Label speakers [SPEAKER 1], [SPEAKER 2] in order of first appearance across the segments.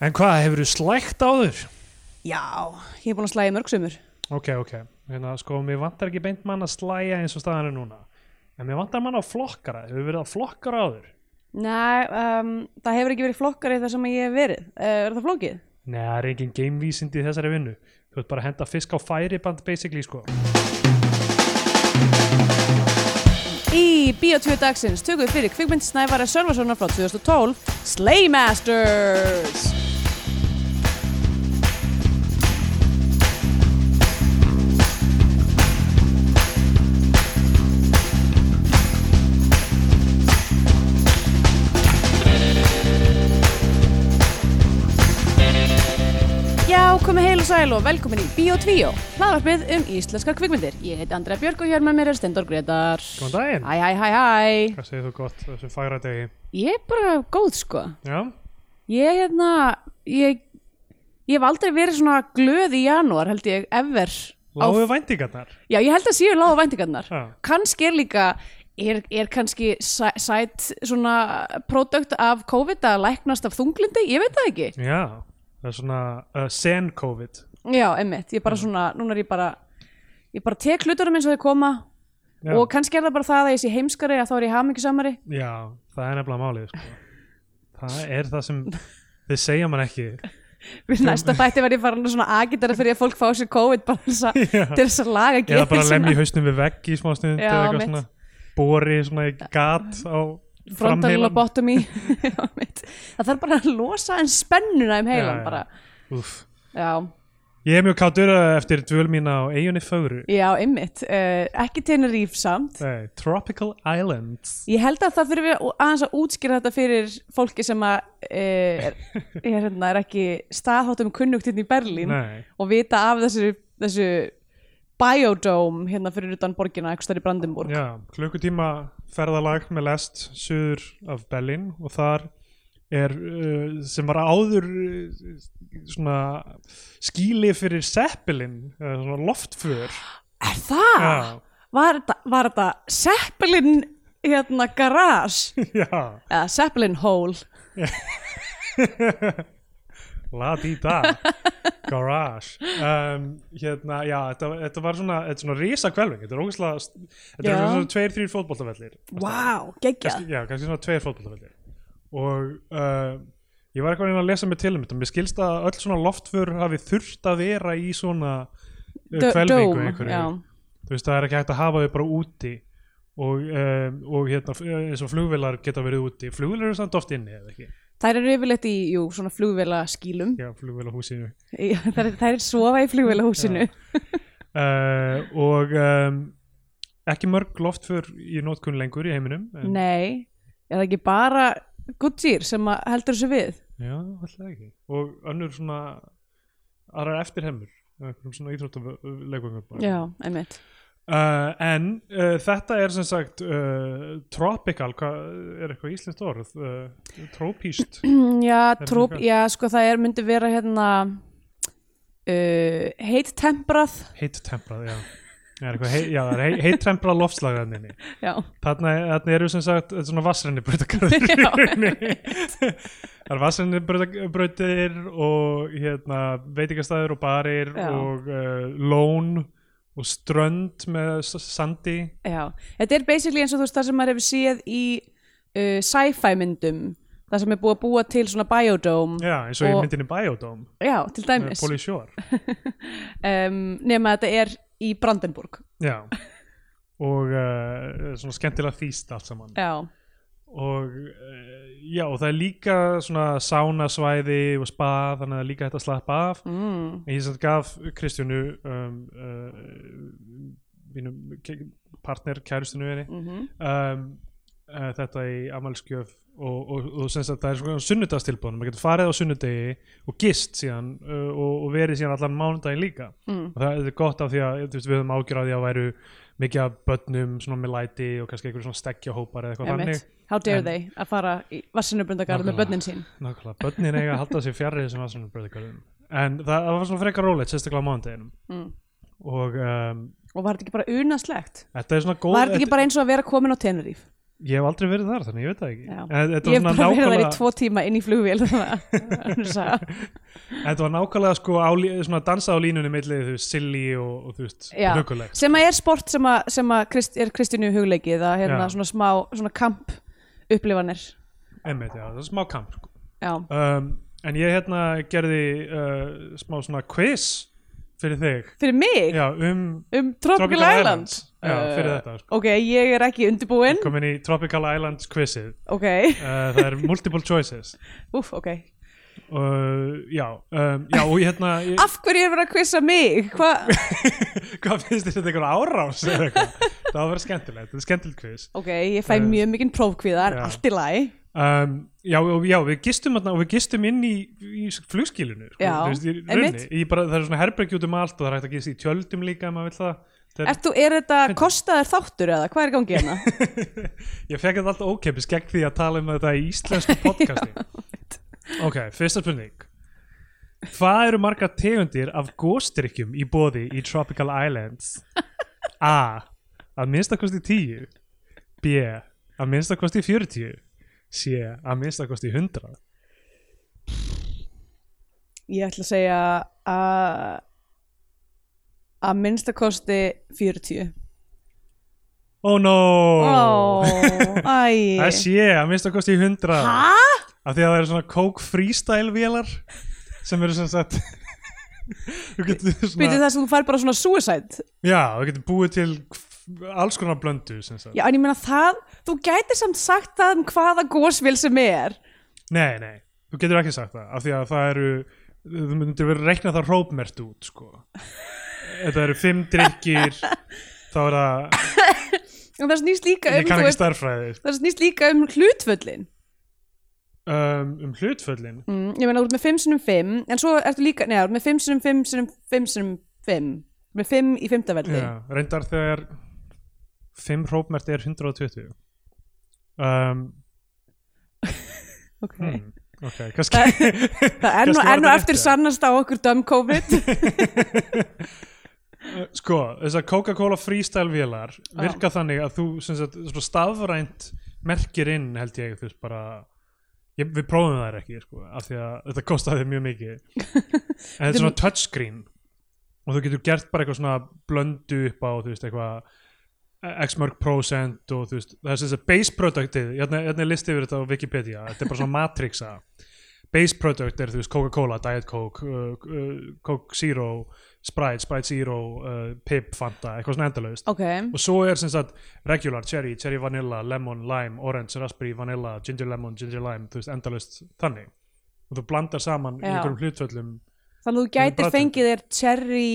[SPEAKER 1] En hvað, hefur þú slægt áður?
[SPEAKER 2] Já, ég er búin að slæja mörg sumur.
[SPEAKER 1] Ok, ok, hérna sko, mér vantar ekki beint mann að slæja eins og staðan er núna En mér vantar mann á flokkara, hefur verið á flokkara áður?
[SPEAKER 2] Nei, um, það hefur ekki verið flokkar í það sem ég hef verið. Uh, er það flókið?
[SPEAKER 1] Nei, það er engin geimvísindi í þessari vinnu Þú ert bara að henda fisk á færiband basically sko
[SPEAKER 2] Í Bíotvíu dagsins tökum við fyrir kvikmynd Snævara Sörvarssonar frá 2012, Slaymasters! Já, komið heil og sæl og velkomin í Bíotvíu, hlaðvarpið um íslenskar kvikmyndir. Ég heit Andrea Björg og hér með mér er Stendur Gretar.
[SPEAKER 1] Góðan daginn,
[SPEAKER 2] Hæ, hæ, hæ, hæ.
[SPEAKER 1] hvað segir þú gott á þessum fagra degi?
[SPEAKER 2] Ég er bara góð, sko.
[SPEAKER 1] Já,
[SPEAKER 2] Ég, hérna, ég, ég hef aldrei verið svona glöð í janúar, held ég, ever. Á-
[SPEAKER 1] lágu væntingarnar
[SPEAKER 2] Já, ég held að séu lága væntingarnar.
[SPEAKER 1] Já.
[SPEAKER 2] Kannski er líka, er, er kannski sæ- sæt svona produkt af COVID að læknast af þunglindi? Ég veit það ekki.
[SPEAKER 1] Já, það er svona uh, sen COVID
[SPEAKER 2] Já, emmitt, ég bara
[SPEAKER 1] Mm.
[SPEAKER 2] svona, núna er ég bara, ég bara tek hlutunum eins og þau koma
[SPEAKER 1] Já.
[SPEAKER 2] og kannski er það bara það að ég sé heimskari að þá er ég hamingisamari.
[SPEAKER 1] Já, það er nefnilega málið sko. Það er það sem þið segja mann ekki
[SPEAKER 2] Við næsta þætti verði ég farin að svona agitara fyrir að fólk fá sér COVID bara til þess að-
[SPEAKER 1] Já.
[SPEAKER 2] til þess að laga
[SPEAKER 1] eða bara
[SPEAKER 2] geðheilsuna.
[SPEAKER 1] lemja í hausnum við vegg í smá stund
[SPEAKER 2] Já,
[SPEAKER 1] eða eitthvað
[SPEAKER 2] mitt.
[SPEAKER 1] svona bori svona í gat á
[SPEAKER 2] frontal
[SPEAKER 1] framheilann.
[SPEAKER 2] lobotomy Já, mitt. það þarf bara að losa en spennuna um
[SPEAKER 1] Já,
[SPEAKER 2] heilan
[SPEAKER 1] já.
[SPEAKER 2] bara
[SPEAKER 1] Úff.
[SPEAKER 2] já,
[SPEAKER 1] Ég er mjög káttur uh, eftir dvöl mín á eigunni fögru
[SPEAKER 2] já einmitt uh, ekki Tenerife samt
[SPEAKER 1] Nei, Tropical Islands
[SPEAKER 2] ég held að það þurfi að- aðeins að útskýra þetta fyrir fólki sem að uh, er, er, hérna, er ekki staðháttum kunnugt hérna í Berlín
[SPEAKER 1] Nei,
[SPEAKER 2] og vita af þessu, þessu biodome hérna fyrir utan borgina eitthvað stær í Brandenburg
[SPEAKER 1] já, klukkutíma ferðalag með lest suður af Berlin og þar er uh, sem var áður uh, svona skýli fyrir seppilinn, uh, svona loftför
[SPEAKER 2] er það?
[SPEAKER 1] Já,
[SPEAKER 2] Var, þetta- var þetta Zeppelin hérna garage
[SPEAKER 1] já
[SPEAKER 2] eða Zeppelin hole
[SPEAKER 1] La di da Garage um, Hérna, já, þetta, þetta var svona Þetta er svona risa kvelving Þetta er ógæslega Þetta
[SPEAKER 2] Já.
[SPEAKER 1] er svona tveir, þrýr fótboltavellir
[SPEAKER 2] wow, geggjað
[SPEAKER 1] Kannski- Já, kannski svona tveir fótboltavellir Og uh, ég var eitthvað að reyna að lesa mig til um þetta Mér skilst að öll svona loftfur hafi þurft að vera í svona uh,
[SPEAKER 2] Dó-
[SPEAKER 1] Kvelvingu
[SPEAKER 2] dóm,
[SPEAKER 1] einhverju
[SPEAKER 2] já.
[SPEAKER 1] Þú veist, það er ekki hægt að hafa þau bara úti Og, um, og hérna, f- eins og flugvilar geta verið úti Flugvilar eru samt oft inni, eða ekki?
[SPEAKER 2] Þær eru yfirleitt í, jú, svona flugvela skýlum
[SPEAKER 1] Já, flugvilar húsinu
[SPEAKER 2] Þær, þær er sofa í flugvela húsinu
[SPEAKER 1] uh, og um, ekki mörg loftför í nótkunn lengur í heiminum en,
[SPEAKER 2] Nei, er það ekki bara Goodyear sem að heldur þessu við
[SPEAKER 1] já, alltaf ekki og önnur svona aðrar eftirhemmur einhverjum svona íþróttaleikvöngum uh,
[SPEAKER 2] Já, einmitt
[SPEAKER 1] en uh, þetta er sem sagt uh, tropical, hvað er eitthvað íslenskt orð uh, tropíst
[SPEAKER 2] Mm, Já,
[SPEAKER 1] er
[SPEAKER 2] tróp,
[SPEAKER 1] líka-
[SPEAKER 2] já, sko það er myndi vera hérna uh, heitt temprað
[SPEAKER 1] heitt temprað, já Það er eitthvað hei, já, það er hei, heittrempra loftslag þannig.
[SPEAKER 2] Já,
[SPEAKER 1] Þarna, þarna eru sem sagt þetta er svona vassrenni brautakarður
[SPEAKER 2] Já,
[SPEAKER 1] Það er vassrenni brautir og hérna, veitingastæður og barir
[SPEAKER 2] Já.
[SPEAKER 1] og uh, lón og strönd með s- sandi
[SPEAKER 2] já Þetta er basically eins og þú veist það sem maður hefur séð í uh, sci-fi myndum það sem er búið að búa til svona biodome
[SPEAKER 1] Já, eins og, í
[SPEAKER 2] Og-
[SPEAKER 1] myndinni Biodome
[SPEAKER 2] já til
[SPEAKER 1] með
[SPEAKER 2] dæmis
[SPEAKER 1] Polly Shore
[SPEAKER 2] um, nema þetta er í Brandenburg
[SPEAKER 1] Já og uh, svona skemmtilega þýst allt saman
[SPEAKER 2] Já,
[SPEAKER 1] og uh, já, og það er líka svona sánasvæði og spa þannig að það er líka hægt að slappa af
[SPEAKER 2] mm.
[SPEAKER 1] En Ég sem sagt gaf Kristjánu um, uh, mínum ke- partner kærustinu henni
[SPEAKER 2] Mm
[SPEAKER 1] um, uh, þetta í Amalskjöf og, og, og sem sagt það er svona sunnudagstilbúðan maður getur farið á sunnudegi og gist síðan uh, og, og verið síðan allan mánudaginn líka
[SPEAKER 2] Mm.
[SPEAKER 1] og það er gott af því að þú veist, við höfum ágjur á því að væru mikið af börnum svona með læti og kannski einhverjum svona stekkjahópar eða eitthvað
[SPEAKER 2] Emmett,
[SPEAKER 1] þannig
[SPEAKER 2] how dare
[SPEAKER 1] En-
[SPEAKER 2] they að fara í vassinubundagarð með
[SPEAKER 1] Nákvæmlega.
[SPEAKER 2] börnin sín
[SPEAKER 1] Nákvæmlega, börnin eiga að halda sér fjarrið sem var svona bröðugarðum en það, það var svona frekar rólegt, sérstaklega á mánudeginum
[SPEAKER 2] mm.
[SPEAKER 1] og um,
[SPEAKER 2] og var þetta ekki bara unaslegt
[SPEAKER 1] Þetta er svona góð
[SPEAKER 2] var þetta ekki bara eins og að vera komin á Tenerife
[SPEAKER 1] ég hef aldrei verið þar þannig ég veit það ekki
[SPEAKER 2] Já.
[SPEAKER 1] en, þetta,
[SPEAKER 2] Ég hef
[SPEAKER 1] var
[SPEAKER 2] bara
[SPEAKER 1] svona
[SPEAKER 2] verið þar í
[SPEAKER 1] nákvæmlega,
[SPEAKER 2] tvo tíma inn í flugvél þannig að hún sagði,
[SPEAKER 1] þetta var nákvæmlega sko á, lí- svona dansa á línunni milli þú veist silly og, og þú veist
[SPEAKER 2] Já.
[SPEAKER 1] hugulegt
[SPEAKER 2] sem að er sport sem að, sem að Krist, er Kristínu hugleikið að hérna
[SPEAKER 1] Já.
[SPEAKER 2] svona smá, svona kamp upplifanir
[SPEAKER 1] einmitt, já, það er smá kamp sko.
[SPEAKER 2] Já,
[SPEAKER 1] um, en ég hérna gerði uh, smá svona quiz fyrir þig
[SPEAKER 2] fyrir mig
[SPEAKER 1] já, um
[SPEAKER 2] um Tropical, Island
[SPEAKER 1] Já, fyrir
[SPEAKER 2] Eh,
[SPEAKER 1] þetta, sko.
[SPEAKER 2] Ok, ég er ekki undirbúin
[SPEAKER 1] komin í Tropical Island quizið
[SPEAKER 2] Ok,
[SPEAKER 1] uh, það er multiple choices
[SPEAKER 2] úf, ok
[SPEAKER 1] og já, um, já og ég hérna ég,
[SPEAKER 2] Af hverju er verið að kvissa mig? Hvað?
[SPEAKER 1] hvað finnst þér þetta einhver árás eða eitthvað? það var að vera skemmtilegt, þetta er skemmtilegt quiz
[SPEAKER 2] Ok, ég fæ mjög mikinn prófkvíða en
[SPEAKER 1] Já.
[SPEAKER 2] allt í lagi
[SPEAKER 1] um, já, og, já, við gistum þarna og við gistum inn í, í flugskilinu sko,
[SPEAKER 2] Já,
[SPEAKER 1] þú veist, í
[SPEAKER 2] einmitt.
[SPEAKER 1] raunni, í bara, það er svona herbergi út um allt og það er hægt að gista í tjöldum líka ef maður vill það Þeir,
[SPEAKER 2] Ertu, er þetta kostaðar þáttur eða? Hvað er í gangi hérna?
[SPEAKER 1] ég fekk þetta alltaf ókeppis gegn því að tala um þetta í íslensku podcasti ok, fyrsta spurning hvað eru margar tegundir af góstrykkjum í bóði í Tropical Islands a að minnstakosti 10 b að minnstakosti 40 c að minnstakosti 100
[SPEAKER 2] Ég ætla að segja að að minnsta kosti 40
[SPEAKER 1] oh no
[SPEAKER 2] Ó, æ
[SPEAKER 1] Það sé að minnst að kosti 100
[SPEAKER 2] Hæ?
[SPEAKER 1] Af því að það eru svona Coke freestyle vélar sem eru sem sagt Þú getur
[SPEAKER 2] Býtu
[SPEAKER 1] svona
[SPEAKER 2] það sem þú fær bara svona suicide
[SPEAKER 1] Já, þú getur búið til alls konar blöndu sem sagt
[SPEAKER 2] Já, en ég meina það Þú gætir samt sagt það um hvaða gósvél sem er
[SPEAKER 1] Nei, nei, þú getur ekki sagt það af því að það eru þú myndir verið að reikna það rópmert út sko. Þetta eru fimm drikkir þá er það
[SPEAKER 2] En það snýst líka um,
[SPEAKER 1] ég kann
[SPEAKER 2] þú
[SPEAKER 1] ekki
[SPEAKER 2] veist,
[SPEAKER 1] starffræði
[SPEAKER 2] það snýst líka um hlutvöllin
[SPEAKER 1] um, um hlutföllin
[SPEAKER 2] mm, Ég meina, þú ert með 5 sinum 5 En svo ertu líka, neða, þú ert með 5 sinum 5 sinum 5 sinum 5 Með 5 í 5. velli
[SPEAKER 1] Já, reyndar þegar fimm rópmert er 120 um,
[SPEAKER 2] Ok
[SPEAKER 1] Hmm, ok, kannski
[SPEAKER 2] Það er nú,
[SPEAKER 1] Kannski var
[SPEAKER 2] er nú
[SPEAKER 1] þetta rétt,
[SPEAKER 2] eftir
[SPEAKER 1] ja.
[SPEAKER 2] sannast á okkur dumb COVID
[SPEAKER 1] sko, þessar Coca-Cola freestyle vélar virka þannig að þú sem sagt, svona stafrænt merkir inn held ég, þú veist bara ég, við prófum það ekki, sko, af því að þetta kostaði mjög mikið en þetta er svona touchscreen og þú getur gert bara eitthvað svona blöndu upp á, þú veist, eitthvað x mörg prósent og þú veist það er sem sagt base productið, hérna, hérna er listi yfir þetta á Wikipedia, þetta er bara svona matrixa base product er þú veist Coca-Cola, Diet Coke, uh, uh, Coke Zero, Sprite, Sprite Zero, uh, Pip, Fanta, eitthvað svona endalaust.
[SPEAKER 2] Ok,
[SPEAKER 1] Og svo er sem sagt regular, cherry, cherry vanilla, lemon, lime, orange, raspberry, vanilla, ginger lemon, ginger lime, þú veist endalaust þannig. Og þú blandar saman í
[SPEAKER 2] Já.
[SPEAKER 1] einhverjum hlutvöllum.
[SPEAKER 2] þannig að þú gætir
[SPEAKER 1] Bara-
[SPEAKER 2] fengið þér cherry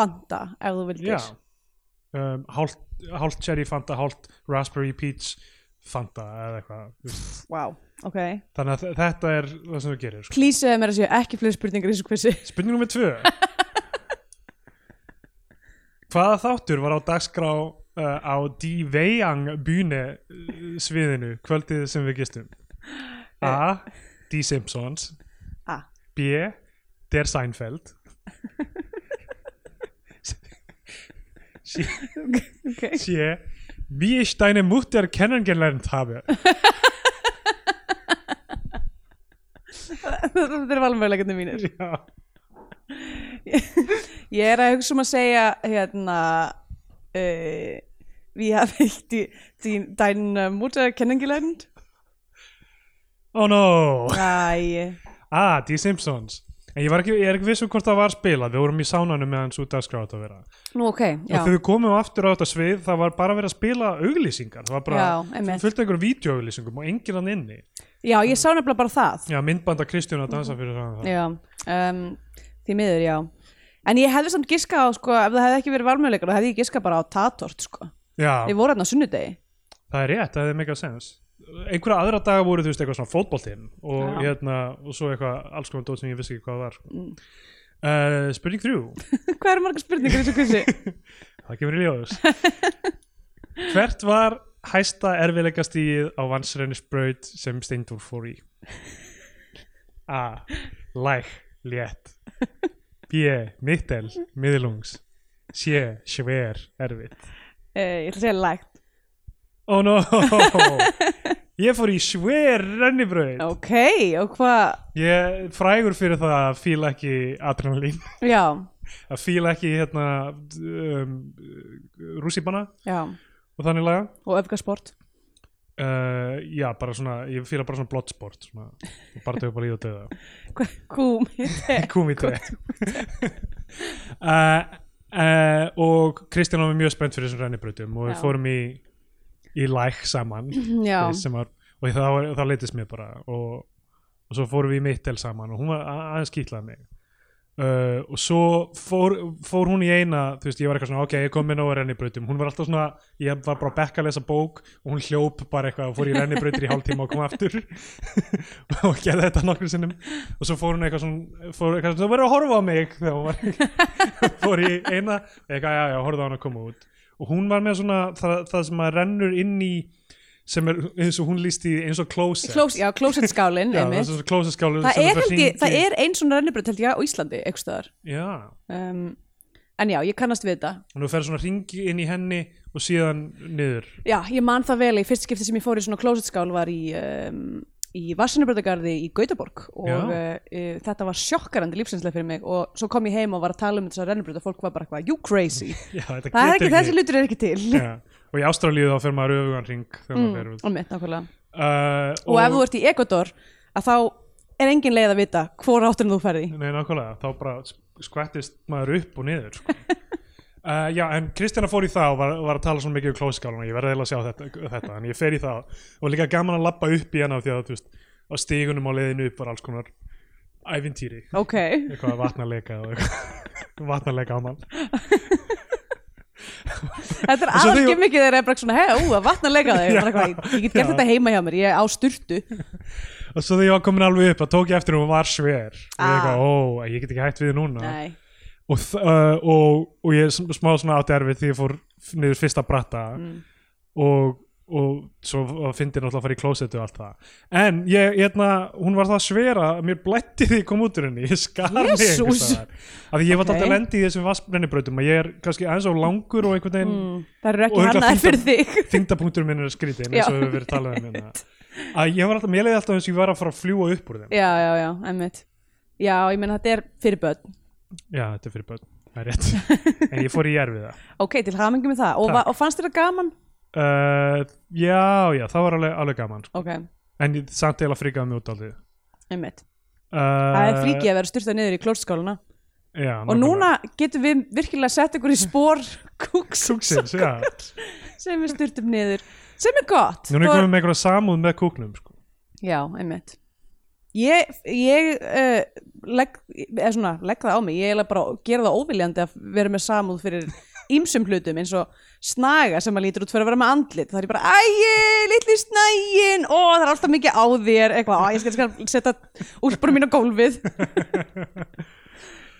[SPEAKER 2] Fanta ef þú vildir
[SPEAKER 1] Já. Um, hálft, hálft cherry Fanta, hálft raspberry peach Fanta eða eitthvað. þú veist.
[SPEAKER 2] Wow, ok
[SPEAKER 1] Þannig að þe- þetta er það sem þú gerir. Sko.
[SPEAKER 2] Please segðu mér að séu ekki fleiri spurningar í þessu kvissi
[SPEAKER 1] Spurning nummer tvö Hvaða þáttur var á dagskrá uh, á Die Veyang Bühne uh, sviðinu kvöldið sem við gistum A. Die Simpsons
[SPEAKER 2] A.
[SPEAKER 1] B. Der Seinfeld C.
[SPEAKER 2] okay.
[SPEAKER 1] C. Wie ich deine Mutter kennengelernt habe
[SPEAKER 2] Þetta er valmöðuleikandi mínir
[SPEAKER 1] Já,
[SPEAKER 2] Ég er að hugsa um að segja hérna uh, Við hafa ekki dín, dæn uh, múta kennengilegnd
[SPEAKER 1] oh no
[SPEAKER 2] Æ,
[SPEAKER 1] Ah, Die Simpsons En ég, var ekki, ég er ekki viss um hvort það var spilað Við vorum í sánanum meðan svo dagskrá átt að vera
[SPEAKER 2] nú
[SPEAKER 1] og
[SPEAKER 2] ok, já
[SPEAKER 1] þegar við komum aftur á þetta svið það var bara verið að spila auglýsingar það var bara
[SPEAKER 2] Já, einmitt.
[SPEAKER 1] fullt af einhverjum vídeoauglýsingum og enginn hann inni
[SPEAKER 2] Já, ég sá nefnilega bara það
[SPEAKER 1] já, myndbanda Kristján að dansa fyrir það
[SPEAKER 2] Já, um, því miður, já En ég hefði samt giska á, sko, ef það hefði ekki verið valmöðuleikar þá hefði ég giska bara á Tatort, sko Við
[SPEAKER 1] já,
[SPEAKER 2] voru hérna á sunnudegi
[SPEAKER 1] það er rétt, það er mega sens einhverja aðra daga voru þú veist eitthvað svona fótboltinn og,
[SPEAKER 2] Já.
[SPEAKER 1] hérna, og svo eitthvað alls konar dót sem ég vissi ekki hvað var mm. uh, spurning þrjú
[SPEAKER 2] Hvað eru margar spurningar í þessu kvissi?
[SPEAKER 1] það kemur í ljós hvert var hæsta erfiðleikastíð á vansrennisbraut sem Steindor fór í A. Læk, létt B. Mittel, miðlungs C. Sver, erfið
[SPEAKER 2] Eh, Ég ætla að segja lægt
[SPEAKER 1] oh no ég fór í sver rennibraut
[SPEAKER 2] ok, og hvað
[SPEAKER 1] ég er frægur fyrir það að fíla ekki adrenalín,
[SPEAKER 2] já,
[SPEAKER 1] að fíla ekki hérna um, rússipanna
[SPEAKER 2] já,
[SPEAKER 1] og þannig laga
[SPEAKER 2] og öfgasport
[SPEAKER 1] uh, já, bara svona, ég fíla bara svona blottsport, svona, bara tökur bara í og döða
[SPEAKER 2] kúm
[SPEAKER 1] kúmítri uh, uh, og Kristján var mjög spennt fyrir þessum rennibrautum og
[SPEAKER 2] Já.
[SPEAKER 1] við fórum í í læk saman
[SPEAKER 2] já,
[SPEAKER 1] sem var, og þá, þá leitist mér bara og, og svo fórum við í mittel saman og hún var a- aðeins kýtlaði mig uh, og svo fór, fór hún í eina þú veist, ég var eitthvað svona, ok, ég kom með nóg að rennibrautum hún var alltaf svona, ég var bara að bekka að lesa bók og hún hljóp bara eitthvað og fór í rennibrautir í hálftíma og kom aftur og gerði þetta nokkur sinnum og svo fór hún eitthvað svona, fór eitthvað svona þú verður að horfa á mig þegar hún var fór í eina, eitthvað, já, já, horfði á hann að koma út og hún var með svona það, það sem að rennur inn í sem er eins og hún líst í eins og closet
[SPEAKER 2] Klós, já, klósetsskálin
[SPEAKER 1] já, það
[SPEAKER 2] einmitt.
[SPEAKER 1] er svona closet skálur
[SPEAKER 2] það er, held ég, það er einn svona rennibröð held ég á Íslandi, einhvers staðar
[SPEAKER 1] já,
[SPEAKER 2] um, en já, ég kannast við þetta
[SPEAKER 1] og þú fer svona ringi inn í henni og síðan niður
[SPEAKER 2] já, ég man það vel, í fyrst skipti sem ég fór í svona klósetskál var í um, í Vassanubröðagarði í Gautaborg og
[SPEAKER 1] Já.
[SPEAKER 2] uh, uh, þetta var sjokkarandi lífsinslega fyrir mig og svo kom ég heim og var að tala um þessar rennibröð og fólk var bara eitthvað, you crazy
[SPEAKER 1] já, það
[SPEAKER 2] það er ekki, þessi hlutur er ekki til
[SPEAKER 1] já, og í Ástralíu þá fer maður öfugan ring þegar maður fer út
[SPEAKER 2] og mitt nákvæmlega
[SPEAKER 1] uh,
[SPEAKER 2] Mm. og ef þú ert í Ecuador að þá er engin leið að vita hvora átturinn þú ferði
[SPEAKER 1] Nei, nákvæmlega, þá bara sk- skvettist maður upp og niður sko. uh, Já, en Kristjana fór í það og var, var að tala svona mikið um klóskáluna ég verði eða að sjá þetta, þetta, en ég fer í það og líka gaman að labba upp í hana því að þú veist, á stígunum á leiðinu upp var alls konar ævintýri,
[SPEAKER 2] ok,
[SPEAKER 1] eitthvað að vatnaleika og eitthvað vatnaleika á mann
[SPEAKER 2] þetta
[SPEAKER 1] svo
[SPEAKER 2] er
[SPEAKER 1] þegar-
[SPEAKER 2] aðskil mikið þegar það er bara svona, hei, ú, að vatna leika þig Bara eitthvað, ég get gert
[SPEAKER 1] Já.
[SPEAKER 2] þetta heima hjá mér, ég er á sturtu
[SPEAKER 1] og svo þegar ég var komin alveg upp, þá tók ég eftir hún var sver og ég
[SPEAKER 2] Ah.
[SPEAKER 1] eitthvað, ó, ég get ekki hætt við þig núna
[SPEAKER 2] nei,
[SPEAKER 1] og, þ- uh, og, og ég sm- smá svona átti erfið því ég fór f- niður fyrsta bratta
[SPEAKER 2] Mm.
[SPEAKER 1] og, og svo fyndi náttúrulega að fara í klósetu og allt það en ég, hérna, hún var það svera að mér blætti því ég kom út úr henni ég skar mig
[SPEAKER 2] Jesús.
[SPEAKER 1] einhvers staðar. af því ég var
[SPEAKER 2] Ok.
[SPEAKER 1] okay. að lendi í þessum vassbrennibrautum að ég er kannski aðeins á langur og einhvern veginn mm.
[SPEAKER 2] það eru
[SPEAKER 1] Og
[SPEAKER 2] ekki
[SPEAKER 1] örugglega
[SPEAKER 2] hannaðir fyrir þig
[SPEAKER 1] þingdapunktur minn er skrítin
[SPEAKER 2] Mm. Já.
[SPEAKER 1] eins og hefur verið talað um hérna að ég var alltaf, mér leiði alltaf eins og ég var að fara að fljúa upp úr þeim
[SPEAKER 2] já, já, já, emmitt já, ég menn þetta er fyrir börn
[SPEAKER 1] já, þetta er fyrir börn, það er rétt en ég fór í erfiða
[SPEAKER 2] ok, til hamingi með það, og,
[SPEAKER 1] Takk.
[SPEAKER 2] va- og fannst þér það gaman?
[SPEAKER 1] uh, já, já, það var alveg, alveg gaman sko.
[SPEAKER 2] ok,
[SPEAKER 1] en ég- samt eða fríkaði mig út aldrei uh,
[SPEAKER 2] emmitt það
[SPEAKER 1] Eh.
[SPEAKER 2] er fríkið að vera styrtað niður í klórskáluna
[SPEAKER 1] já,
[SPEAKER 2] og núna getum við virkilega sett ykkur í spór kúksins
[SPEAKER 1] Kúksins, já.
[SPEAKER 2] sem við styrtum niður sem er gott
[SPEAKER 1] núna
[SPEAKER 2] Þó-
[SPEAKER 1] erum við með einhverja samúð með kúknum sko.
[SPEAKER 2] já, einmitt ég, ég uh, legg, eða svona, legg það á mig ég er bara að gera það óviljandi að vera með samúð fyrir ýmsum hlutum eins og snaga sem að lítur út fyrir að vera með andlit það er ég bara, æi, litli snægin ó, það er alltaf mikið á þér eitthvað, "Á, ég skal, skal setja úlpurum mín á gólfið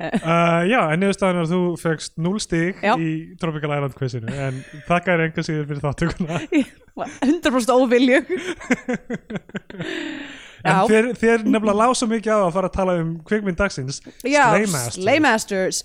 [SPEAKER 1] uh, já, en niðurstaðan er að þú fegst 0 stig
[SPEAKER 2] Já.
[SPEAKER 1] í Tropical Island quizinu en þakka er enga síður fyrir þáttökuna
[SPEAKER 2] 100% óvilju Já.
[SPEAKER 1] en þér, þér nefnilega lása mikið á að fara að tala um kvikmynd dagsins
[SPEAKER 2] Já,
[SPEAKER 1] Slaymasters.
[SPEAKER 2] Slaymasters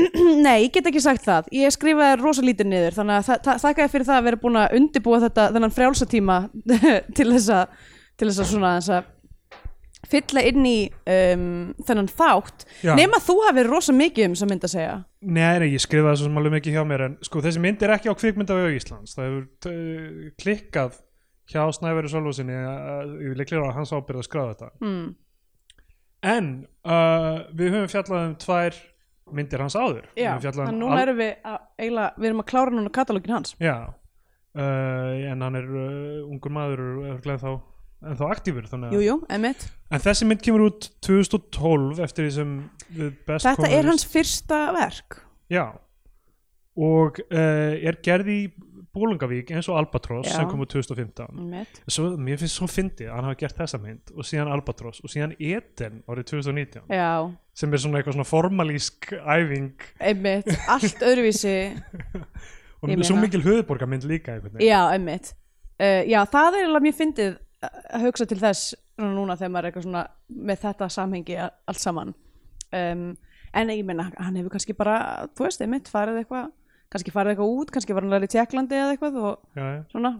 [SPEAKER 2] Nei, ég get ekki sagt það Ég skrifaði rosa lítið niður þannig að þa- þa- þakka þér fyrir það að vera búin að undirbúa þetta þennan frjálsatíma til þess að til þess að svona þess að fylla inn í um, þennan þátt
[SPEAKER 1] Já.
[SPEAKER 2] nema þú hafi rosa mikið um sem mynd að segja
[SPEAKER 1] Nei, nei, ég skrifaði svo sem alveg mikið hjá mér en sko þessi mynd er ekki á kvikmyndavegu Íslands það hefur uh, klikkað hjá Snæveri Sölvósinni ég vil ekki á hans ábyrð að skráða þetta
[SPEAKER 2] mm.
[SPEAKER 1] en uh, við höfum fjallað um tvær myndir hans áður Við
[SPEAKER 2] Já,
[SPEAKER 1] höfum fjallað
[SPEAKER 2] þannig
[SPEAKER 1] um
[SPEAKER 2] núna erum við að, eiginlega, við erum að klára núna katalógin hans
[SPEAKER 1] Já, uh, en hann er uh, ungur maður og er þá en þá aktífur þannig
[SPEAKER 2] Jú,
[SPEAKER 1] að
[SPEAKER 2] jú, emitt
[SPEAKER 1] en þessi mynd kemur út 2012 eftir því sem The Best
[SPEAKER 2] Þetta
[SPEAKER 1] Comedy-
[SPEAKER 2] er hans fyrsta verk
[SPEAKER 1] Já og uh, er gerð í Bólungavík eins og Albatross
[SPEAKER 2] Já. Mm.
[SPEAKER 1] sem kom úr 2015
[SPEAKER 2] Emitt
[SPEAKER 1] svo, mér finnst svo fyndið að hann hafa gert þessa mynd og síðan Albatross og síðan Eden árið 2019
[SPEAKER 2] Já,
[SPEAKER 1] sem er svona eitthvað svona formalísk æfing
[SPEAKER 2] emitt, allt öðruvísi
[SPEAKER 1] og
[SPEAKER 2] Ég meina.
[SPEAKER 1] svo mikil höfuborgarmynd líka einhvern veginn
[SPEAKER 2] Já, einmitt. Uh, já, það er alveg mjög fyndið að hugsa til þess svona núna þegar maður er eitthvað svona með þetta samhengi a- allt saman. Um, en ég meina, hann hefur kannski bara, þú veist, einmitt farið eitthvað, kannski farið eitthvað út, kannski var hann alveg í Tjekklandi eða eitthvað og
[SPEAKER 1] Já, já.
[SPEAKER 2] svona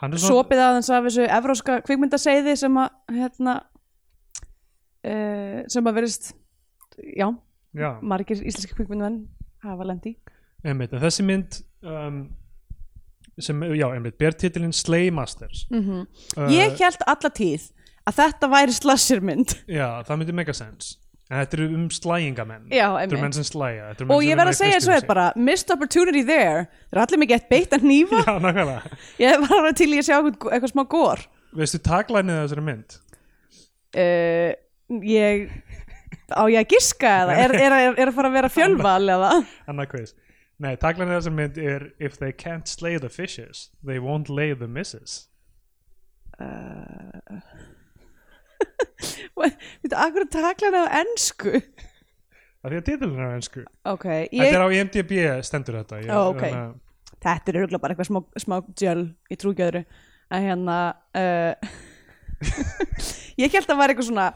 [SPEAKER 1] Hann er svona,
[SPEAKER 2] sopið aðeins af þessu evróska kvikmyndaseiði sem að hérna uh, sem að verist já,
[SPEAKER 1] já,
[SPEAKER 2] margir íslenski kvikmyndamenn hafa lendi
[SPEAKER 1] einmitt, en þessi mynd um, sem, já, einmitt, ber titilinn Slay Masters
[SPEAKER 2] mm -hmm.
[SPEAKER 1] uh,
[SPEAKER 2] ég held alla tíð að þetta væri slashermynd
[SPEAKER 1] Já, það myndi mega sens En þetta eru um slægingamenn Þetta
[SPEAKER 2] Já,
[SPEAKER 1] eru
[SPEAKER 2] einmitt.
[SPEAKER 1] menn sem slæja þetta eru menn
[SPEAKER 2] og
[SPEAKER 1] sem
[SPEAKER 2] ég
[SPEAKER 1] vinna
[SPEAKER 2] verð
[SPEAKER 1] í
[SPEAKER 2] að segja eins og
[SPEAKER 1] frystihúsi.
[SPEAKER 2] þetta bara missed opportunity there þeir eru allir mikið eitt beitt að nýfa
[SPEAKER 1] Já, nákvæmlega
[SPEAKER 2] ég var alveg til í að sjá eitthvað, eitthvað smá gór
[SPEAKER 1] Veistu taglænið af þessari mynd?
[SPEAKER 2] uh, ég á ég að giska eða er, er, er, er að fara að vera fjölval eða
[SPEAKER 1] Annað quiz Nei, taglænið af þessari mynd er If they can't slay the fishes They won't lay the misses
[SPEAKER 2] veitu, akkur taklan á ennsku
[SPEAKER 1] Það er því að titilinn er á ennsku
[SPEAKER 2] ok,
[SPEAKER 1] Þetta
[SPEAKER 2] ég,
[SPEAKER 1] er á IMDb stendur þetta ég,
[SPEAKER 2] Ó, ok.
[SPEAKER 1] þannig að-
[SPEAKER 2] þetta er örgulega bara eitthvað smá, smá djöl í trúgjöðru að hérna uh, ég held að það var eitthvað svona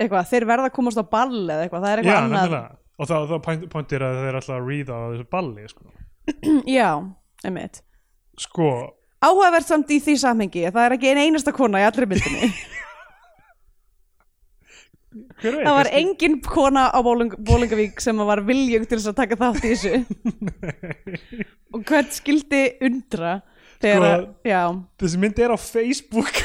[SPEAKER 2] eitthvað, þeir verða að komast á ball eða eitthvað, það er
[SPEAKER 1] Já,
[SPEAKER 2] eitthvað annað
[SPEAKER 1] nefnilega Og þá, þá point- pointir að þeir eru alltaf að ríða á þessu balli sko.
[SPEAKER 2] já, einmitt
[SPEAKER 1] sko,
[SPEAKER 2] áhugavert samt í því samhengi að það er ekki ein einasta kona í allri myndinni
[SPEAKER 1] hver veit
[SPEAKER 2] það var
[SPEAKER 1] kannski-
[SPEAKER 2] engin kona á Bóling, Bólingavík sem var viljung til þess að taka þátt í þessu og hvern skildi undra þegar
[SPEAKER 1] Sko-
[SPEAKER 2] að, já
[SPEAKER 1] Þessi mynd er á Facebook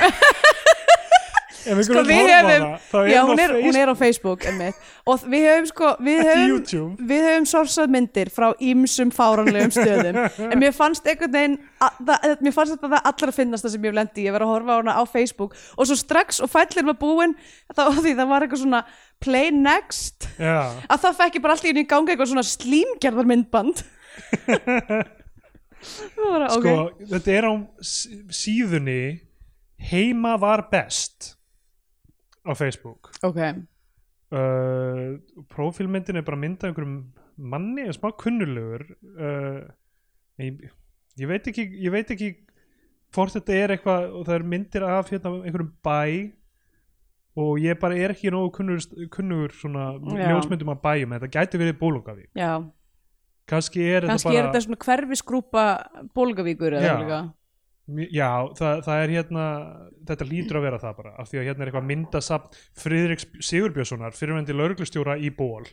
[SPEAKER 1] Ef einhver
[SPEAKER 2] Sko
[SPEAKER 1] vill
[SPEAKER 2] við
[SPEAKER 1] horfa á
[SPEAKER 2] hefum,
[SPEAKER 1] hana, þá er
[SPEAKER 2] já
[SPEAKER 1] hún á
[SPEAKER 2] hún er, hún
[SPEAKER 1] Facebook.
[SPEAKER 2] er á Facebook einmitt. og við höfum sko, við
[SPEAKER 1] Ekki
[SPEAKER 2] höfum,
[SPEAKER 1] YouTube.
[SPEAKER 2] við höfum sorsað myndir frá ímsum fáranlegum stöðum en mér fannst einhvern veginn, að, það, eh, mér fannst þetta það allra finnast það sem ég hef lendi, ég verið að horfa á hana á Facebook og svo strax og fællir maður búin þá því það var eitthvað svona play next
[SPEAKER 1] Já,
[SPEAKER 2] að það fekk ég bara alltaf inn í gangi eitthvað svona slímgerðar myndband það var að,
[SPEAKER 1] sko,
[SPEAKER 2] ok,
[SPEAKER 1] þetta er á sí- síðunni Heima var best á Facebook
[SPEAKER 2] ok
[SPEAKER 1] uh, Prófílmyndin er bara myndað einhverjum manni, smá kunnulegur uh, ég, ég veit ekki ég veit ekki hvort þetta er eitthvað og það er myndir af hérna, einhverjum bæ og ég bara er ekki nógu kunnugur, kunnugur svona
[SPEAKER 2] Já.
[SPEAKER 1] ljósmyndum af bæjum en þetta gæti verið bólungavík
[SPEAKER 2] já,
[SPEAKER 1] kannski er
[SPEAKER 2] kannski
[SPEAKER 1] þetta
[SPEAKER 2] er
[SPEAKER 1] bara
[SPEAKER 2] þetta svona hverfisgrúpa bólgavíkur eða
[SPEAKER 1] Já.
[SPEAKER 2] eitthvað líka.
[SPEAKER 1] Já, það, það er hérna þetta lítur að vera það bara af því að hérna er eitthvað myndasafn Friðriks Sigurbjörnssonar fyrirvendi lauruglustjóra í ból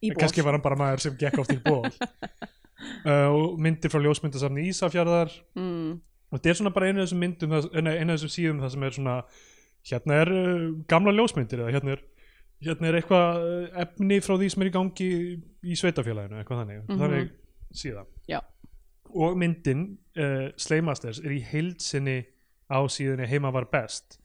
[SPEAKER 2] í ból
[SPEAKER 1] kannski var hann bara maður sem gekk oft í ból uh, og myndir frá ljósmyndasafni Ísafjarðar
[SPEAKER 2] mm.
[SPEAKER 1] og þetta er svona bara einu af þessum myndum það, nei, einu af þessum síðum það sem er svona hérna er uh, gamla ljósmyndir eða hérna er, hérna er eitthvað uh, efni frá því sem er í gangi í sveitafélaginu eitthvað þannig,
[SPEAKER 2] Mhm.
[SPEAKER 1] þannig síða
[SPEAKER 2] Já.
[SPEAKER 1] og myndin uh, Sleimasters er í heild sinni á síðunni heima var best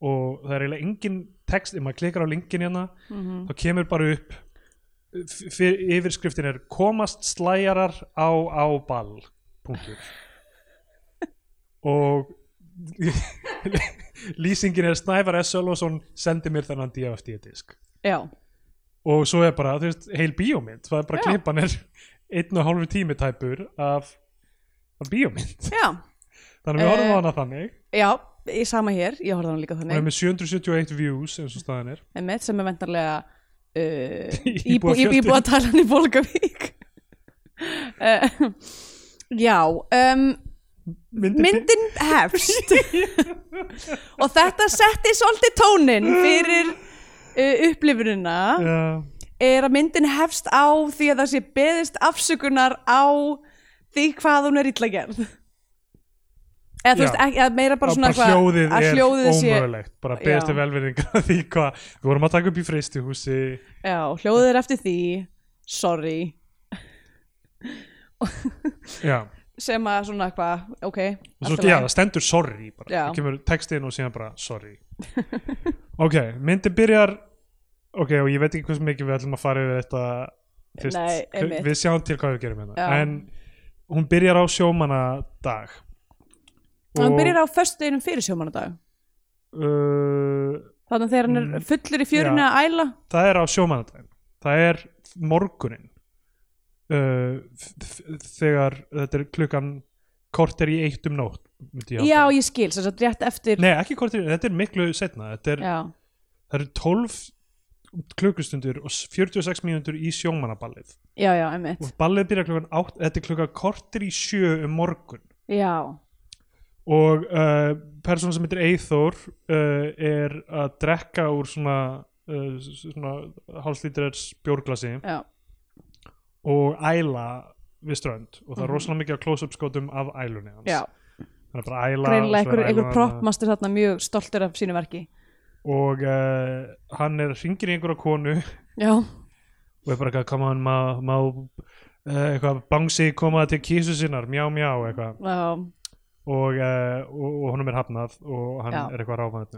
[SPEAKER 1] og það er eiginlega engin text ef maður klikkar á linkin hérna
[SPEAKER 2] mhm.
[SPEAKER 1] þá kemur bara upp uh, f- fyr- yfirskriftin er komast slæjarar á á ball punktur og lýsingin er Snævar S. Sölvason sendi mér þennan DFD-disk
[SPEAKER 2] já,
[SPEAKER 1] og svo er bara, þú veist, heil bíómynd það er bara
[SPEAKER 2] Já.
[SPEAKER 1] klippan er einn og hálfu tími tæpur af, af bíómynd,
[SPEAKER 2] já,
[SPEAKER 1] þannig við horfum
[SPEAKER 2] Eh,
[SPEAKER 1] á hana þannig
[SPEAKER 2] já ég sama hér, ég horfði á hann líka
[SPEAKER 1] og er
[SPEAKER 2] þannig
[SPEAKER 1] með 771 views eins og staðan er
[SPEAKER 2] einmitt, sem er vendarlega uh, íbú,
[SPEAKER 1] Íbúafjöldinn.
[SPEAKER 2] íbú að tala hann í Bólgavík uh, já um,
[SPEAKER 1] myndin,
[SPEAKER 2] myndin hefst og þetta setti svolítið tónin fyrir uh, upplifunina
[SPEAKER 1] uh,
[SPEAKER 2] er að myndin hefst á því að það sé beðist afsökunar á því hvað hún er illa gerð eða þú
[SPEAKER 1] Já.
[SPEAKER 2] veist, ekki, eða meira bara
[SPEAKER 1] bara
[SPEAKER 2] svona eitthvað-
[SPEAKER 1] hljóðið
[SPEAKER 2] að
[SPEAKER 1] er
[SPEAKER 2] hljóðið sé-
[SPEAKER 1] ómögulegt bara beðist
[SPEAKER 2] Já.
[SPEAKER 1] er velverðingar af því hvað við vorum að taka upp í freystuhúsi
[SPEAKER 2] já, hljóðið er eftir því sorry,
[SPEAKER 1] já,
[SPEAKER 2] sem að svona eitthvað ok,
[SPEAKER 1] og svo,
[SPEAKER 2] allt í
[SPEAKER 1] já,
[SPEAKER 2] lagi.
[SPEAKER 1] það stendur sorry bara,
[SPEAKER 2] Já.
[SPEAKER 1] það kemur textin og síðan bara sorry ok, myndin byrjar ok, og ég veit ekki hversu mikið við ætlum að fara yfir þetta fyrst,
[SPEAKER 2] Nei, einmitt.
[SPEAKER 1] við sjáum til hvað við gerum hérna
[SPEAKER 2] Já.
[SPEAKER 1] en hún byrjar á sjómanadag
[SPEAKER 2] hann byrjar á föstudeginum fyrir sjómanadag
[SPEAKER 1] uh,
[SPEAKER 2] þannig að þegar hann er fullur í fjörinu
[SPEAKER 1] Mm. Já.
[SPEAKER 2] að æla
[SPEAKER 1] það er á sjómanadaginn það er morgunin uh, f- f- þegar þetta er klukkan korter í eitt um nótt myndi ég
[SPEAKER 2] já,
[SPEAKER 1] halda.
[SPEAKER 2] ég skil, sem sagt rétt eftir
[SPEAKER 1] nei ekki korter, þetta er miklu setna þetta er,
[SPEAKER 2] já,
[SPEAKER 1] það eru 12 klukkustundur og s- 46 mínútur í sjómanaballið
[SPEAKER 2] já, já, einmitt
[SPEAKER 1] og ballið byrja klukkan 8 þetta er klukkan korter í sjö um morgun
[SPEAKER 2] já,
[SPEAKER 1] og uh, persóna sem heitir Eithor uh, er að drekka úr svona, uh, s- svona hálslítrars bjórglasi
[SPEAKER 2] já,
[SPEAKER 1] og æla við strönd og það er
[SPEAKER 2] Mhm.
[SPEAKER 1] rosalega mikið af close-up skotum af ælunni hans
[SPEAKER 2] já,
[SPEAKER 1] hann er bara að æla
[SPEAKER 2] greinilega
[SPEAKER 1] og svo er
[SPEAKER 2] einhver, einhver
[SPEAKER 1] ælan að-
[SPEAKER 2] propmaster þarna mjög stoltur af sínu verki
[SPEAKER 1] og uh, hann er hringir í einhverja konu
[SPEAKER 2] já,
[SPEAKER 1] og er bara eitthvað come on, má, má uh, eitthvað, bangsi koma til kísu sinnar mjá mjá eitthvað
[SPEAKER 2] já
[SPEAKER 1] og, uh, og, og honum er hafnað og hann
[SPEAKER 2] Já.
[SPEAKER 1] er eitthvað ráfaðið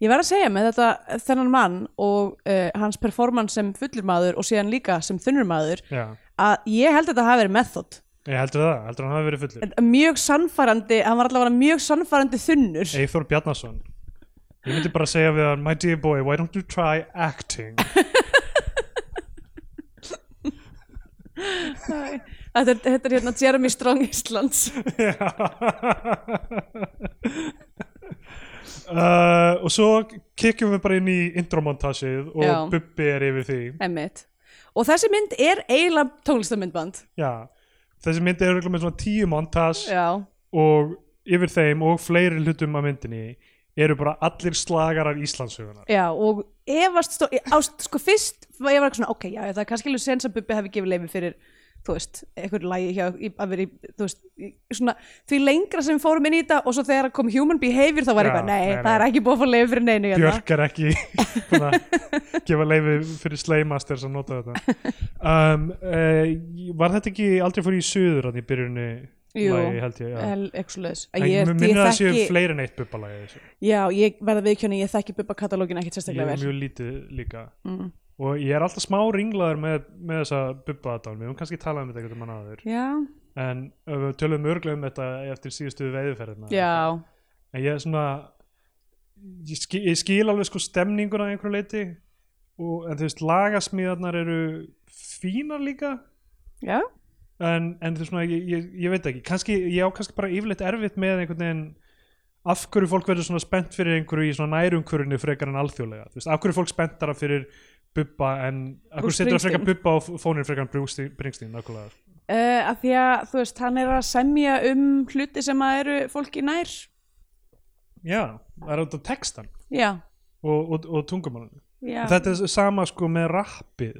[SPEAKER 2] ég verð að segja með þetta þennan mann og uh, hans performance sem fullur maður og síðan líka sem þunnur maður
[SPEAKER 1] já,
[SPEAKER 2] að ég held að þetta hafi verið method
[SPEAKER 1] ég heldur það, heldur hann hafi verið fullur
[SPEAKER 2] En mjög sannfærandi, hann var allavega mjög sannfærandi þunnur
[SPEAKER 1] Eithor Bjarnason ég myndi bara segja við hann my dear boy, why don't you try acting
[SPEAKER 2] þetta er, þetta er hérna Jeremy Strong Íslands
[SPEAKER 1] uh, og svo kikkjum við bara inn í intromontasið og
[SPEAKER 2] Já.
[SPEAKER 1] Bubbi er yfir því
[SPEAKER 2] Einmitt. og þessi mynd er eiginlega tónlistamyndband
[SPEAKER 1] já, þessi myndi er örugglega með svona tíu montas
[SPEAKER 2] já,
[SPEAKER 1] og yfir þeim og fleiri hlutum af myndinni eru bara allir slagarar Íslandsugunar
[SPEAKER 2] já og efast stó, á, sko fyrst var ég var eitthvað svona ok, já, það er kannski alveg sens að Bubbi hefði gefið leifi fyrir þú veist, einhverju lægi hjá í- að vera í, þú veist, í, svona því lengra sem við fórum inn í þetta og svo þegar kom human behavior þá
[SPEAKER 1] Já,
[SPEAKER 2] var eitthvað, nei,
[SPEAKER 1] nei, nei.
[SPEAKER 2] það er ekki búið að fá leifi fyrir neinu hérna.
[SPEAKER 1] Björk er ekki svona, gefa leiði fyrir Slaymasters að nota þetta um, uh, var þetta ekki aldrei fór í suður hann í byrjunni
[SPEAKER 2] Jú.
[SPEAKER 1] lagi, held ég, já.
[SPEAKER 2] El, eitthvað svoleiðis. Að
[SPEAKER 1] En
[SPEAKER 2] ég,
[SPEAKER 1] mér minnir
[SPEAKER 2] ég
[SPEAKER 1] að það séu
[SPEAKER 2] þekki,
[SPEAKER 1] fleiri en eitt bubbalagi þessu.
[SPEAKER 2] já, ég verða viðkjörni ég þekki Bubba katalógin ekkert
[SPEAKER 1] ég
[SPEAKER 2] sérstaklega
[SPEAKER 1] er
[SPEAKER 2] vel
[SPEAKER 1] mjög lítið líka
[SPEAKER 2] Mm.
[SPEAKER 1] og ég er alltaf smá ringlaður með, með þessa bubbaðdán, við höfum kannski talað um þetta eitthvað mann aður,
[SPEAKER 2] já,
[SPEAKER 1] en uh, við tölum örglega um þetta eftir síðustu veiðuferðina
[SPEAKER 2] já,
[SPEAKER 1] en ég er svona ég skil, ég skil alveg sko stemninguna að einhverju leiti og, en þú veist lagasmíðarnar eru fínar líka
[SPEAKER 2] já
[SPEAKER 1] en, en þú veist svona ég, ég, ég veit ekki kannski, ég á kannski bara yfirleitt erfitt með einhvern veginn af hverju fólk verður svona spennt fyrir einhverju í svona nærumhverjunni frekar en alþjóðlega þú veist, af hverju fólk spenntara fyrir bubba en, af hverju
[SPEAKER 2] Bruce
[SPEAKER 1] setur það frekar
[SPEAKER 2] Springsteen.
[SPEAKER 1] bubba og fónir frekar en Bruce Springsteen nákvæmlega
[SPEAKER 2] Uh, að því að þú veist, hann er að semja um hluti sem að eru fólki nær
[SPEAKER 1] já, það er auðvitað textan
[SPEAKER 2] já,
[SPEAKER 1] og, og, og tungumálunni
[SPEAKER 2] já
[SPEAKER 1] þetta er sama sko með rappið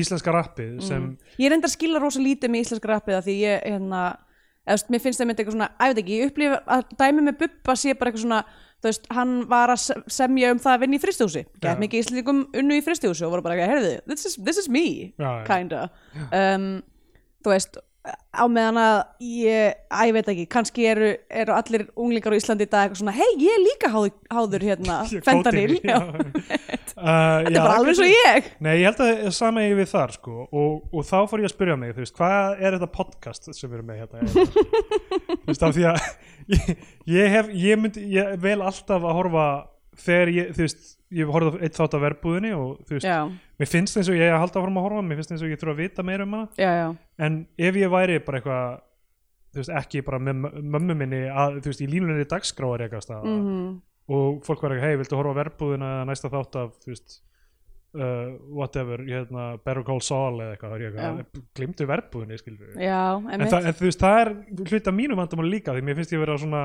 [SPEAKER 1] íslenska rappið
[SPEAKER 2] Mm.
[SPEAKER 1] sem
[SPEAKER 2] ég reyndar að skila rosa lítið með íslensk rappið að því ég, hérna eða, þú veist, mér finnst það myndi eitthvað svona, að ég veit ekki ég upplifa að dæmi með Bubba sé bara eitthvað svona þú veist, hann var að se- semja um það að vinna í fristihúsi,
[SPEAKER 1] Já.
[SPEAKER 2] gett mikið íslendingum unnu í fristihúsi og voru bara, heyrðu, this is, this is me
[SPEAKER 1] Já, já.
[SPEAKER 2] kinda um, þú veist á meðan að ég, að ég veit ekki kannski eru, eru allir unglingar á Íslandi í dag eitthvað svona, hei ég er líka háður, háður hérna,
[SPEAKER 1] Ég-
[SPEAKER 2] fentanil
[SPEAKER 1] kódeín,
[SPEAKER 2] já.
[SPEAKER 1] Uh,
[SPEAKER 2] þetta er bara alveg svo ég
[SPEAKER 1] Nei, ég held að það er sama eigi við þar sko og, og þá fór ég að spyrja mig, þú veist, hvað er þetta podcast sem við erum með hérna eiginlega? Þú veist, af því að ég, ég hef, ég myndi, ég vel alltaf að horfa þegar ég, þú veist ég horfði á eitt þátt af verbúðinni og þú veist,
[SPEAKER 2] já,
[SPEAKER 1] mér finnst eins og ég haldi áfram að horfa, mér finnst eins og ég þurfa að vita meira um hana
[SPEAKER 2] já, já,
[SPEAKER 1] en ef ég væri bara eitthvað þú veist, ekki bara með mö- mömmu minni að, þú veist, í línunni dagskráar eitthvað staða
[SPEAKER 2] Mhm.
[SPEAKER 1] og fólk var ekki, hei, viltu horfa á verbúðina eða næsta þátt af, þú veist uh, whatever, hérna, Better Call Saul eða eitthvað, það er eitthvað, glimtu verbúðinni skilur við,
[SPEAKER 2] já
[SPEAKER 1] en,
[SPEAKER 2] einmitt.
[SPEAKER 1] það, en þú veist, það er hluta mínum vandamál líka, því mér finnst ég vera svona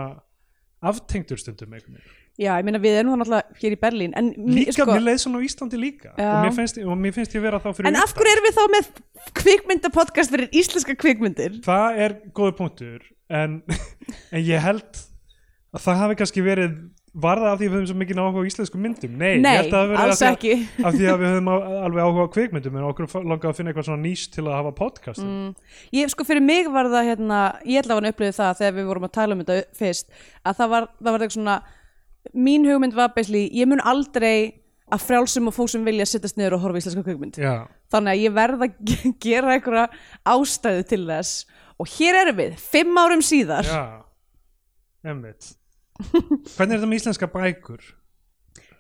[SPEAKER 1] aftengdur stundum einhvern veginn.
[SPEAKER 2] já, ég meina við erum það náttúrulega hér í Berlín en, sko, mi-
[SPEAKER 1] líka, mér leið svona á Íslandi líka
[SPEAKER 2] Já.
[SPEAKER 1] og mér, finnst, og mér finnst ég vera þá fyrir
[SPEAKER 2] en af
[SPEAKER 1] utan.
[SPEAKER 2] hverju erum við þá með kvikmyndapodcast fyrir íslenska kvikmyndir
[SPEAKER 1] það er góður punktur en, en ég held að það hafi kannski verið var það af því að við höfum svo mikið áhuga á íslensku myndum nei, ég
[SPEAKER 2] nei,
[SPEAKER 1] held að það hafi verið
[SPEAKER 2] alls
[SPEAKER 1] af því
[SPEAKER 2] ekki
[SPEAKER 1] að, af því að við höfum á- alveg áhuga á kvikmyndum en okkur langaði að finna eitthvað svona nýst til að hafa podcast um.
[SPEAKER 2] Ég, sko, fyrir mig var það hérna, ég ætla að hann upplifið það þegar við vorum að tala um þetta fyrst að það var, það var eitthvað svona mín hugmynd var beisli, ég mun aldrei að frjálsum og fóksum vilja sittast niður og horfa í íslenska kvikmynd
[SPEAKER 1] já,
[SPEAKER 2] þannig að ég verð að ge- gera einhverja ástæðu til þess og hér erum við, fimm árum síðar
[SPEAKER 1] já emmitt hvernig er þetta með íslenska bækur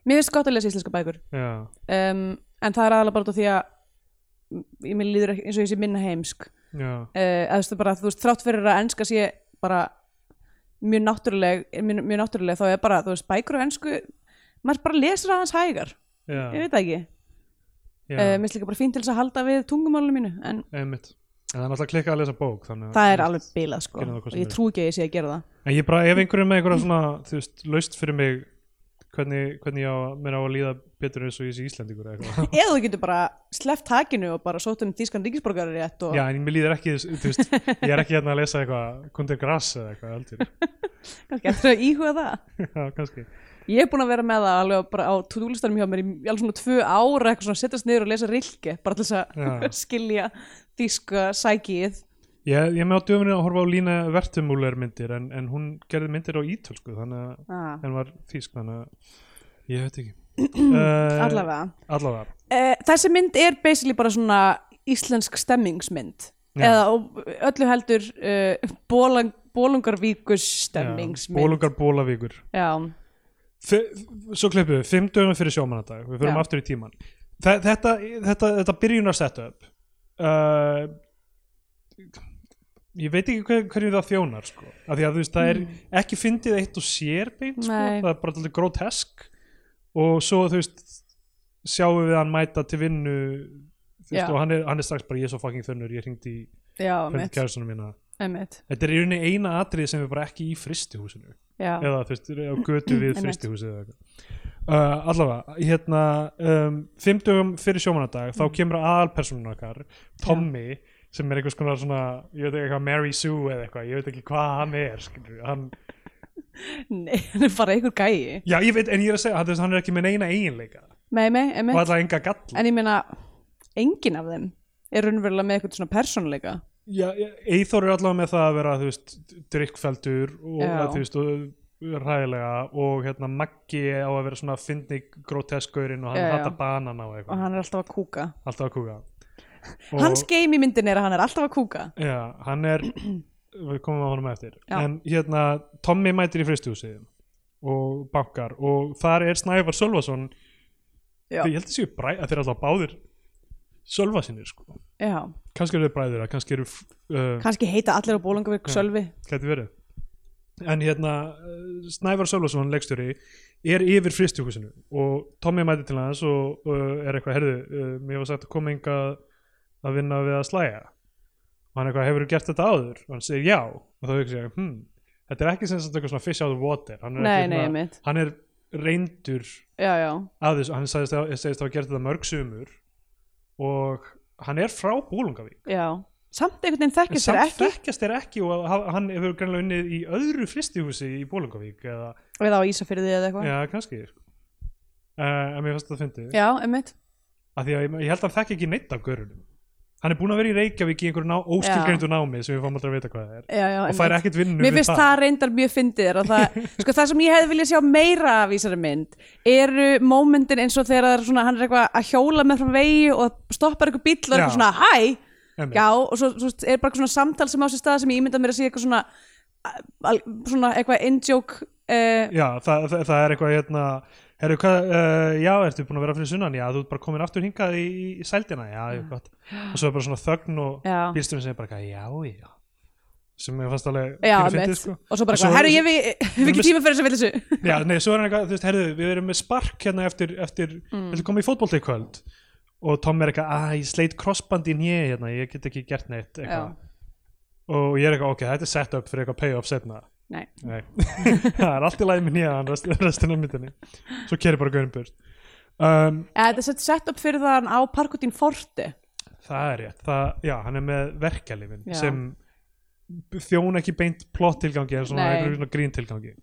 [SPEAKER 2] mér finnst gott að lesa íslenska bækur
[SPEAKER 1] já,
[SPEAKER 2] um, en það er aðalega bara út af því að ég mér líður ekki- eins og ég sé minna heimsk
[SPEAKER 1] já,
[SPEAKER 2] uh, að þú veist, bara, þú veist, þrátt fyrir að enska sé bara mjög náttúruleg, mjög, mjög náttúruleg þá er bara, þú veist, bækur og ensku maður bara lesur aðeins hægar,
[SPEAKER 1] já,
[SPEAKER 2] ég veit um, það ekki uh,
[SPEAKER 1] já
[SPEAKER 2] minnst líka bara fínt til þess að halda við tungumálunum mínu en
[SPEAKER 1] emmitt en það er náttúrulega klikkað að lesa bók þannig að-
[SPEAKER 2] það er alveg bilað sko
[SPEAKER 1] Gerðu það hvort
[SPEAKER 2] og
[SPEAKER 1] sem
[SPEAKER 2] ég
[SPEAKER 1] er.
[SPEAKER 2] trú ekki að ég sé að gera það
[SPEAKER 1] En ég bara, ef einhverjum með einhverja svona, þú veist, laust fyrir mig hvernig, hvernig ég á, mér á að líða betur eins og ég sé Íslendingur eða eitthvað.
[SPEAKER 2] eða þú getur bara sleppt hakinu og bara sótt um þískan ríkisborgarar rétt og
[SPEAKER 1] Já, en mér líður ekki, þú veist, ég er ekki hérna að lesa eitthvað kundir grass eða eitthvað heldur.
[SPEAKER 2] kannski eftir að íhuga það
[SPEAKER 1] Já, kannski.
[SPEAKER 2] ég er búin að vera með það alveg bara á túlistanum hjá mér í alveg svona tvö ára eitthvað svona setjast niður og lesa rilke bara til þess
[SPEAKER 1] Já.
[SPEAKER 2] að skilja þíska sækið
[SPEAKER 1] Ég, ég er með á döfuminu að horfa á Lína Vertumúler myndir, en, en hún gerði myndir á ítölsku, þannig að,
[SPEAKER 2] ah,
[SPEAKER 1] en var þýsk, þannig að, ég veit ekki. uh,
[SPEAKER 2] allavega
[SPEAKER 1] Allavega.
[SPEAKER 2] Eh, þessi mynd er basically bara svona íslensk stemmingsmynd
[SPEAKER 1] Já.
[SPEAKER 2] eða og öllu heldur uh, bólang, bólungarvíkus stemmingsmynd
[SPEAKER 1] Bólungar Bólavíkur.
[SPEAKER 2] já,
[SPEAKER 1] Fi- svo klippum við, fimm dögum fyrir sjómanandag við förum
[SPEAKER 2] Já.
[SPEAKER 1] aftur í tíman Þe þetta, þetta, þetta byrjunar setup uh, ég veit ekki hver, hverju það þjónar sko. af því að þú veist, það er ekki fyndið eitt og sér beint, sko.
[SPEAKER 2] Mm. Nei.
[SPEAKER 1] það er bara alltaf grotesk og svo þú veist sjáum við hann mæta til vinnu þú veist,
[SPEAKER 2] Já.
[SPEAKER 1] og hann er, hann er strax bara ég er svo fucking þunnur, ég hringdi í
[SPEAKER 2] já, einmitt,
[SPEAKER 1] kæðursunum mína
[SPEAKER 2] einmitt
[SPEAKER 1] þetta er í rauninni eina atrið sem er bara ekki í fristihúsinu
[SPEAKER 2] já,
[SPEAKER 1] eða þú veist, á götu við
[SPEAKER 2] Einmitt.
[SPEAKER 1] fristihúsið eða eitthvað Uh, allavega, hérna um, fimm dögum fyrir sjómanadag
[SPEAKER 2] Mm.
[SPEAKER 1] þá kemur aðalpersonun okkar Tommy, sem er einhvers konar svona ég veit ekki hvað, Mary Sue eða eitthvað ég veit ekki hvað hann er skilur, hann,
[SPEAKER 2] Nei, hann er bara einhver gæi
[SPEAKER 1] já, ég veit, en ég er að segja, hann, þú veist, hann er ekki með neina eiginleika
[SPEAKER 2] mei, mei,
[SPEAKER 1] og
[SPEAKER 2] einmitt
[SPEAKER 1] allavega enga gall
[SPEAKER 2] en ég meina, engin af þeim er raunverulega með eitthvað svona persónuleika
[SPEAKER 1] já, Eithor er allavega með það að vera þú veist, drikkfeldur og,
[SPEAKER 2] Já.
[SPEAKER 1] að, þú veist, og ræðilega og hérna Maggi á að vera svona fyndni groteskurinn og hann
[SPEAKER 2] Já, já.
[SPEAKER 1] hattar banana og
[SPEAKER 2] og
[SPEAKER 1] eitthvað,
[SPEAKER 2] hann er alltaf að kúka
[SPEAKER 1] alltaf að kúka Og-
[SPEAKER 2] hans game í myndin er að hann er alltaf að kúka
[SPEAKER 1] Já, hann er við komum að honum eftir
[SPEAKER 2] Já.
[SPEAKER 1] en hérna, Tommy mætir í fristihúsið og bankar og þar er Snævar Sölvason
[SPEAKER 2] já,
[SPEAKER 1] ég held að séu bræð, að þeir eru alltaf báðir Sölvasinir sko
[SPEAKER 2] já.
[SPEAKER 1] kannski eru þeir bræður, að kannski eru uh,
[SPEAKER 2] kannski heita allir á bólungarvík Sölvi
[SPEAKER 1] gæti verið en hérna, uh, Snævar Sölvason leikstjóri er yfir fristihúsinu og Tommy mætir til hans og uh, er eitthvað, herðu, uh, mér var sagt að koma enga að vinna við að slæja og hann eitthvað, hefur gert þetta áður og hann segir já, og þá hugsa ég, hm þetta er ekki sem sagt eitthvað svona fish out of water hann er,
[SPEAKER 2] Nei,
[SPEAKER 1] ekki
[SPEAKER 2] nei,
[SPEAKER 1] svona-
[SPEAKER 2] einmitt.
[SPEAKER 1] hann er reyndur
[SPEAKER 2] já, já,
[SPEAKER 1] að þessu, hann segist, segist að hafa gert þetta mörg sumur og hann er frá Búlungavík
[SPEAKER 2] já samt einhvern veginn
[SPEAKER 1] en
[SPEAKER 2] þekkist þér
[SPEAKER 1] samt
[SPEAKER 2] ekki
[SPEAKER 1] þekkjast er ekki og ha- hann hefur greinlega unnið í öðru fristihúsi í Búlungavík eða,
[SPEAKER 2] eða á Ísafyrði eða eitthvað já.
[SPEAKER 1] já, kannski uh, en mér fannst þetta fyndið
[SPEAKER 2] einmitt
[SPEAKER 1] af því að ég, ég held að hann þekki ekki neitt af görunum hann er búin að vera í Reykjavík í einhverju ná, óskilgreindu námi sem við fáum aldrei að vita hvað það er
[SPEAKER 2] já, já,
[SPEAKER 1] og fær
[SPEAKER 2] einmitt.
[SPEAKER 1] ekkert vinnu
[SPEAKER 2] mér
[SPEAKER 1] við
[SPEAKER 2] finnst það reyndar mjög fyndið þér að það, sko, það sem ég hefði viljað sjá meira af í þessari mynd eru mómentin eins og þegar það er svona, hann er eitthvað að hjóla með frá vegi og stoppar eitthvað bíll
[SPEAKER 1] Já.
[SPEAKER 2] og er eitthvað svona hæ
[SPEAKER 1] Einmitt.
[SPEAKER 2] já, og svo, svo er bara eitthvað svona samtal sem á sér stað sem ég ímynda mér að sé eitthvað svona al, svona eitthvað indjók uh,
[SPEAKER 1] já, það, það, það er eitthvað hérna Heru, hvað, uh, já, ertu búin að vera fyrir sunnan já, þú ert bara komin aftur hingað í, í sældina já, já, gott, og svo er bara svona þögn og
[SPEAKER 2] Já.
[SPEAKER 1] bílsturinn segir bara eitthvað, já, já sem ég fannst alveg
[SPEAKER 2] já,
[SPEAKER 1] pínu fyndið,
[SPEAKER 2] mitt,
[SPEAKER 1] sko.
[SPEAKER 2] og svo bara eitthvað, herru, ég hef- hef ekki tíma fyrir þess að vilja þessu
[SPEAKER 1] Já, nei, svo er hann eitthvað, þú veist, herðu, við erum með spark hérna eftir, eftir, mm. viltu koma í fótbolta í kvöld og Tom er eitthvað, að ég sleit crossband í nýja hérna, ég get ekki gert neitt eitthvað, og ég er eitthvað, ok, þetta er set up fyrir eitthvað payoff setna
[SPEAKER 2] Nei.
[SPEAKER 1] Nei, það er allt í lagi með nýja hann rest, restin af myndinni, svo kerir bara gaurin burt um,
[SPEAKER 2] Eh, Þetta er sett- sett upp fyrir þann á parkutín Forte
[SPEAKER 1] það er rétt, það, já, hann er með verkjalifin
[SPEAKER 2] Já.
[SPEAKER 1] sem þjón ekki beint plott tilgangi en svona
[SPEAKER 2] Nei.
[SPEAKER 1] einhverjum svona grín tilgangi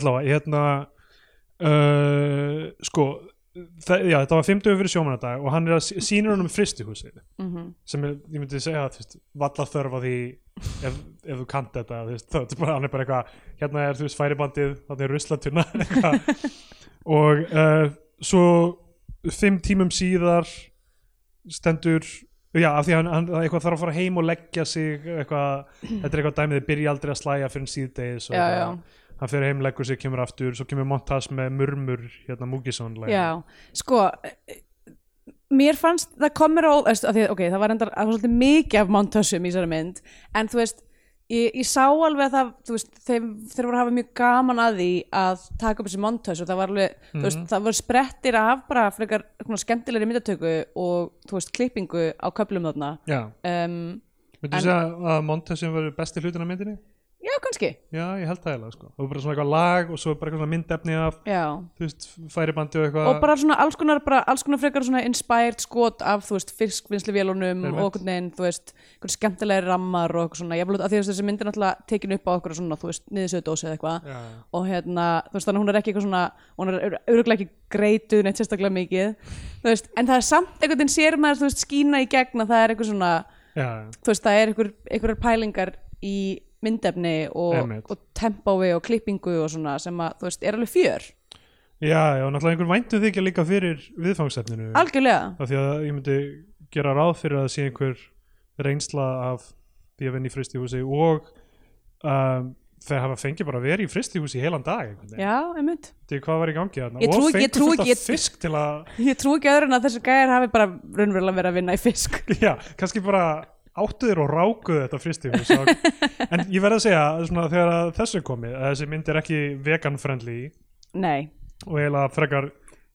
[SPEAKER 1] allavega, hérna uh, sko það, já, þetta var 50 fyrir sjómanadag og hann er að sí- sýnir honum fristihúsið
[SPEAKER 2] Mhm.
[SPEAKER 1] sem er, ég myndi segja þú veist, valla þörf á því ef, ef þú kant þetta þú veist, það er bara, hann er bara eitthvað hérna er þú veist færibandið, þannig er ruslatunna eitthvað. og uh, svo fimm tímum síðar stendur já, af því að hann, hann það er eitthvað þarf að fara heim og leggja sig eitthvað, þetta er eitthvað dæmið þið byrja aldrei að slæja fyrir síðdegis og
[SPEAKER 2] Já,
[SPEAKER 1] eitthvað. hann fyrir heim, leggur sig, kemur aftur svo kemur montas með murmur hérna Múkisson
[SPEAKER 2] Já, sko eh, Mér fannst, það kom mér á veist, af því, að, ok, það var endar svolítið mikið af montössum í þessari mynd en þú veist, ég, ég sá alveg að það þú veist, þeim, þeir voru að hafa mjög gaman að því að taka upp þessi montöss og það var alveg, þú veist, það voru sprettir af bara frekar svona skemmtilegri myndatöku og þú veist klippingu á köflum þarna
[SPEAKER 1] já,
[SPEAKER 2] um,
[SPEAKER 1] myndu
[SPEAKER 2] En-
[SPEAKER 1] en... segja að Montesin verður besti hlutin af myndinni?
[SPEAKER 2] já kannski
[SPEAKER 1] Já, ég held það eiginlega sko. og bara svona eitthvað lag og svo bara eitthvað svona myndefni af
[SPEAKER 2] já.
[SPEAKER 1] þú veist, færibandi og eitthvað
[SPEAKER 2] og bara svona alls konar, bara, alls konar frekar svona inspired skot af þú veist fiskvinnsluvélunum
[SPEAKER 1] Einmitt.
[SPEAKER 2] og okkur neginn þú veist einhver skemmtilegri rammar og eitthvað svona ég blóð að því að þessi mynd er náttúrulega tekin upp á okkur svona þú veist niðursöðdósi eða eitthvað
[SPEAKER 1] já, já.
[SPEAKER 2] og hérna þú veist þannig að hún er ekki eitthvað svona hún er öruglega ekki greituð neitt sérstaklega mikið þú veist en það er samt einhvern veginn sér maður þú veist skína í gegn að það er eitthvað svona
[SPEAKER 1] Já,
[SPEAKER 2] þú veist, það er einhver, einhverjar pælingar í myndefni og,
[SPEAKER 1] Einmitt.
[SPEAKER 2] og tempói og klippingu og svona sem að, þú veist, er alveg fjör
[SPEAKER 1] já, já, og náttúrulega einhver væntu þykja líka fyrir viðfangsefninu
[SPEAKER 2] algjörlega,
[SPEAKER 1] af því að ég myndi gera ráð fyrir að það sé einhver reynsla af því að vinna í fristihúsi og um, þeir hafa fengið bara að vera í fristihúsi í helan dag einhvern veginn.
[SPEAKER 2] já, einmitt
[SPEAKER 1] Því hvað var í gangi þarna
[SPEAKER 2] Ég trúi
[SPEAKER 1] og
[SPEAKER 2] ekki- ég
[SPEAKER 1] fengu
[SPEAKER 2] trúi
[SPEAKER 1] fullt
[SPEAKER 2] ekki-
[SPEAKER 1] af fisk til að
[SPEAKER 2] ég trú ekki öðru en að þessi gæjar hafi bara raunverulega verið að vinna í fisk
[SPEAKER 1] já, kannski bara áttu þér og rákuðu þetta fristihús og, en ég verð að segja svona, þegar að þessu er komið að þessi mynd er ekki vegan friendly
[SPEAKER 2] nei,
[SPEAKER 1] og eiginlega frekar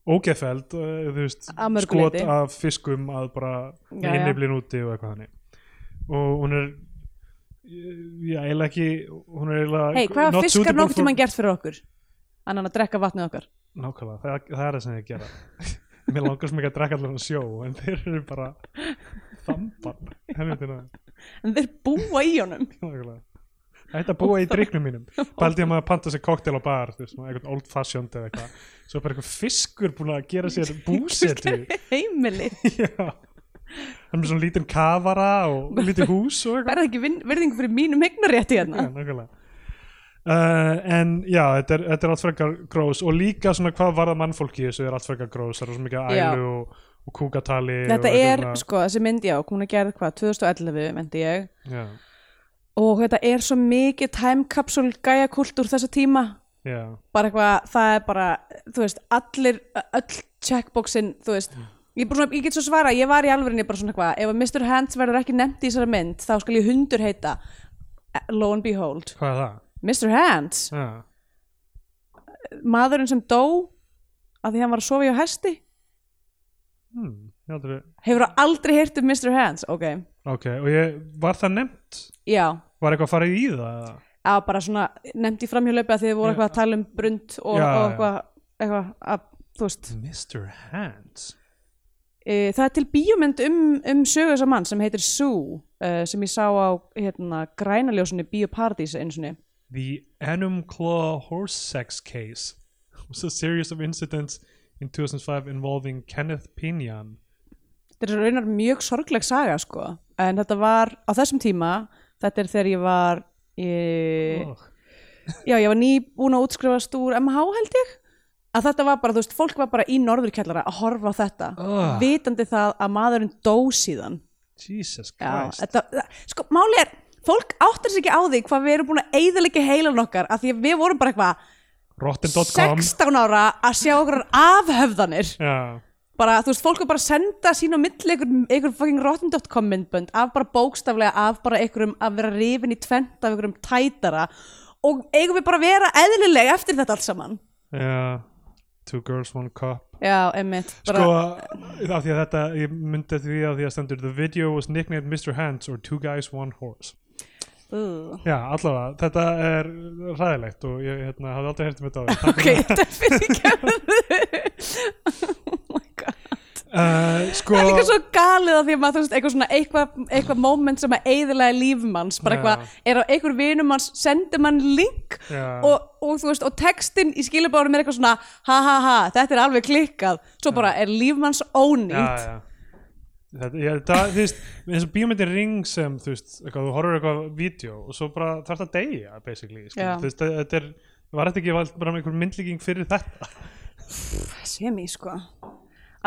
[SPEAKER 1] ógeðfeld uh, þú veist,
[SPEAKER 2] Að mörgu
[SPEAKER 1] skot
[SPEAKER 2] leyti.
[SPEAKER 1] af fiskum að bara
[SPEAKER 2] Já, já.
[SPEAKER 1] inniblin úti og eitthvað þannig og hún er já, eiginlega ekki hún er eiginlega
[SPEAKER 2] hei, hvað
[SPEAKER 1] not
[SPEAKER 2] hafa fiskar
[SPEAKER 1] suitable
[SPEAKER 2] nokkuð tímann gert fyrir okkur annan að drekka vatnið okkar
[SPEAKER 1] nákvæmlega, það, það er það sem ég gera mér langar sem ekki að drekka allir hann sjó en þeir eru bara þamban helvitina
[SPEAKER 2] en þeir búa í honum
[SPEAKER 1] nákvæmlega Ætti að búa í dryknum mínum Baldi að maður panta sér koktel á bar þú veist, svona eitthvað old fashioned eða eitthvað Svo er bara eitthvað fiskur búin að gera sér búsetu
[SPEAKER 2] heimili,
[SPEAKER 1] Já Það er með svona lítinn kafara og lítið hús og eitthvað
[SPEAKER 2] verða ekki vin- virðingu fyrir mínum hegnarétti hérna
[SPEAKER 1] Já, nákvæmlega. Uh, en já, þetta er, þetta er allt frekar grós og líka svona hvað varða mannfólki í þessu er allt frekar grós, það er svo mikið
[SPEAKER 2] Já.
[SPEAKER 1] ælu og, og kúkatali
[SPEAKER 2] þetta
[SPEAKER 1] og
[SPEAKER 2] er,
[SPEAKER 1] eitthvað
[SPEAKER 2] sko, þessi mynd, já, hún er gerð hvað 2011, myndi ég
[SPEAKER 1] svona-
[SPEAKER 2] og þetta er svo mikið time capsule gæjakult úr þessa tíma
[SPEAKER 1] Já, já,
[SPEAKER 2] bara eitthvað, það er bara þú veist, allir, öll checkboxin, þú veist ég, er bara svona, ég get svo svara, ég var í alvörinni bara svona eitthvað ef að Mr. Hands verður ekki nefnt í þessari mynd þá skal ég hundur heita Eh, lo and behold,
[SPEAKER 1] hvað er það?
[SPEAKER 2] Mr. Hands
[SPEAKER 1] Já,
[SPEAKER 2] maðurinn sem dó að því hann var að sofa hjá hesti
[SPEAKER 1] hmm, ég aldrei
[SPEAKER 2] hefur aldrei heyrt um Mr. Hands ok,
[SPEAKER 1] Ok, og ég, var það nefnt?
[SPEAKER 2] já
[SPEAKER 1] Var eitthvað farið í það? eða?
[SPEAKER 2] að bara svona nefndi framhjólaupi að þið voru
[SPEAKER 1] Já.
[SPEAKER 2] eitthvað að tala um brund og,
[SPEAKER 1] Já,
[SPEAKER 2] og
[SPEAKER 1] já.
[SPEAKER 2] eitthvað, eitthvað að, þú veist
[SPEAKER 1] Mr. Hands
[SPEAKER 2] e, það er til bíómynd um, um sögu þessa mann sem heitir Sue e, sem ég sá á hérna, grænaljósunni Bíóparadísa einu sinni
[SPEAKER 1] The Enum Claw Horse Sex Case was a series of incidents in 2005 involving Kenneth Pinion.
[SPEAKER 2] þetta er raunar mjög sorgleg saga sko en þetta var á þessum tíma þetta er þegar ég var e,
[SPEAKER 1] Oh.
[SPEAKER 2] já ég var nýbúin að útskrifast úr MH held ég að þetta var bara, þú veist, fólk var bara í norðurkjallara að horfa á þetta,
[SPEAKER 1] Ugh.
[SPEAKER 2] vitandi það að maðurinn dó síðan
[SPEAKER 1] Jesus
[SPEAKER 2] Já,
[SPEAKER 1] Christ.
[SPEAKER 2] þetta, það- sko, máli er fólk áttar sér ekki á því hvað við erum búin að eiðalega heilan okkar af því að við vorum bara eitthvað
[SPEAKER 1] Rotten.com
[SPEAKER 2] 16 ára að sjá okkur afhöfðanir
[SPEAKER 1] Já,
[SPEAKER 2] bara, þú veist, fólk er bara að senda sín á milli einhver, einhver fucking rotten.com myndbönd af bara bókstaflega, af bara einhverjum að vera rifin í tvent af einhverjum tætara og eigum við bara að vera eðlilega eftir þetta allt saman
[SPEAKER 1] já Two girls, one cup
[SPEAKER 2] Já, emmitt, bara,
[SPEAKER 1] Sko, af því að þetta ég myndi því að því að stendur The video was nicknamed Mr. Hands or Two Guys, One Horse
[SPEAKER 2] uh,
[SPEAKER 1] Já, allavega, þetta er ræðilegt og ég hérna, hafði aldrei hert um þetta á því
[SPEAKER 2] ok, þetta er fyrir ekki Oh my god
[SPEAKER 1] uh, Sko,
[SPEAKER 2] Það er líka svo galið að því að maður, þú veist, eitthvað svona, eitthvað, eitthvað moment sem að eiðilega lífmanns, bara
[SPEAKER 1] Já.
[SPEAKER 2] eitthvað, er á einhver vinum hans, sendir mann link
[SPEAKER 1] Já.
[SPEAKER 2] og, og, þú veist, og textin í skilabárum er eitthvað svona, ha ha ha, þetta er alveg klikkað, svo bara er lífmanns ónýtt.
[SPEAKER 1] já, já. Þetta, ég, það, þú veist, eins og bíómyndin ring sem, þú veist, eitthvað, þú horfir eitthvað vídeo og svo bara þarf það að deyja, basically, skil,
[SPEAKER 2] Já.
[SPEAKER 1] þú veist, það- þetta er, var þetta ekki vald bara með einhver myndlíking fyrir þetta
[SPEAKER 2] Sem í, sko.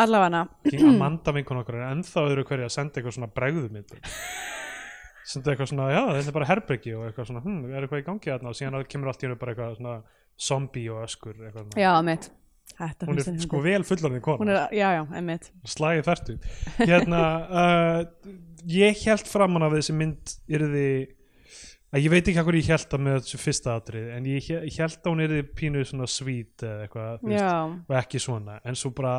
[SPEAKER 2] Allavega,
[SPEAKER 1] Ekki Amanda vinkun okkur er ennþá öðru hverju að senda eitthvað svona bregðumynd senda eitthvað svona, já, þetta er bara herbergi og eitthvað svona, hm, er eitthvað í gangi þarna og síðan kemur allt í hennu bara eitthvað svona zombie og öskur, eitthvað svona
[SPEAKER 2] já, mitt. Þetta
[SPEAKER 1] hún
[SPEAKER 2] finnst
[SPEAKER 1] er
[SPEAKER 2] henni
[SPEAKER 1] sko
[SPEAKER 2] fyndið.
[SPEAKER 1] vel fullorðin kona
[SPEAKER 2] Hún er, já, já, einmitt.
[SPEAKER 1] slagið færtu hérna, uh, ég held framan af þessi mynd yrði að ég veit ekki hvað ég held að með þessu fyrsta atrið en ég hé- held að hún yrði pínu svona svít eða eitthvað þú veist,
[SPEAKER 2] Já,
[SPEAKER 1] og ekki svona en svo bara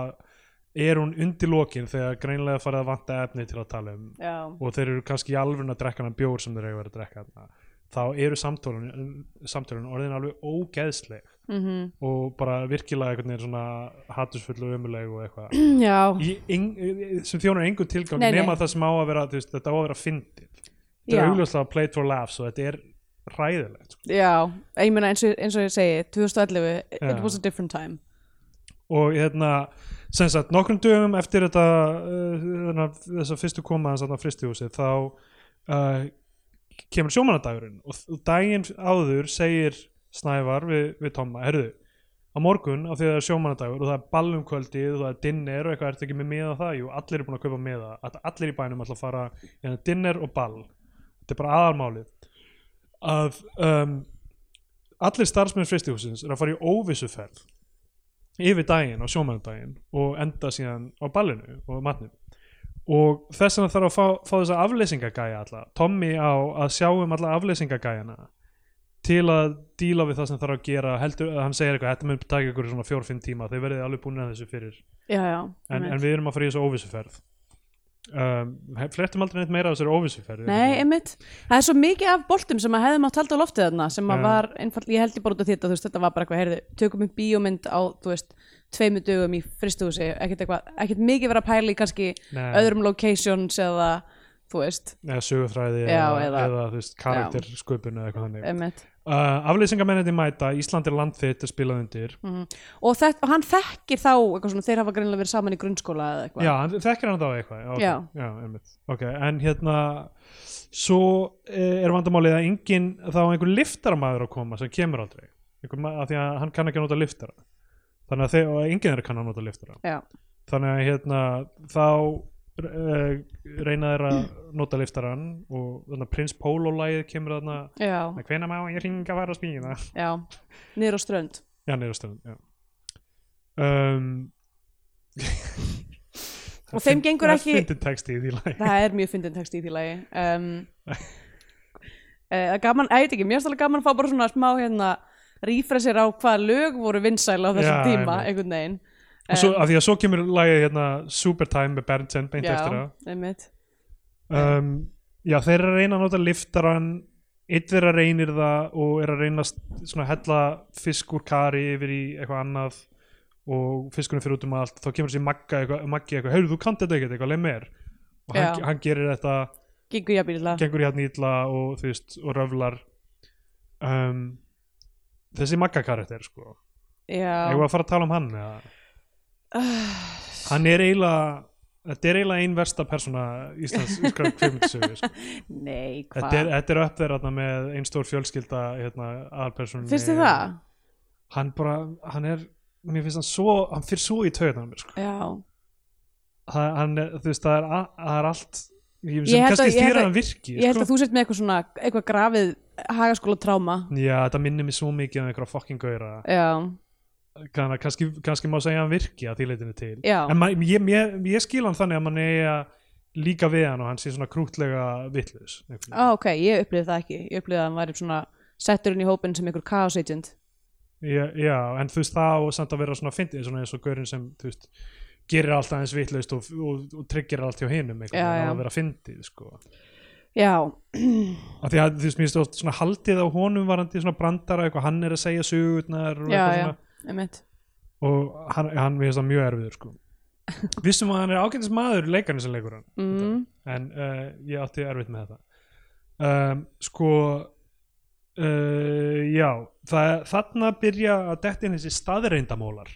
[SPEAKER 1] er hún undir lokin þegar greinlega farið að vanta efni til að tala um
[SPEAKER 2] já,
[SPEAKER 1] og þeir eru kannski í alvörun að drekka hann bjór sem þeir eru að vera að drekka þarna, þá eru samtölun, samtölun orðin alveg ógeðsleg
[SPEAKER 2] mm
[SPEAKER 1] og bara virkilega einhvern veginn svona hattusfull og ömuleg og eitthvað
[SPEAKER 2] já,
[SPEAKER 1] Í eng- sem þjónar engum tilgang
[SPEAKER 2] Nei, nei.
[SPEAKER 1] nema það sem á að vera, þú veist, þetta á að vera fyndið þetta
[SPEAKER 2] Já.
[SPEAKER 1] er augljóslega play for laughs og þetta er ræðilegt sko.
[SPEAKER 2] já ég meina eins og, eins og ég segi 2011,
[SPEAKER 1] Já.
[SPEAKER 2] it was a different time
[SPEAKER 1] og hérna, sem sagt, nokkrum dögum eftir þetta uh, þarna, þessa fyrstu koma hans að fristihúsi þá uh, kemur sjómanadagurinn og þ- og daginn áður segir Snævar við, við Tomma, herðu á morgun á því að það er sjómanadagur og það er ballum kvöldið og það er dinner og eitthvað ertu ekki með miða á það, jú, allir eru búin að kaupa miða All- allir í bænum ætla að fara en dinner og ball, þetta er bara aðalmálið að um, allir starfsmenn fristihúsins eru að fara í óvissuferð yfir daginn á sjómanadaginn og enda síðan á ballinu og matnum og þess vegna þarf að fá, fá þessa afleysingagæja alla Tommy á að sjá um alla afleysingagæjana til að díla við það sem þarf að gera heldur, hann segir eitthvað, þetta mun taka ykkur svona fjór-fimm tíma, þeir verðið alveg búin að þessu fyrir
[SPEAKER 2] já, já,
[SPEAKER 1] en,
[SPEAKER 2] einmitt.
[SPEAKER 1] en við erum að fara í þessu óvissuferð um, he- flettum aldrei neitt meira af þessari óvissuferð
[SPEAKER 2] Nei, einmitt. Það er svo mikið af boltum sem að hefðum átt halda á loftið þarna sem að
[SPEAKER 1] Já.
[SPEAKER 2] var, einfall, ég held ég bara út af þetta þú veist, þetta var bara eitthvað, heyrðu, tökum upp bíómynd á, þú veist, tveimu dögum í fristuhúsi ekkert eitthvað, ekkert mikið verið að pæla í kannski
[SPEAKER 1] Nei.
[SPEAKER 2] öðrum locations eða, þú veist,
[SPEAKER 1] eða sögufræði
[SPEAKER 2] Já,
[SPEAKER 1] eða, eða,
[SPEAKER 2] eða-
[SPEAKER 1] þú veist, karaktersköpun eða eitthvað þannig
[SPEAKER 2] einmitt.
[SPEAKER 1] uh, aflýsingamenninni mæta, Ísland er land þitt er spilað undir,
[SPEAKER 2] Og, þetta, og hann þekkir þá, eitthvað svona, þeir hafa greinilega verið saman í grunnskóla eða eitthvað.
[SPEAKER 1] já, hann- þekkir hann þá eitthvað okay.
[SPEAKER 2] Já.
[SPEAKER 1] já einmitt. ok, en hérna svo eh, er vandamálið að engin þá er einhver liftaramaður að koma sem kemur aldrei, einhver, ma- af því að hann kann ekki að nota liftara þannig að þeir, og enginn þeirra kann að nota liftara
[SPEAKER 2] Já,
[SPEAKER 1] þannig að hérna þá uh, reyna þeir að nota liftarann og þannig að Prins Póló-lægið kemur þarna
[SPEAKER 2] já,
[SPEAKER 1] hvenær má ég ringa að fara að spýna
[SPEAKER 2] já, niður á strönd.
[SPEAKER 1] já, niður á stöðum já. Um,
[SPEAKER 2] Og þeim gengur ekki-
[SPEAKER 1] það finnir texti í því lægi
[SPEAKER 2] það er mjög fyndin text í því lagi um, uh, gaman, að ég veit ekki, mér er stálega gaman að fá bara svona smá hérna rífresir á hvaða lög voru vinsæl á þessum
[SPEAKER 1] Já,
[SPEAKER 2] tíma
[SPEAKER 1] einmitt.
[SPEAKER 2] einhvern veginn Um,
[SPEAKER 1] og svo, af því að svo kemur lægið hérna Supertime með Berntsen beint eftir
[SPEAKER 2] já,
[SPEAKER 1] það
[SPEAKER 2] einmitt
[SPEAKER 1] um, já, þeir eru að reyna að nota liftaran einn þeirra reynir það og er að reyna að st- svona að hella fisk úr kari yfir í eitthvað annað og fiskunum fyrir út um allt þá kemur þessi magga eitthvað, maggi eitthvað heyrðu, þú kannt þetta ekkert eitthvað, leið mér og hann,
[SPEAKER 2] Já.
[SPEAKER 1] hann gerir þetta,
[SPEAKER 2] gengur jafnýrla
[SPEAKER 1] gengur hérna ítla og þú veist, og röflar um, þessi magga karakter, sko eigum við
[SPEAKER 2] já, Ah,
[SPEAKER 1] að fara að tala um hann eða? hann er eiginlega þetta er eiginlega einn versta persóna Íslands kvimtsögu sko.
[SPEAKER 2] nei,
[SPEAKER 1] Þetta er,
[SPEAKER 2] hvað
[SPEAKER 1] þetta er upp þeir þarna, með einn stór fjölskylda hérna, aðalpersónu
[SPEAKER 2] finnst þið það?
[SPEAKER 1] Hann bara, hann er mér finnst hann svo, hann fyrir svo í taugarnar á mér, sko.
[SPEAKER 2] já,
[SPEAKER 1] Það- hann er, þú veist, það er, a- það er allt ég,
[SPEAKER 2] Ég
[SPEAKER 1] sem
[SPEAKER 2] held að-
[SPEAKER 1] kannski
[SPEAKER 2] ég held
[SPEAKER 1] stýra
[SPEAKER 2] að-
[SPEAKER 1] hann virki
[SPEAKER 2] ég held
[SPEAKER 1] sko.
[SPEAKER 2] að þú sért með eitthvað svona eitthvað grafið hagaskóla tráma
[SPEAKER 1] Já, þetta minnir mig svo mikið um einhverja fucking gauðra
[SPEAKER 2] já,
[SPEAKER 1] kann, kannski, kannski má segja að hann virki að því leitinu til
[SPEAKER 2] Já.
[SPEAKER 1] en man, ég, ég, ég skil hann þannig að mann eigi að líka við hann og hann sé svona krútlega vitlaus einhvern
[SPEAKER 2] ah, ok, ég upplifði það ekki ég upplifði að hann væri svona settur inn í hópin sem einhver chaos agent
[SPEAKER 1] veginn. já, já, en þú veist það og samt að vera svona fyndið svona eins og gaurinn sem þú veist gerir allt aðeins vitlaust og, og, og tryggir allt hjá hinum einhvern
[SPEAKER 2] Já,
[SPEAKER 1] veginn
[SPEAKER 2] já.
[SPEAKER 1] að vera fyndið sko
[SPEAKER 2] já,
[SPEAKER 1] af því að þú veist, mér stótt svona haldið á honum varandi svona brandara eitthvað, hann er að segja sögurnar og
[SPEAKER 2] já,
[SPEAKER 1] eitthvað
[SPEAKER 2] já,
[SPEAKER 1] svona
[SPEAKER 2] einmitt
[SPEAKER 1] og hann, hann mér finnst það mjög erfiður sko vissum að hann er ágætis maður leikarnir sem leikur hann
[SPEAKER 2] mm.
[SPEAKER 1] en uh, ég átti erfitt með þetta um, sko uh, já það, þarna byrja að detti inn þessi staðreindamólar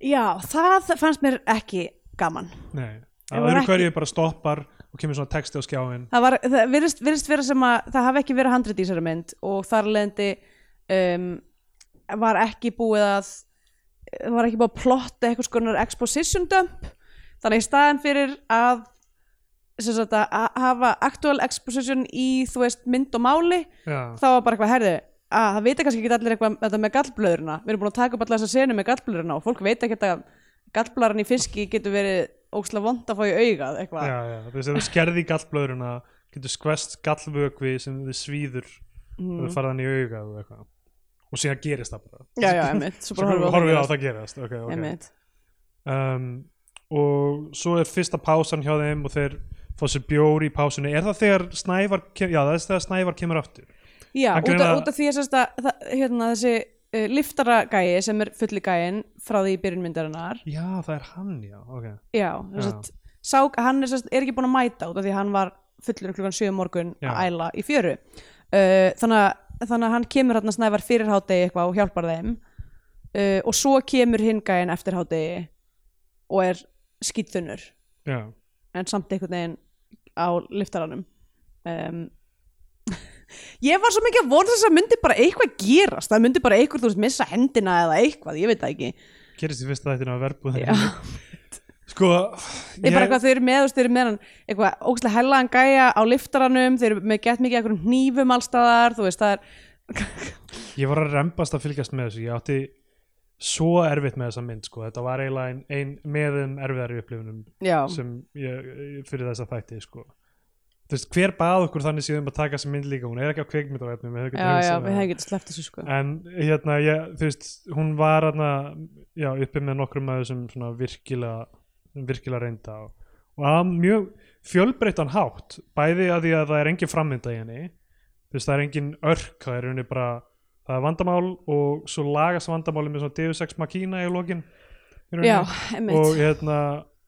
[SPEAKER 2] Já, það fannst mér ekki gaman.
[SPEAKER 1] nei,
[SPEAKER 2] Það
[SPEAKER 1] að
[SPEAKER 2] var
[SPEAKER 1] öðru
[SPEAKER 2] ekki-
[SPEAKER 1] hverju bara stoppar og kemur svona texti á skjáin
[SPEAKER 2] Það, var, það virðist, virðist vera sem að það hafi ekki verið handrit í þessari mynd og þar leðandi um, var ekki búið að var ekki búið að plotta eitthvað skonar exposition dump þannig í staðan fyrir að sem sagt að að hafa actual exposition í þú veist mynd og máli
[SPEAKER 1] já,
[SPEAKER 2] þá var bara eitthvað herði að það vita kannski ekki allir eitthvað þetta með gallblöðurina við erum búin að taka upp allar þessar senu með gallblöðurina og fólk veit ekki að gallblaran í fiski getur verið ókslega vond að fá í augað eitthvað
[SPEAKER 1] já, já, þú veist, ef þú skerði gallblöðurina getur skvest gallvökvi sem þið svíður mm.
[SPEAKER 2] Mhm.
[SPEAKER 1] þú farðan í auga og eitthvað og síðan gerist það bara
[SPEAKER 2] já, já, emitt, svo
[SPEAKER 1] Svo
[SPEAKER 2] bara horfum
[SPEAKER 1] horfum við á
[SPEAKER 2] það
[SPEAKER 1] það gerast okay, okay.
[SPEAKER 2] emitt,
[SPEAKER 1] Um, og svo er fyrsta pásan hjá þeim og þeir fá sér bjór í pásunni er það þegar Snævar, kem, já, það er þegar Snævar kemur aftur
[SPEAKER 2] Já,
[SPEAKER 1] Hann
[SPEAKER 2] út,
[SPEAKER 1] greina-
[SPEAKER 2] af, út af því að sérst að það, hérna, þessi uh, liftaragæi sem er fulli gæin frá því í byrjunmyndarinnar
[SPEAKER 1] já, það er hann, já, ok
[SPEAKER 2] Já, sérst, sá, hann er, sérst, er ekki búin að mæta út af því að hann var fullur um klukkan 7 morgun
[SPEAKER 1] Já.
[SPEAKER 2] að æla í fjöru uh, þannig, að, þannig að hann kemur hann að snævar fyrir hádegi eitthvað og hjálpar þeim uh, og svo kemur hinn gæin eftir hádegi og er skýtþunnur
[SPEAKER 1] já,
[SPEAKER 2] en samt einhvern veginn á liftaranum um, ég var svo mikið að vona þess að myndi bara eitthvað gerast það myndi bara eitthvað, þú veist, missa hendina eða eitthvað, ég veit það ekki
[SPEAKER 1] gerist í fyrsta þættinu að verbúð
[SPEAKER 2] Já.
[SPEAKER 1] sko
[SPEAKER 2] Ég... bara eitthvað þau eru með, þú veist, þau eru með hann eitthvað ógæslega hellaðan gæja á liftaranum þau eru með gett mikið af einhverjum hnífum allstaðar þú veist, það er
[SPEAKER 1] Ég var að rembast að fylgjast með þessu, ég átti svo erfitt með þessa mynd sko, þetta var eiginlega ein, ein meðum erfiðari upplifunum
[SPEAKER 2] já,
[SPEAKER 1] sem ég, fyrir þessa þætti sko. Þú veist, hver bað okkur þannig síðan um að taka þessa mynd líka, hún er ekki á kveikmyndavefnum við hefum
[SPEAKER 2] já,
[SPEAKER 1] getað hugsað
[SPEAKER 2] já,
[SPEAKER 1] um
[SPEAKER 2] við
[SPEAKER 1] það.
[SPEAKER 2] hefum getið sleppt þessu sko
[SPEAKER 1] En hérna, ég, þú veist, hún var hérna, já, uppi með nokkrum af þessum svona virkilega, virkilega reynda og, og að mjög fjölbreyttan hátt, bæði að því að það er engin frammynda í henni, þú veist, það er engin örk, það er henni bara, það er vandamál og svo lagast vandamáli með svona Deus Ex Machina í lokin. í rauninni.
[SPEAKER 2] já, einmitt,
[SPEAKER 1] Og hérna,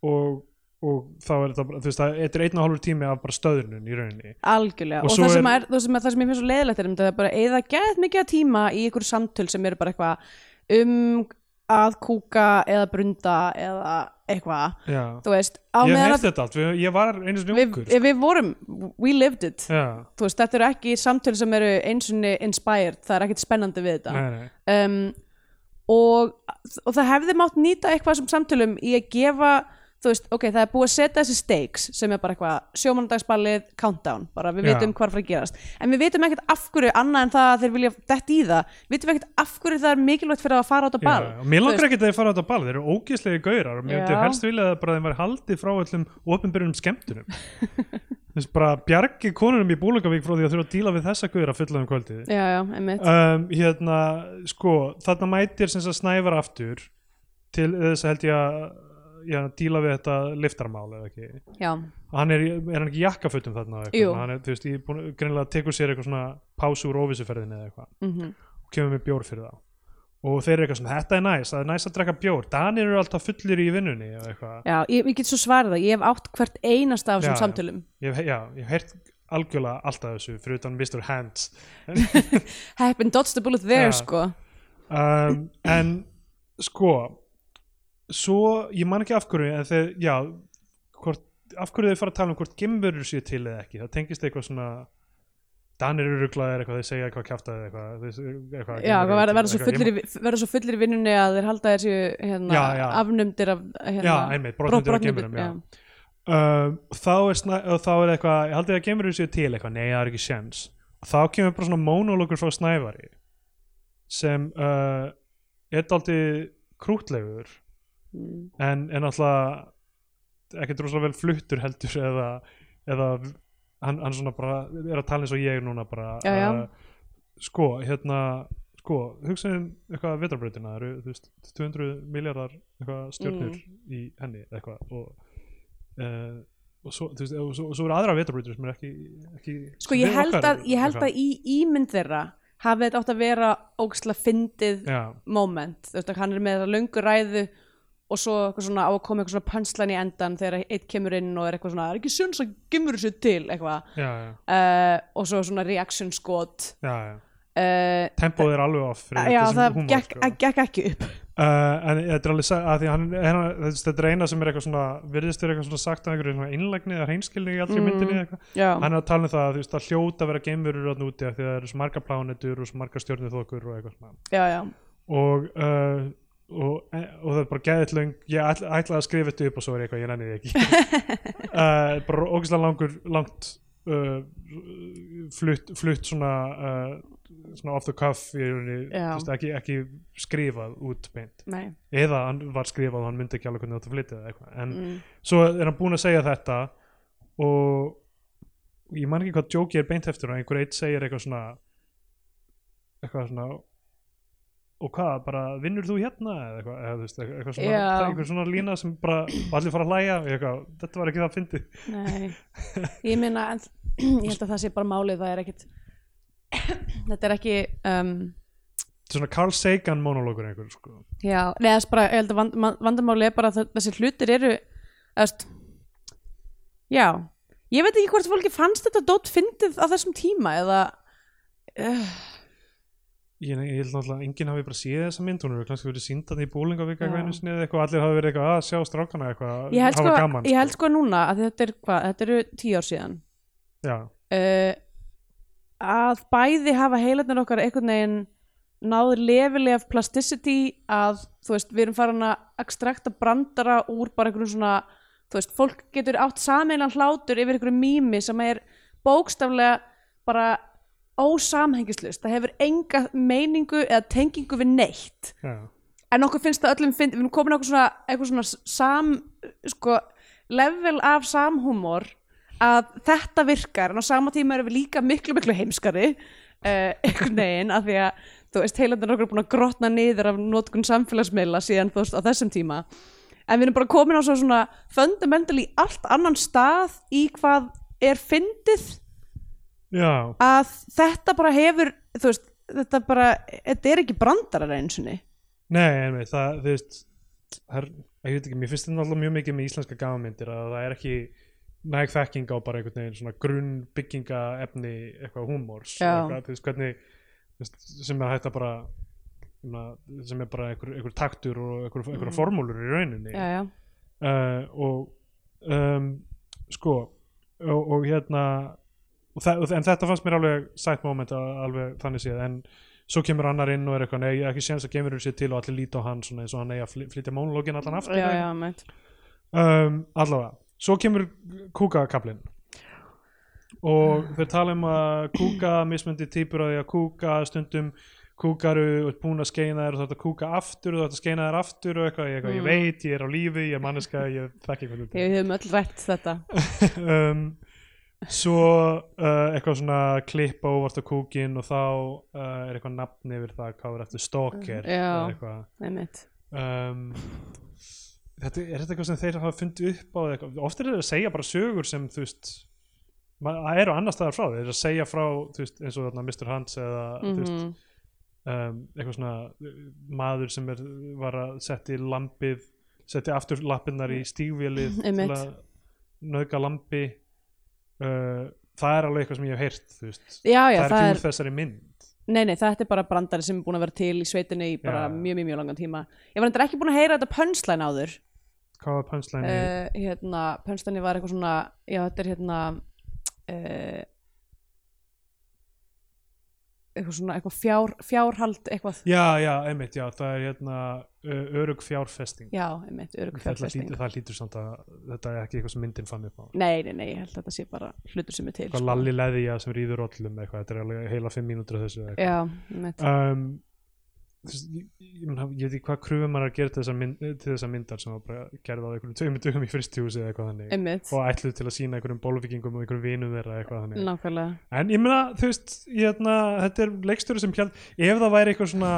[SPEAKER 1] og, og þá er þetta, bara- þú veist, það þetta er einn og hálfur tími af bara stöðnun í rauninni.
[SPEAKER 2] algjörlega
[SPEAKER 1] Og
[SPEAKER 2] og,
[SPEAKER 1] svo
[SPEAKER 2] það, sem
[SPEAKER 1] er-
[SPEAKER 2] er, það, sem er, það sem ég finnst svo leiðilegt er um þetta að bara eða gett mikið af tíma í einhver samtöl sem eru bara eitthvað um að kúka eða brunda eða eitthvað,
[SPEAKER 1] Já.
[SPEAKER 2] þú veist á
[SPEAKER 1] Ég
[SPEAKER 2] meðan
[SPEAKER 1] hef þetta allt, við- ég var einu sinni
[SPEAKER 2] við,
[SPEAKER 1] ungur. sko.
[SPEAKER 2] við vorum, we lived it
[SPEAKER 1] Já,
[SPEAKER 2] þú veist, þetta eru ekki samtöl sem eru einsunni inspired, það er ekkert spennandi við þetta
[SPEAKER 1] nei, nei.
[SPEAKER 2] um, og, og það hefði mátt nýta eitthvað sem samtölum í að gefa þú veist, ok, það er búið að setja þessi stakes sem er bara eitthvað sjómandagsballið countdown, bara við
[SPEAKER 1] Já.
[SPEAKER 2] vitum hvað er að fara að gerast en við vitum ekkert af hverju annað en það að þeir vilja detta í það, við vitum ekkert af hverju það er mikilvægt fyrir þá að fara át á ball
[SPEAKER 1] Já, og mér langar ekki að þeir fara á þetta ball, þeir eru ógeðslegi gaurar og mér myndi
[SPEAKER 2] Já.
[SPEAKER 1] helst vilja að bara þeim var haldið frá öllum ofinbyrjunum skemmtunum þess bara bjargi konunum í Búlangavík frá því að þurfa að díla við þessa gaura fulla um kvöldið
[SPEAKER 2] já, já, einmitt,
[SPEAKER 1] um, hérna, sko, þarna mætir sem þess að snævar aftur til þess að held ég að já, díla við þetta liftarmál eða ekki
[SPEAKER 2] já,
[SPEAKER 1] hann er, í- er hann ekki í jakkafutum þarna eða eitthvað?
[SPEAKER 2] Jú.
[SPEAKER 1] hann er, þú veist, ég búin, greinilega tekur sér eitthvað svona pásu úr óvissuferðinni eða eitthvað
[SPEAKER 2] mhm
[SPEAKER 1] og kemur með bjór fyrir þá og þeir eru eitthvað svona, þetta er næs, það er næs að drekka bjór Danir eru alltaf fullir í vinnunni og eitthvað,
[SPEAKER 2] já, ég, ég get svo svarið það, ég hef átt hvert einasta
[SPEAKER 1] Já,
[SPEAKER 2] af þessum
[SPEAKER 1] já.
[SPEAKER 2] samtölum
[SPEAKER 1] ég hef, já, ég hef heyrt algjörlega alltaf þessu, fyrir utan Mr. Hands
[SPEAKER 2] happen, dodge the bullet there,
[SPEAKER 1] Já.
[SPEAKER 2] sko
[SPEAKER 1] um, en sko svo, ég man ekki af hverju en þeir, já hvort, af hverju þeir fara að tala um hvort gimmurur séu til eða ekki, það tengist eitthvað svona Danir eru rugglaðir eitthvað, þeir segja eitthvað kjaftaði eitthvað, þeir- eitthvað
[SPEAKER 2] Já,
[SPEAKER 1] geimverur eru
[SPEAKER 2] verða
[SPEAKER 1] til,
[SPEAKER 2] verða svo,
[SPEAKER 1] eitthvað. Ég
[SPEAKER 2] fullir í- verða svo fullir í vinnunni að þeir halda þessu hérna,
[SPEAKER 1] Já, já.
[SPEAKER 2] afnumdir af hérna,
[SPEAKER 1] Já, einmitt, brotnendur af geimurum, já. Um, og þá er, sna, og þá er eitthvað ég haldið að gemur séu til eitthvað, nei það er ekki sjens og þá kemur bara svona monologur frá Snævari sem uh, er daldið krútlegur
[SPEAKER 2] Mm.
[SPEAKER 1] en, en alltaf ekkert rosalega vel fluttur heldur eða, eða hann, hann svona bara er að tala eins og ég núna bara
[SPEAKER 2] Já, já.
[SPEAKER 1] Uh, sko, hérna sko, hugsaðum eitthvað að vetrarbrautina það eru, þú veist, 200 miljardar eitthvað stjörnur
[SPEAKER 2] Mm.
[SPEAKER 1] í henni eða eitthvað og uh, og svo, þú veist, og svo, og svo eru aðra vetarbrautur sem er ekki, ekki
[SPEAKER 2] Sko,
[SPEAKER 1] sem
[SPEAKER 2] ég
[SPEAKER 1] eru
[SPEAKER 2] held,
[SPEAKER 1] okkar,
[SPEAKER 2] að, ég held
[SPEAKER 1] eitthvað.
[SPEAKER 2] að í ímynd þeirra hafi þetta átt að vera ógsla fyndið
[SPEAKER 1] já,
[SPEAKER 2] moment, þú veist að hann er með þessa löngu ræðu og svo eitthvað svona á að koma eitthvað svona pönslan í endan þegar eitt kemur inn og er eitthvað svona, það er ekki sjöns að gemur sér til eitthvað,
[SPEAKER 1] já, já,
[SPEAKER 2] uh, og svo svona reaction skot
[SPEAKER 1] já, já.
[SPEAKER 2] uh,
[SPEAKER 1] tempóð er alveg off fyrir
[SPEAKER 2] já,
[SPEAKER 1] þetta sem
[SPEAKER 2] það
[SPEAKER 1] húmor,
[SPEAKER 2] gekk,
[SPEAKER 1] sko.
[SPEAKER 2] gekk ekki upp
[SPEAKER 1] uh, en þetta er alveg sa- að því hann, hann, þetta- þetta er eina sem er eitthvað svona virðist verið eitthvað svona sagt af einhverju svona innlægni eða hreinskilni í allri
[SPEAKER 2] Mm.
[SPEAKER 1] myndinni eða eitthvað
[SPEAKER 2] Já,
[SPEAKER 1] hann er að tala um það að þú veist það hljóta að vera geimurur þarna úti af því að það eru svo marga plánetur og svo marga stjörnuþokur og eitthvað svona
[SPEAKER 2] já, já
[SPEAKER 1] og, uh, og, eh, og það er bara geðið löng ég ætla, ætlaði að skrifa þetta upp og svo er ég eitthvað ég nenni því ekki uh, bara ógæslega langur langt uh, flutt, flutt svona, uh, svona off the cuff í rauninni,
[SPEAKER 2] Já.
[SPEAKER 1] þú veist, ekki, ekki skrifað út beint
[SPEAKER 2] Nei,
[SPEAKER 1] eða hann var skrifað og hann myndi ekki alveg hvernig þetta flytið eða eitthvað en
[SPEAKER 2] mm.
[SPEAKER 1] svo er hann búinn að segja þetta og ég man ekki hvað djóki er beint eftir og einhver eitt segir eitthvað svona eitthvað svona og hvað, bara vinnur þú hérna eða eitthvað, eða, þú veist, eitthvað svona,
[SPEAKER 2] Já.
[SPEAKER 1] það er einhver svona lína sem bara og allir fara að hlæja og ég eitthvað, þetta var ekki það að fyndi
[SPEAKER 2] Nei, ég meina en, ég held að það sé bara málið það er ekkit þetta er ekki um,
[SPEAKER 1] svona Carl Sagan monologur einhver sko.
[SPEAKER 2] já, neða bara, ég held að vand, man- vandamálið er bara að þe- þessi hlutir eru eðst, já ég veit ekki hvort fólki fannst þetta dót fyndið á þessum tíma eða uh,
[SPEAKER 1] ég, ég held náttúrulega að enginn hafi bara séð þessa mynd hún eru kannski verið síndan í búlingavika
[SPEAKER 2] Já.
[SPEAKER 1] eitthvað einu sinni eða eitthvað, allir hafi verið eitthvað að sjá strákana eitthvað,
[SPEAKER 2] ég, held
[SPEAKER 1] hafa
[SPEAKER 2] sko,
[SPEAKER 1] gaman
[SPEAKER 2] ég held sko núna að þetta er hvað, þetta eru tíu ár síðan
[SPEAKER 1] Já,
[SPEAKER 2] uh, að bæði hafa heilarnir okkar einhvern veginn náður lefili af plasticity að þú veist, við erum farin að extrakta brandara úr bara einhverjum svona þú veist, fólk getur átt sameilan hlátur yfir einhverjum mými sem er bókstaflega bara ósamhengislust, það hefur enga meiningu eða tengingu við neitt
[SPEAKER 1] já,
[SPEAKER 2] en okkur finnst það öllum fynd, við erum komin okkur svona, eitthvað svona sam, sko, level af samhúmor að þetta virkar en á sama tíma erum við líka miklu miklu heimskari uh, einhvern veginn af því að þú veist, heilandin okkur er búin að grotna niður af notkun samfélagsmiðla síðan þú veist, á þessum tíma en við erum bara komin á svo svona fundamentally allt annan stað í hvað er fyndið
[SPEAKER 1] já,
[SPEAKER 2] að þetta bara hefur þú veist, þetta bara, þetta er ekki brandarar eins og niður
[SPEAKER 1] nei, einmitt, það, þú veist það er, ég veit ekki, mér finnst þetta náttúrulega mjög mikið með íslenska gamanmyndir að það er ekki næg þekking á bara einhvern veginn svona grunnbygginga efni eitthvað húmórs
[SPEAKER 2] Já.
[SPEAKER 1] eitthvað, þú veist, hvernig þú veist, sem er hægt að bara svona, sem er bara einhver, einhver taktur og einhver, einhver
[SPEAKER 2] Mm.
[SPEAKER 1] formúlur í rauninni
[SPEAKER 2] já, já
[SPEAKER 1] uh, og um, sko og, og hérna og þa- og- en þetta fannst mér alveg sætt moment að- alveg þannig séð en svo kemur annar inn og er eitthvað nei, ég er ekki séns að gemurur sér til og allir líti á hann svona eins og hann eigi að fly- flytja monologin allan aftur
[SPEAKER 2] já, já, meitt
[SPEAKER 1] Um, allavega, svo kemur kúkakablin og
[SPEAKER 2] Ah.
[SPEAKER 1] þeir tala um að kúka mismöndi týpur að því að kúka stundum kúkaru og búin að skeina þér og þú ert að kúka aftur og þú ert að skeina þér aftur og eitthvað, ég, eitthvað, ég
[SPEAKER 2] Mm.
[SPEAKER 1] veit, ég er á lífi ég er manneska, ég þekki eitthvað þetta er.
[SPEAKER 2] Við höfum öll rætt þetta
[SPEAKER 1] um, svo uh, eitthvað svona klippa óvart á kúkin og þá uh, er eitthvað nafn yfir það hvað er eftir stalker
[SPEAKER 2] Mm, Já.
[SPEAKER 1] eða eitthvað.
[SPEAKER 2] einmitt.
[SPEAKER 1] um, þetta, er þetta eitthvað sem þeir hafa fundið upp á eða eitthvað? oft er þeir að segja bara sögur sem þú veist ma- það eru annar staðar frá þeir eru að segja frá þú veist, eins og þarna Mr. Hans eða þú veist,
[SPEAKER 2] Mhm.
[SPEAKER 1] um, eitthvað svona uh, maður sem er, var að setja í lampið setja aftur lappirnar í stígvélið til
[SPEAKER 2] Einmitt.
[SPEAKER 1] að nöðga lampi uh, það er alveg eitthvað sem ég hef heyrt þú veist,
[SPEAKER 2] Já, já,
[SPEAKER 1] það er ekki úr þessari mynd
[SPEAKER 2] Nei, nei, þetta er bara brandari sem er búin að vera til í sveitinni í bara
[SPEAKER 1] Já.
[SPEAKER 2] mjög, mjög, mjög langan tíma Ég var endur ekki búin að heyra þetta pönslæn áður
[SPEAKER 1] hvað var pönslæni uh,
[SPEAKER 2] uh, hérna, Pönslæni var eitthvað svona Já, þetta er hérna uh, eitthvað svona, eitthvað fjár, fjárhald eitthvað,
[SPEAKER 1] já, já, einmitt, já, það er hérna uh, örug fjárfesting
[SPEAKER 2] já, einmitt, örug
[SPEAKER 1] það
[SPEAKER 2] fjárfesting
[SPEAKER 1] lítur, það lítur samt að þetta er ekki eitthvað sem myndin fann upp á
[SPEAKER 2] Nei, nei, nei, ég held að þetta sé bara hlutur sem er til sko.
[SPEAKER 1] eitthvað lalli leðja sem rýður ollum eitthvað, þetta er alveg heila fimm mínútur af þessu eitthvað.
[SPEAKER 2] Já, einmitt
[SPEAKER 1] um, þess, ég, ég, meina, ég veit ekki hvað kröfum maður er að gera til þessar, mynd, eh, til þessar myndar sem var bara gerð á einhverjum tveimur dögum í fristihúsi eða eitthvað þannig
[SPEAKER 2] Einmitt,
[SPEAKER 1] og ætluð til að sína einhverjum bólvíkingum og einhverjum vinum þeirra eitthvað þannig
[SPEAKER 2] nákvæmlega
[SPEAKER 1] en ég meina, þú veist, ég, hérna, þetta er leikstöru sem hjald, ef það væri eitthvað svona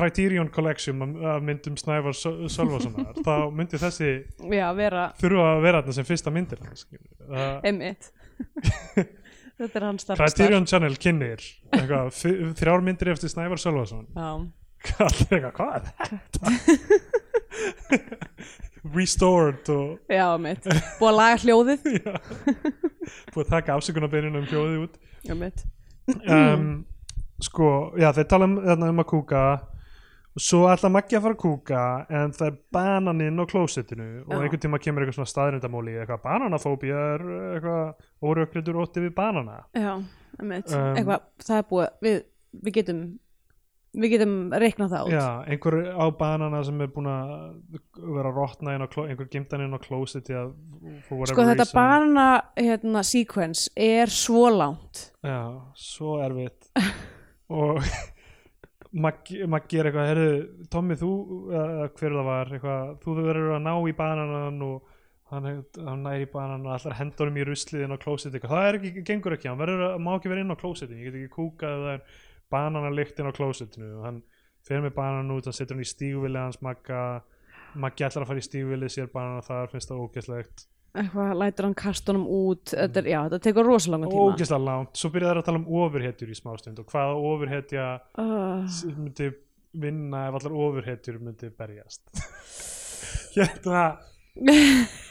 [SPEAKER 1] Criterion Collection af- af myndum Snævar Sö- Sölvasonar þá myndi þessi
[SPEAKER 2] Já, vera
[SPEAKER 1] þurfa að vera þarna sem fyrsta myndir uh,
[SPEAKER 2] Einmitt Þetta er hans starf
[SPEAKER 1] Criterion Channel kynir eitthvað, fi- þrjár myndir eftir Snævar Sölvason
[SPEAKER 2] Já,
[SPEAKER 1] allir eitthvað, hvað er þetta? Restored og
[SPEAKER 2] já mitt Búið að laga hljóðið
[SPEAKER 1] já, búið að taka afsökunarbeininu um hljóðið út
[SPEAKER 2] Já, mitt
[SPEAKER 1] um, sko, já, þeir tala um, þarna um að kúka og svo ætla Maggi að fara að kúka en það er bananinn á klósettinu og
[SPEAKER 2] Já.
[SPEAKER 1] einhvern tíma kemur eitthvað svona staðrindamóli eitthvað bananafóbía er eitthvað órökriður ótti við banana
[SPEAKER 2] Já, mitt
[SPEAKER 1] Um,
[SPEAKER 2] Eitthvað, það er búið Við, við getum Við getum reiknað það út
[SPEAKER 1] Já, einhver á banana sem er búin að vera að rotna inn á kló, einhver gimtan inn á klósiti að for whatever
[SPEAKER 2] Sko þetta
[SPEAKER 1] reason
[SPEAKER 2] barna hérna, sequence er svo langt
[SPEAKER 1] Já, svo erfitt og Maggi Maggi er eitthvað, herðu, Tommi þú, uh, hver það var, eitthvað þú verður að ná í bananan og hann, hann næri í bananan og allar hendurum í ruslið inn á klósiti, eitthvað, það er ekki gengur ekki, hann verður að, má ekki vera inn á klósiti, ég get ekki kúkað að það er bananalykt inn á klósitinu og hann fer með banan út, hann setur hann í stígvilið hans Magga, Maggi ætlar að fara í stígvilið sér banan og það finnst það ógeðslegt
[SPEAKER 2] eitthvað lætur hann kastunum út þetta, er, já, þetta tekur rosalangan tíma
[SPEAKER 1] ógeðslega langt, svo byrja þær að tala um ofurhetjur í smástund og hvaða ofurhetja
[SPEAKER 2] uh,
[SPEAKER 1] sem myndi vinna ef allar ofurhetjur myndi berjast hérna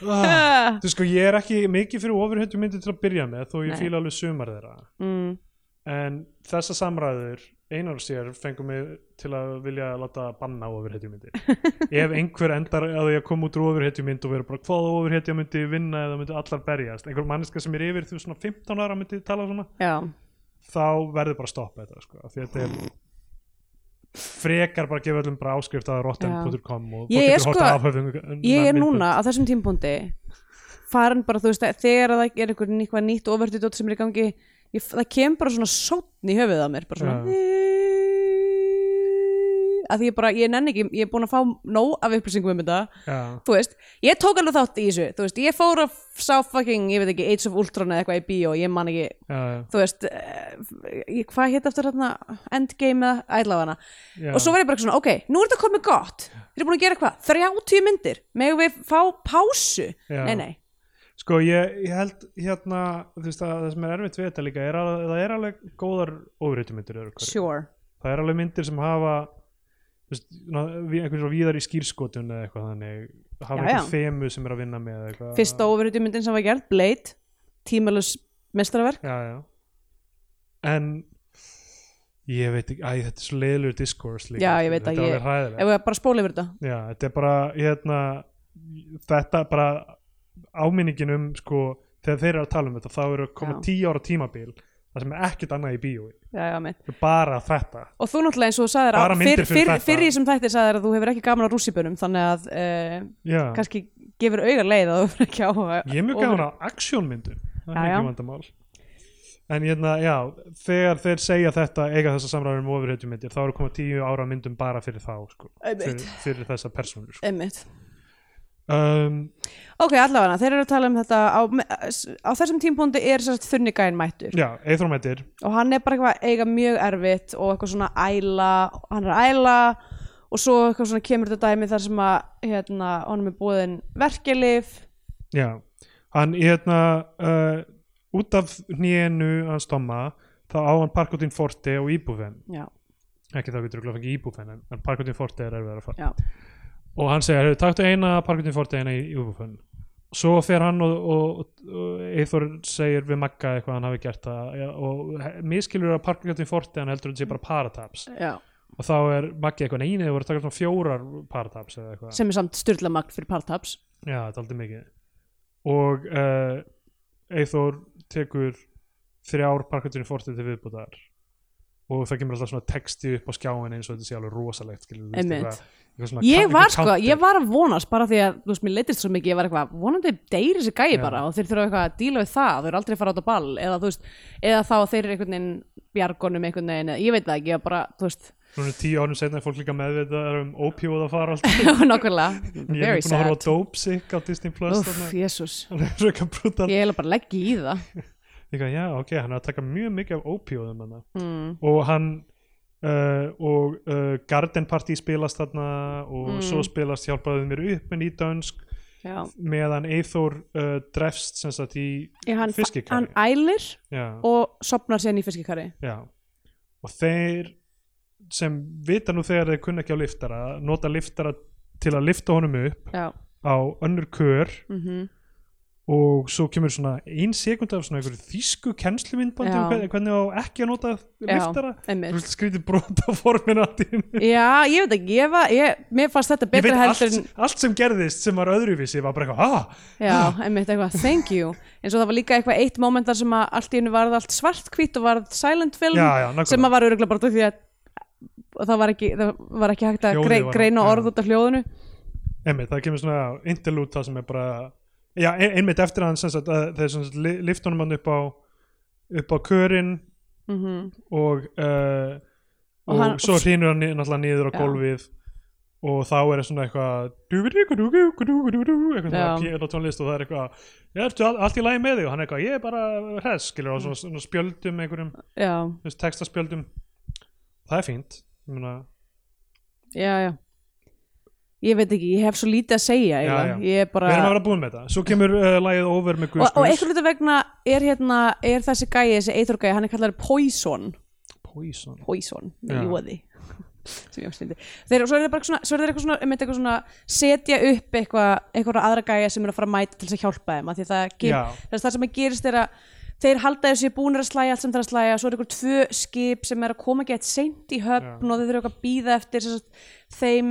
[SPEAKER 1] ah, þú sko ég er ekki mikið fyrir ofurhetjur myndi til að byrja með þó ég
[SPEAKER 2] Nei.
[SPEAKER 1] fíla alveg sumar þeirra
[SPEAKER 2] mm,
[SPEAKER 1] en þessa samræður einar og sér fengum mig til að vilja láta banna ofurhetjumyndir ef einhver endar að ég kom út úr ofurhetjumynd og vera bara hvaða ofurhetjumyndi vinna eða myndi allar berjast einhver manneska sem er yfir þú svona 15 ára myndi tala svona
[SPEAKER 2] já,
[SPEAKER 1] þá verður bara að stoppa þetta sko. af því að þetta er frekar bara að gefa öllum bara áskrift að rotten.com og
[SPEAKER 2] Ég er sko-
[SPEAKER 1] afhöfum,
[SPEAKER 2] ég er núna á þessum tímpúndi farin bara þú veist að þegar að það er einhver eitthvað nýtt overtudótt sem er í gangi ég, það kem bara svona sótn í höfuð á mér bara svona að því ég bara, ég nenni ekki ég er búin að fá nóg af upplýsingum um þetta
[SPEAKER 1] já,
[SPEAKER 2] þú veist, ég tók alveg þátt í þessu þú veist, ég fór að sá fucking, ég veit ekki Age of Ultron eða eitthvað í bíó, ég man ekki
[SPEAKER 1] já,
[SPEAKER 2] þú veist, uh, hvað hétt eftir hérna Endgame eða ætlafana
[SPEAKER 1] já,
[SPEAKER 2] og svo var ég bara svona, ok, nú er þetta komið gott þeir eru búin að gera hvað, 30 myndir megum við fá pásu
[SPEAKER 1] Já.
[SPEAKER 2] nei, nei,
[SPEAKER 1] Sko ég, ég held hérna þú veist að það sem er erfitt við þetta líka er að það er alveg góðar ofurheytumyndir sure.
[SPEAKER 2] sure
[SPEAKER 1] það er alveg myndir sem hafa þú veist, ná, ví- einhvern svona víðar í skýrskotun eða eitthvað þannig hafa
[SPEAKER 2] Já,
[SPEAKER 1] einhver
[SPEAKER 2] já.
[SPEAKER 1] femu sem er að vinna með eða eitthvað
[SPEAKER 2] fyrsta ofurhutu myndin sem var gerð, Blade tímalus mestraverk
[SPEAKER 1] já, já. en ég veit ekki, æ, þetta er svo leiðlur discourse líka,
[SPEAKER 2] Já,
[SPEAKER 1] sko,
[SPEAKER 2] ég veit að
[SPEAKER 1] þetta er
[SPEAKER 2] ég-
[SPEAKER 1] alveg hræðilegt
[SPEAKER 2] ef við bara spóla yfir þetta
[SPEAKER 1] Já, þetta er bara hérna, þetta er bara áminningin um sko, þegar þeir eru að tala um þetta þá eru að koma
[SPEAKER 2] Já.
[SPEAKER 1] tíu ára tímabil það sem er ekkert annað í bíói
[SPEAKER 2] já, já, mitt.
[SPEAKER 1] Þetta er bara þetta
[SPEAKER 2] og þú náttúrulega eins og þú sagðir
[SPEAKER 1] Bara
[SPEAKER 2] að
[SPEAKER 1] myndir fyrir
[SPEAKER 2] fyrr,
[SPEAKER 1] þetta.
[SPEAKER 2] fyrr í þessum þætti sagðir að þú hefur ekki gaman á rússipönum þannig að uh,
[SPEAKER 1] Já.
[SPEAKER 2] kannski gefur auga leið að þú fyrir ekki áhuga
[SPEAKER 1] ég er mjög gafan á aksjónmyndu það
[SPEAKER 2] Já,
[SPEAKER 1] er
[SPEAKER 2] já.
[SPEAKER 1] ekki vandamál en hérna, já, þegar þeir segja þetta eiga þessa samræður um ofurhetjumyndir þá eru að koma tíu ára myndum bara fyrir þá sko,
[SPEAKER 2] Einmitt.
[SPEAKER 1] fyrir, fyrir þessa persónur sko.
[SPEAKER 2] einmitt
[SPEAKER 1] um,
[SPEAKER 2] ok, allavega, þeir eru að tala um þetta á, á þessum tímpúndi er sérst þunnigæn mættur
[SPEAKER 1] Já, Eithromet er
[SPEAKER 2] og hann er bara eitthvað að eiga mjög erfitt og eitthvað svona æla hann er að æla og svo eitthvað svona kemur þetta dæmi þar sem að hérna, honum er búin verkelif
[SPEAKER 1] Já, hann hérna uh, út af hnjénu hans Tomma þá á hann Parkotin Forte og Íbúfen
[SPEAKER 2] já,
[SPEAKER 1] ekki þá getur við fengið Íbúfen en, en Parkotin Forte er erfið að fara
[SPEAKER 2] já,
[SPEAKER 1] og hann segir, "Heyrðu, taktu eina Parkotin Forte eina í Íbúfen svo fer hann og, og, og Eithor segir við Magga eitthvað hann hafi gert það ja, og he- miskilur að Parkotin Forte hann heldur að þetta sé bara parataps
[SPEAKER 2] já.
[SPEAKER 1] og þá er Maggi eitthvað neynið og voru að taka svona fjórar parataps eða eitthvað
[SPEAKER 2] sem er samt styrla magt fyrir partaps
[SPEAKER 1] Já, þetta er aldrei mikið og uh, Eithor tekur þrjár parkvöldurinn fórtið til viðbútar og það kemur alltaf svona texti upp á skjáin eins og þetta sé alveg rosalegt skilur, þú veist,
[SPEAKER 2] Einmitt.
[SPEAKER 1] eitthvað- eitthvað svona-
[SPEAKER 2] ég
[SPEAKER 1] einhver
[SPEAKER 2] var sko,
[SPEAKER 1] counter.
[SPEAKER 2] ég var að vonast bara því að, þú veist, mér leittist svo mikið, ég var eitthvað vonandi deyri þessi gæi
[SPEAKER 1] Já.
[SPEAKER 2] bara og þeir þurfa eitthvað að díla við það, þau eru aldrei að fara át á ball eða þú veist, eða þá að þeir eru einhvern veginn bjargonum einhvern veginn, eða ég veit það ekki ég var bara, þú veist,
[SPEAKER 1] Núna tíu árum setna er fólk líka meðvitað um ópjóða farald ég
[SPEAKER 2] nákvæmlega
[SPEAKER 1] er
[SPEAKER 2] very
[SPEAKER 1] búin að horfa á
[SPEAKER 2] sad,
[SPEAKER 1] Dope Sick á Disney Plus
[SPEAKER 2] uff,
[SPEAKER 1] þarna.
[SPEAKER 2] jésús
[SPEAKER 1] hann er röka brútal
[SPEAKER 2] ég heila bara leggi í það
[SPEAKER 1] yeah. já, ok, hann er að taka mjög mikið af ópjóðum hann
[SPEAKER 2] mm.
[SPEAKER 1] og hann uh, og uh, Garden Party spilast þarna og
[SPEAKER 2] Mm.
[SPEAKER 1] svo spilast hjálpaðu mér upp með nýdönsk
[SPEAKER 2] já,
[SPEAKER 1] meðan Eithor uh, drefst sem sagt í
[SPEAKER 2] ég, hann, hann
[SPEAKER 1] fiskikari
[SPEAKER 2] ælir
[SPEAKER 1] já,
[SPEAKER 2] og sopnar síðan í fiskikari
[SPEAKER 1] já. og þeir sem vita nú þegar þeir kunna ekki á liftara nota liftara til að lifta honum upp
[SPEAKER 2] já,
[SPEAKER 1] á önnur kör
[SPEAKER 2] mm
[SPEAKER 1] og svo kemur svona ein sekund af svona einhverju þýsku kennslumyndbandi um
[SPEAKER 2] Já.
[SPEAKER 1] hvernig, hvernig á ekki að nota liftara
[SPEAKER 2] einmitt
[SPEAKER 1] skrítið brota formin að þínu
[SPEAKER 2] já, ég veit ekki, ég var, ég, mér fannst þetta
[SPEAKER 1] ég veit
[SPEAKER 2] betra
[SPEAKER 1] allt,
[SPEAKER 2] heldur en
[SPEAKER 1] allt sem gerðist sem var öðruvísi var bara eitthvað ah,
[SPEAKER 2] Já, einmitt eitthvað, thank you eins og það var líka eitthvað eitt moment þar sem að allt í hennu varð allt svartkvít og varð silent film
[SPEAKER 1] já, já, nákvæmlega.
[SPEAKER 2] sem að var öruglega bara út af því að og það var ekki, það var ekki hægt að
[SPEAKER 1] Hljóðið
[SPEAKER 2] grei,
[SPEAKER 1] var-
[SPEAKER 2] greina
[SPEAKER 1] já.
[SPEAKER 2] orð út af hljóðinu
[SPEAKER 1] einmitt, það kemur svona interlude það sem er bara já, ein- einmitt eftir að hann sem sagt, að þeir sem sagt li- lyfta honum hann upp á upp á körin
[SPEAKER 2] mm
[SPEAKER 1] og uh, og,
[SPEAKER 2] Og hann-
[SPEAKER 1] svo hrýnur hann ni- náttúrulega niður á
[SPEAKER 2] Já.
[SPEAKER 1] gólfið og þá er svona eitthvað dúbidúkudúkudúkudúkudú, eitthvað svona
[SPEAKER 2] Já.
[SPEAKER 1] píðan á tónlist og það er eitthvað "Já, ertu all, allt í lagi með þig og hann er eitthvað ég er bara hress skilur á svona, svona spjöldum einhverjum
[SPEAKER 2] Já,
[SPEAKER 1] þú veist, textaspjöldum það er fínt ég meina,
[SPEAKER 2] já, já ég veit ekki, ég hef svo lítið að segja já,
[SPEAKER 1] já.
[SPEAKER 2] ég er bara
[SPEAKER 1] Við erum að vera búin með þetta Svo kemur uh, lagið over með
[SPEAKER 2] og, og
[SPEAKER 1] Goosebumps
[SPEAKER 2] einhvern veit vegna er hérna er þessi gæi, þessi eitur gæi, hann er kallar Poison
[SPEAKER 1] Poison
[SPEAKER 2] Poison,
[SPEAKER 1] Já.
[SPEAKER 2] með jóði sem ég ástindi þeir, og svo er þeir bara svona, svo er þeir eitthvað svona, um eitthvað svona setja upp eitthvað, eitthvað aðra gæja sem er að fara að mæta til þess að hjálpa þeim af því að það, ger,
[SPEAKER 1] Já.
[SPEAKER 2] þess, það sem að gerist er að þeir halda þessi búnir að slæja allt sem það er að slæja svo er eitthvað tvö skip sem er að koma gett seint í höfn og þeir eru eitthvað að býða eftir þess að þeim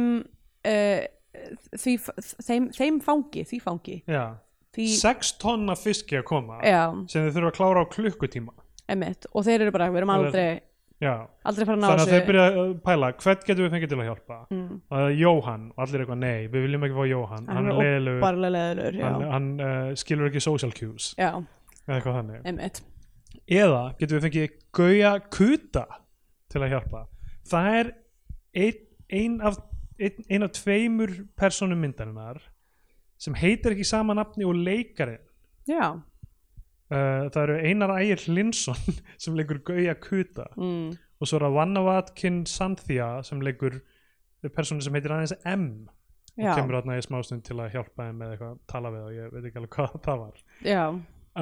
[SPEAKER 2] uh, því, þeim, þeim fangi því fangi
[SPEAKER 1] Já
[SPEAKER 2] því,
[SPEAKER 1] 6 tonna fiski að koma
[SPEAKER 2] já,
[SPEAKER 1] sem þið þurfa að klára á klukkutíma
[SPEAKER 2] emitt og þeir eru bara, við erum
[SPEAKER 1] Og
[SPEAKER 2] aldrei
[SPEAKER 1] Já
[SPEAKER 2] aldrei fara að ná
[SPEAKER 1] Þannig að
[SPEAKER 2] þessu
[SPEAKER 1] þeir byrja að eh, pæla, hvern getum við fengið til að hjálpa? Mm. Jóhann, og allir eitthvað, nei, við viljum ekki fá Jóhann, hann, er leiðilegur,
[SPEAKER 2] óbarlega leðilegur já,
[SPEAKER 1] hann, hann uh, skilur ekki social cues,
[SPEAKER 2] já,
[SPEAKER 1] eða eitthvað þannig.
[SPEAKER 2] emitt
[SPEAKER 1] Eða getum við fengið Gauja Kuta til að hjálpa. Það er ein, ein, af, ein, ein af tveimur personum myndarinnar sem heitir ekki sama nafni og leikarinn.
[SPEAKER 2] já,
[SPEAKER 1] Uh, það eru Einar Ægir Linsson sem leikur Gauja Kuta
[SPEAKER 2] mm,
[SPEAKER 1] og svo er það Vannavatkin Santhia sem leikur persónu sem heitir aðeins M
[SPEAKER 2] já,
[SPEAKER 1] og kemur þarna í smástund til að hjálpa þeim með eitthvað tala við og ég veit ekki alveg hvað það var
[SPEAKER 2] já,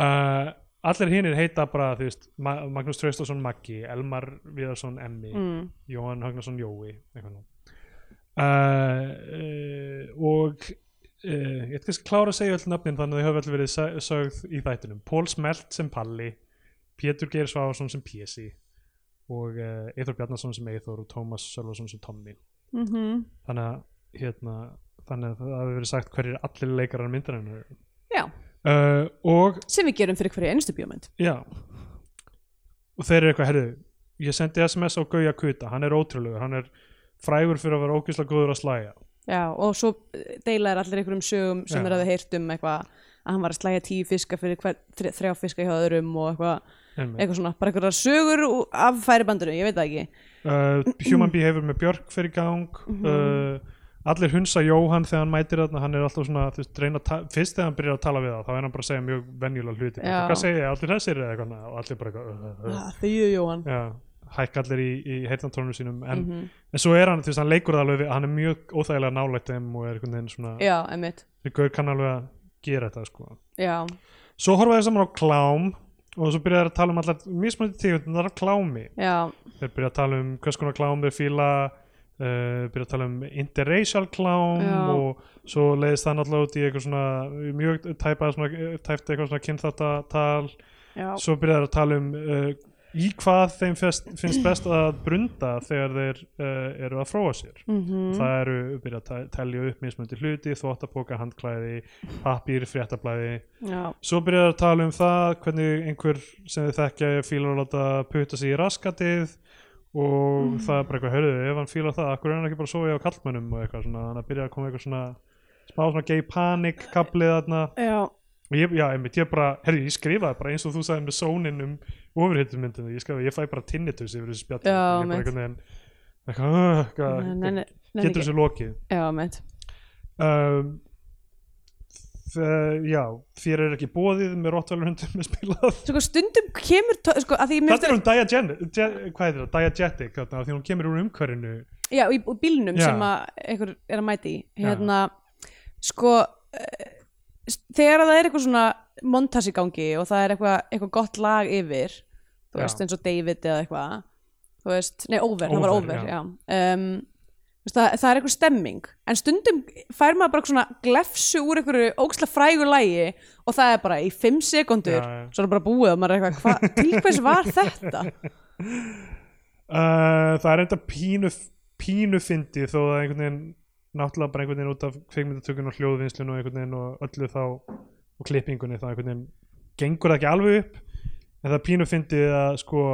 [SPEAKER 1] uh, allir hinnir heita bara þú veist, Ma Magnús Traustason Maggi Elmar Viðarsson Emmi
[SPEAKER 2] mm,
[SPEAKER 1] Jóhann Högnason Jói eitthvað nú uh, uh, og uh, ég ætla kannski að klára að segja öll nöfnin þannig að þau höfðu öll verið sa- sögð í þættinum Pól Smelt sem Palli Pétur Geir Sváfarsson sem Pési og uh, Eithor Bjarnason sem Eithor og Tómas Sölvason sem Tommi
[SPEAKER 2] mm
[SPEAKER 1] þannig að hérna, þannig að það hafi verið sagt hverjir allir leikarar myndarinn eru
[SPEAKER 2] já
[SPEAKER 1] uh, og
[SPEAKER 2] sem við gerum fyrir hverju einustu bjómynd
[SPEAKER 1] Já og þeir eru eitthvað, herðu ég sendi sms á Gauja Kuta, hann er ótrúlegur hann er frægur fyrir að vera ógeðslega góður að slæja
[SPEAKER 2] já, og svo deila er allir einhverjum sögum sem
[SPEAKER 1] Já.
[SPEAKER 2] þeir hafði heyrt um eitthvað að hann var að slæja tíu fiska fyrir hver, þre- þrjá fiska hjá öðrum og eitthvað,
[SPEAKER 1] Einmitt.
[SPEAKER 2] eitthvað svona, bara einhverjar sögur ú- af færibandinu, ég veit það ekki
[SPEAKER 1] uh, Human Behavior með Björk fyrir gang uh, allir hunsa Jóhann þegar hann mætir þarna, hann er alltaf svona þú veist, reyna, að ta- fyrst þegar hann byrjar að tala við það þá er hann bara að segja mjög venjulega hluti
[SPEAKER 2] Já.
[SPEAKER 1] hvað segja, ég, allir þessir eða eitthvað og allir bara eitthvað uh, uh, uh.
[SPEAKER 2] þýðu Jóhann
[SPEAKER 1] Já, hækka allir í, í heyrnantónu sínum en, en svo er hann, þú veist, hann leikur það alveg við- hann er mjög óþægilega nálægt þeim og er einhvern veginn svona,
[SPEAKER 2] já, emitt,
[SPEAKER 1] þeir gaur kann alveg að gera þetta sko
[SPEAKER 2] já,
[SPEAKER 1] svo horfa þeir saman á klám og svo byrja þeir að tala um allar mismunandi tegundar af klámi
[SPEAKER 2] já,
[SPEAKER 1] þeir byrja að tala um hvers konar klám þeir fíla uh, byrja að tala um interracial klám
[SPEAKER 2] Já.
[SPEAKER 1] og svo leiðist það náttúrulega út í eitthvað svona mjög tæpa, svona, tæpt eitthvað svona kynþáttatal
[SPEAKER 2] já,
[SPEAKER 1] svo byrja þeir að tala um uh, í hvað þeim fest, finnst best að brunda þegar þeir uh, eru að fróa sér
[SPEAKER 2] mhm,
[SPEAKER 1] það eru byrja að te- telja upp mismunandi hluti, þvóttapoka, handklæði pappír, fréttablaði
[SPEAKER 2] já,
[SPEAKER 1] Svo byrjar að tala um það hvernig einhver sem þið þekkja fílar að láta putta sig í raskatið og
[SPEAKER 2] Mm.
[SPEAKER 1] það er bara eitthvað, hörðu, ef hann fílar það, akkur er hann ekki bara að sofa hjá kallmönnum og eitthvað svona, þannig að byrja að koma eitthvað svona smá svona gay panic kaplið þarna
[SPEAKER 2] já,
[SPEAKER 1] og ég, já, einmitt, ég bara, herðu, ég skrifaði bara eins og þú sagði með sónin um ofurhittum myndinu, ég skrifaði, ég fæ bara tinnitus yfir þessu spjall,
[SPEAKER 2] Já,
[SPEAKER 1] ég bara
[SPEAKER 2] einmitt.
[SPEAKER 1] einhvern veginn eitthvað, "Ugh,
[SPEAKER 2] Nei, nei,
[SPEAKER 1] hvað,
[SPEAKER 2] nei, nei,
[SPEAKER 1] getur
[SPEAKER 2] ekki.
[SPEAKER 1] þessu lokið
[SPEAKER 2] já, emitt
[SPEAKER 1] um, þe- já, þér er ekki bóðið með rottvalurhundum með spilað
[SPEAKER 2] Sko, stundum kemur tó- sko, að því ég mér
[SPEAKER 1] þetta er hún diagenetic hvað heitir það, diegetic þarna, af því hún kemur úr umhverfinu
[SPEAKER 2] já, í í bílnum
[SPEAKER 1] Já.
[SPEAKER 2] sem að einhver er að mæti hérna, sko eh, s- þegar það er eitthvað svona montas í gangi og það er eitthvað, eitthvað gott lag yfir þú
[SPEAKER 1] Já.
[SPEAKER 2] veist eins og David eða eitthvað þú veist, nei, over, það var
[SPEAKER 1] Over, já.
[SPEAKER 2] over já. Um, þú veist, það, það er eitthvað stemming en stundum fær maður bara svona glefsu úr einhverju ógæslega frægu lægi og það er bara í fimm sekundur
[SPEAKER 1] Já, já.
[SPEAKER 2] svo er það bara búið og maður er eitthvað hva, til hvers var þetta?
[SPEAKER 1] uh, það er enda pínu pínu fyndið þó að einhvern veginn náttúrulega bara einhvern veginn út af kveikmyndatökun og hljóðvinnslun og einhvern veginn og öllu þá og klippingunni þá einhvern veginn gengur það ekki alveg upp en það er pínu fyndið að sko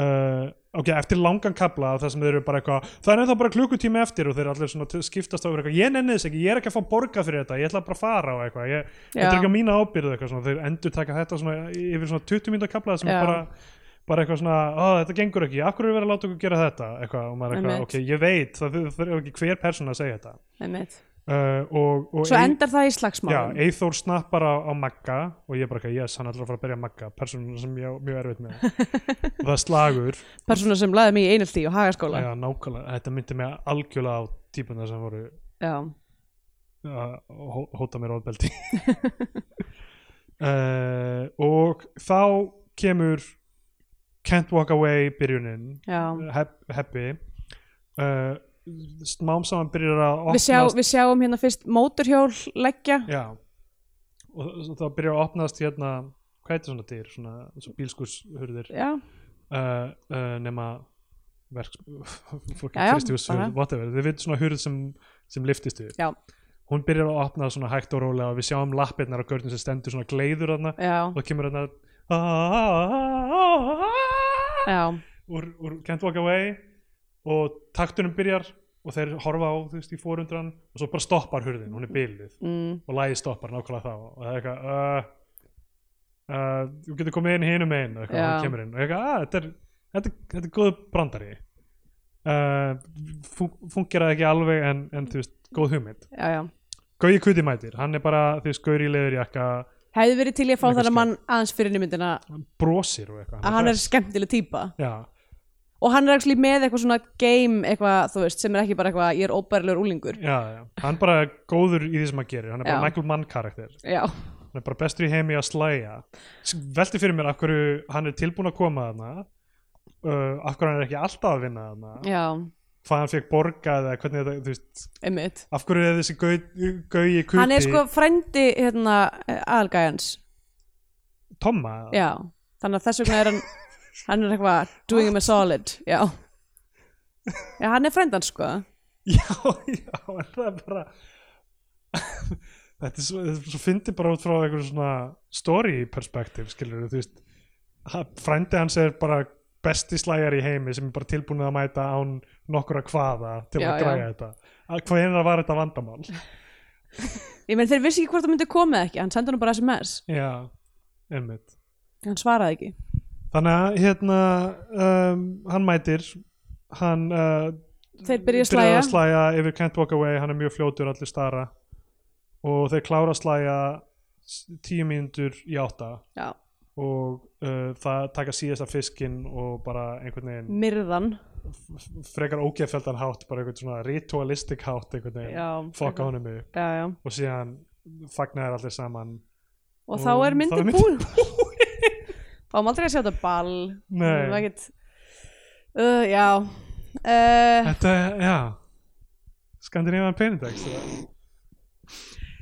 [SPEAKER 1] uh, ok, eftir langan kabla þar sem þeir eru bara eitthvað, það er ennþá bara klukkutími eftir og þeir allir svona til- skiptast á yfir eitthvað ég nenni þess ekki, ég er ekki að fá borga fyrir þetta ég ætla bara að fara á eitthvað, ég, þetta er
[SPEAKER 2] Já.
[SPEAKER 1] ekki á mína ábyrðu eitthvað svona, þeir endur taka þetta svona yfir svona 20 mínúta kabla sem
[SPEAKER 2] Já.
[SPEAKER 1] er bara bara eitthvað svona, að þetta gengur ekki, af hverju er verið að láta okkur gera þetta, eitthvað, og maður eitthvað,
[SPEAKER 2] Einmitt.
[SPEAKER 1] ok, ég veit það þurfa ekki hver persóna að segja þetta
[SPEAKER 2] Einmitt.
[SPEAKER 1] uh, og, og
[SPEAKER 2] Svo
[SPEAKER 1] Ei-
[SPEAKER 2] endar það í
[SPEAKER 1] Já,
[SPEAKER 2] slagsmálum
[SPEAKER 1] Eithór snappar á, á Magga og ég bara ekki, yes, hann ætlar að fara að berja Magga persónuna sem ég á mjög erfitt með og það er slagur,
[SPEAKER 2] Persóna sem laði mig í einelti og hagaskóla
[SPEAKER 1] já, nákvæmlega þetta myndi mig algjörlega á típuna sem voru
[SPEAKER 2] Já.
[SPEAKER 1] að hó- hóta mér ofbeldi uh, og þá kemur Can't Walk Away byrjunin
[SPEAKER 2] Já.
[SPEAKER 1] hep, heppi uh, smám saman byrjar að
[SPEAKER 2] Við, sjá,
[SPEAKER 1] opnast
[SPEAKER 2] við sjáum hérna fyrst mótorhjól leggja
[SPEAKER 1] já, og þ- þá byrjar að opnast hérna hvað heitir svona dyr, svona, svona bílskurshurðir uh,
[SPEAKER 2] Já,
[SPEAKER 1] uh, nema verks
[SPEAKER 2] Já, já,
[SPEAKER 1] kristjúshurð,
[SPEAKER 2] bara.
[SPEAKER 1] whatever, þið veit svona hurð sem, sem liftist við
[SPEAKER 2] já,
[SPEAKER 1] hún byrjar að opna svona hægt og rólega og við sjáum lappirnar á görnum sem stendur svona gleiður þarna
[SPEAKER 2] já,
[SPEAKER 1] og það kemur þarna
[SPEAKER 2] já
[SPEAKER 1] úr, úr Can't Walk Away og taktunum byrjar og þeir horfa á þú veist í fórundran og svo bara stoppar hurðin, hún er bylið
[SPEAKER 2] mm,
[SPEAKER 1] og lagið stoppar nákvæmlega þá og það er eitthvað uh, uh, þú getur komið inn hinum einn og eitthvað,
[SPEAKER 2] Já.
[SPEAKER 1] hún kemur inn og ég eitthvað, að þetta er þetta, er- þetta er góð brandari uh, fungir það ekki alveg en, en þú veist, góð hugmynd
[SPEAKER 2] Já, já
[SPEAKER 1] Gauji Kuti mætir, hann er bara því skauri leður jakka,
[SPEAKER 2] Hefði verið til ég að fá
[SPEAKER 1] Eitthvað
[SPEAKER 2] þarna
[SPEAKER 1] skemmt.
[SPEAKER 2] mann aðeins fyrir nýmyndina
[SPEAKER 1] hann brosir og eitthvað
[SPEAKER 2] að hann er
[SPEAKER 1] hress.
[SPEAKER 2] skemmtileg típa
[SPEAKER 1] Já,
[SPEAKER 2] og hann er actually með eitthvað svona game eitthvað, þú veist, sem er ekki bara eitthvað ég er óbærilegur úlingur
[SPEAKER 1] já, já, hann bara er góður í því sem hann gerir, hann er bara
[SPEAKER 2] Já.
[SPEAKER 1] Michael Mann karakter
[SPEAKER 2] Já,
[SPEAKER 1] hann er bara bestur í heimi að slæja S- velti fyrir mér af hverju hann er tilbúin að koma þarna uh, af hverju hann er ekki alltaf að vinna þarna
[SPEAKER 2] já,
[SPEAKER 1] hvað hann fekk borgað eða hvernig þetta, þú veist
[SPEAKER 2] einmitt
[SPEAKER 1] af hverju er þessi Gau- Gauji Kuti
[SPEAKER 2] Hann er sko frendi hérna aðalgæjans
[SPEAKER 1] Tomma eða?
[SPEAKER 2] Já, þannig að þess vegna er hann hann er eitthvað doing him a solid Já Já, hann er frendan sko
[SPEAKER 1] já, já, en það er bara þetta er svo, þetta er svo fyndi bara út frá einhverjum svona story perspektiv, skilur þú veist ha- frændi hans er bara besti slæjar í heimi sem er bara tilbúin að mæta án nokkura hvaða til
[SPEAKER 2] Já,
[SPEAKER 1] að græja þetta Að- hvað hennar var þetta vandamál
[SPEAKER 2] Ég meni þeir vissi ekki hvort það myndi koma eða ekki hann sendi hann bara sms,
[SPEAKER 1] já, einmitt
[SPEAKER 2] hann svaraði ekki
[SPEAKER 1] þannig að hérna um, hann mætir hann uh,
[SPEAKER 2] Þeir byrja að
[SPEAKER 1] byrjar
[SPEAKER 2] slæja
[SPEAKER 1] að slæja yfir Can't Walk Away, hann er mjög fljótur allir stara og þeir klára að slæja s- tíu mínútur í átta
[SPEAKER 2] Já,
[SPEAKER 1] og uh, það taka síðasta fiskin og bara einhvern veginn
[SPEAKER 2] myrðan
[SPEAKER 1] f- frekar ógeðfeldan hátt, bara einhvern svona ritualistik hátt einhvern veginn,
[SPEAKER 2] Já,
[SPEAKER 1] fokka honum upp
[SPEAKER 2] já, já.
[SPEAKER 1] og síðan fagnaðir allir saman
[SPEAKER 2] og
[SPEAKER 1] Og
[SPEAKER 2] þá er
[SPEAKER 1] þá er
[SPEAKER 2] myndin
[SPEAKER 1] myndin
[SPEAKER 2] búin þá má aldrei að sjá þetta ball
[SPEAKER 1] Nei.
[SPEAKER 2] það er ekkert uh, já uh,
[SPEAKER 1] þetta, já Skandinavian Penindex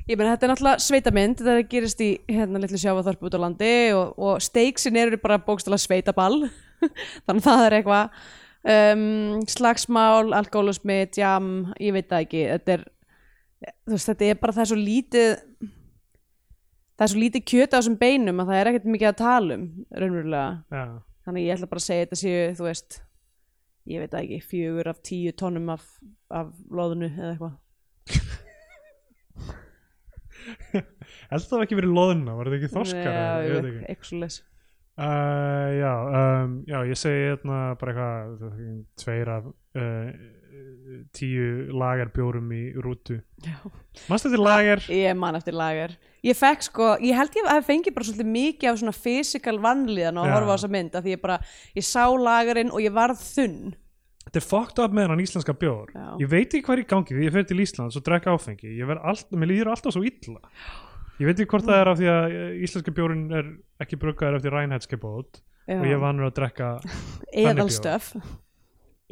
[SPEAKER 2] ég meina þetta er náttúrulega sveitamynd þetta gerist í hérna litlu sjáfaþorpu út á landi og, og steiksin eru bara bókstala sveitaball þannig að það er eitthvað um, slagsmál, alkoholusmi, jam ég veit það ekki þetta er, þú veist, þetta er bara það er svo lítið það er svo lítið kjöta á þessum beinum að það er ekkert mikið að tala um raunverulega
[SPEAKER 1] já,
[SPEAKER 2] þannig að ég ætla bara að segja þetta séu þú veist, ég veit það ekki fjögur af tíu tónum af, af loðinu eða eitthvað
[SPEAKER 1] heldur það hafi ekki verið loðna, var þetta ekki þorskar
[SPEAKER 2] Já,
[SPEAKER 1] ég veit ekki
[SPEAKER 2] eitthvað eitthvað svoleiðis.
[SPEAKER 1] Uh, já, um, já, ég segi hérna bara eitthvað tveir af uh, tíu lagar bjórum í rútu
[SPEAKER 2] Já.
[SPEAKER 1] Manstu þetta lagar?
[SPEAKER 2] ég man eftir lagar ég fekk sko, ég held ég að fengi bara svolítið mikið af svona fysikal vanlíðan og
[SPEAKER 1] Já.
[SPEAKER 2] horfa á þessa mynd af því ég bara, ég sá lagarinn og ég varð þunn
[SPEAKER 1] Þetta er fucked up með hann íslenska bjór
[SPEAKER 2] Já.
[SPEAKER 1] Ég veit ekki hvað er í gangi því ég fer til Íslands og drekka áfengi Ég verð alltaf, mér líður alltaf svo illa Ég veit ekki hvort það er af því að eh, íslenska bjórinn er ekki bruggaður eftir rænhetski bót og ég er vanur að drekka
[SPEAKER 2] eðalstöf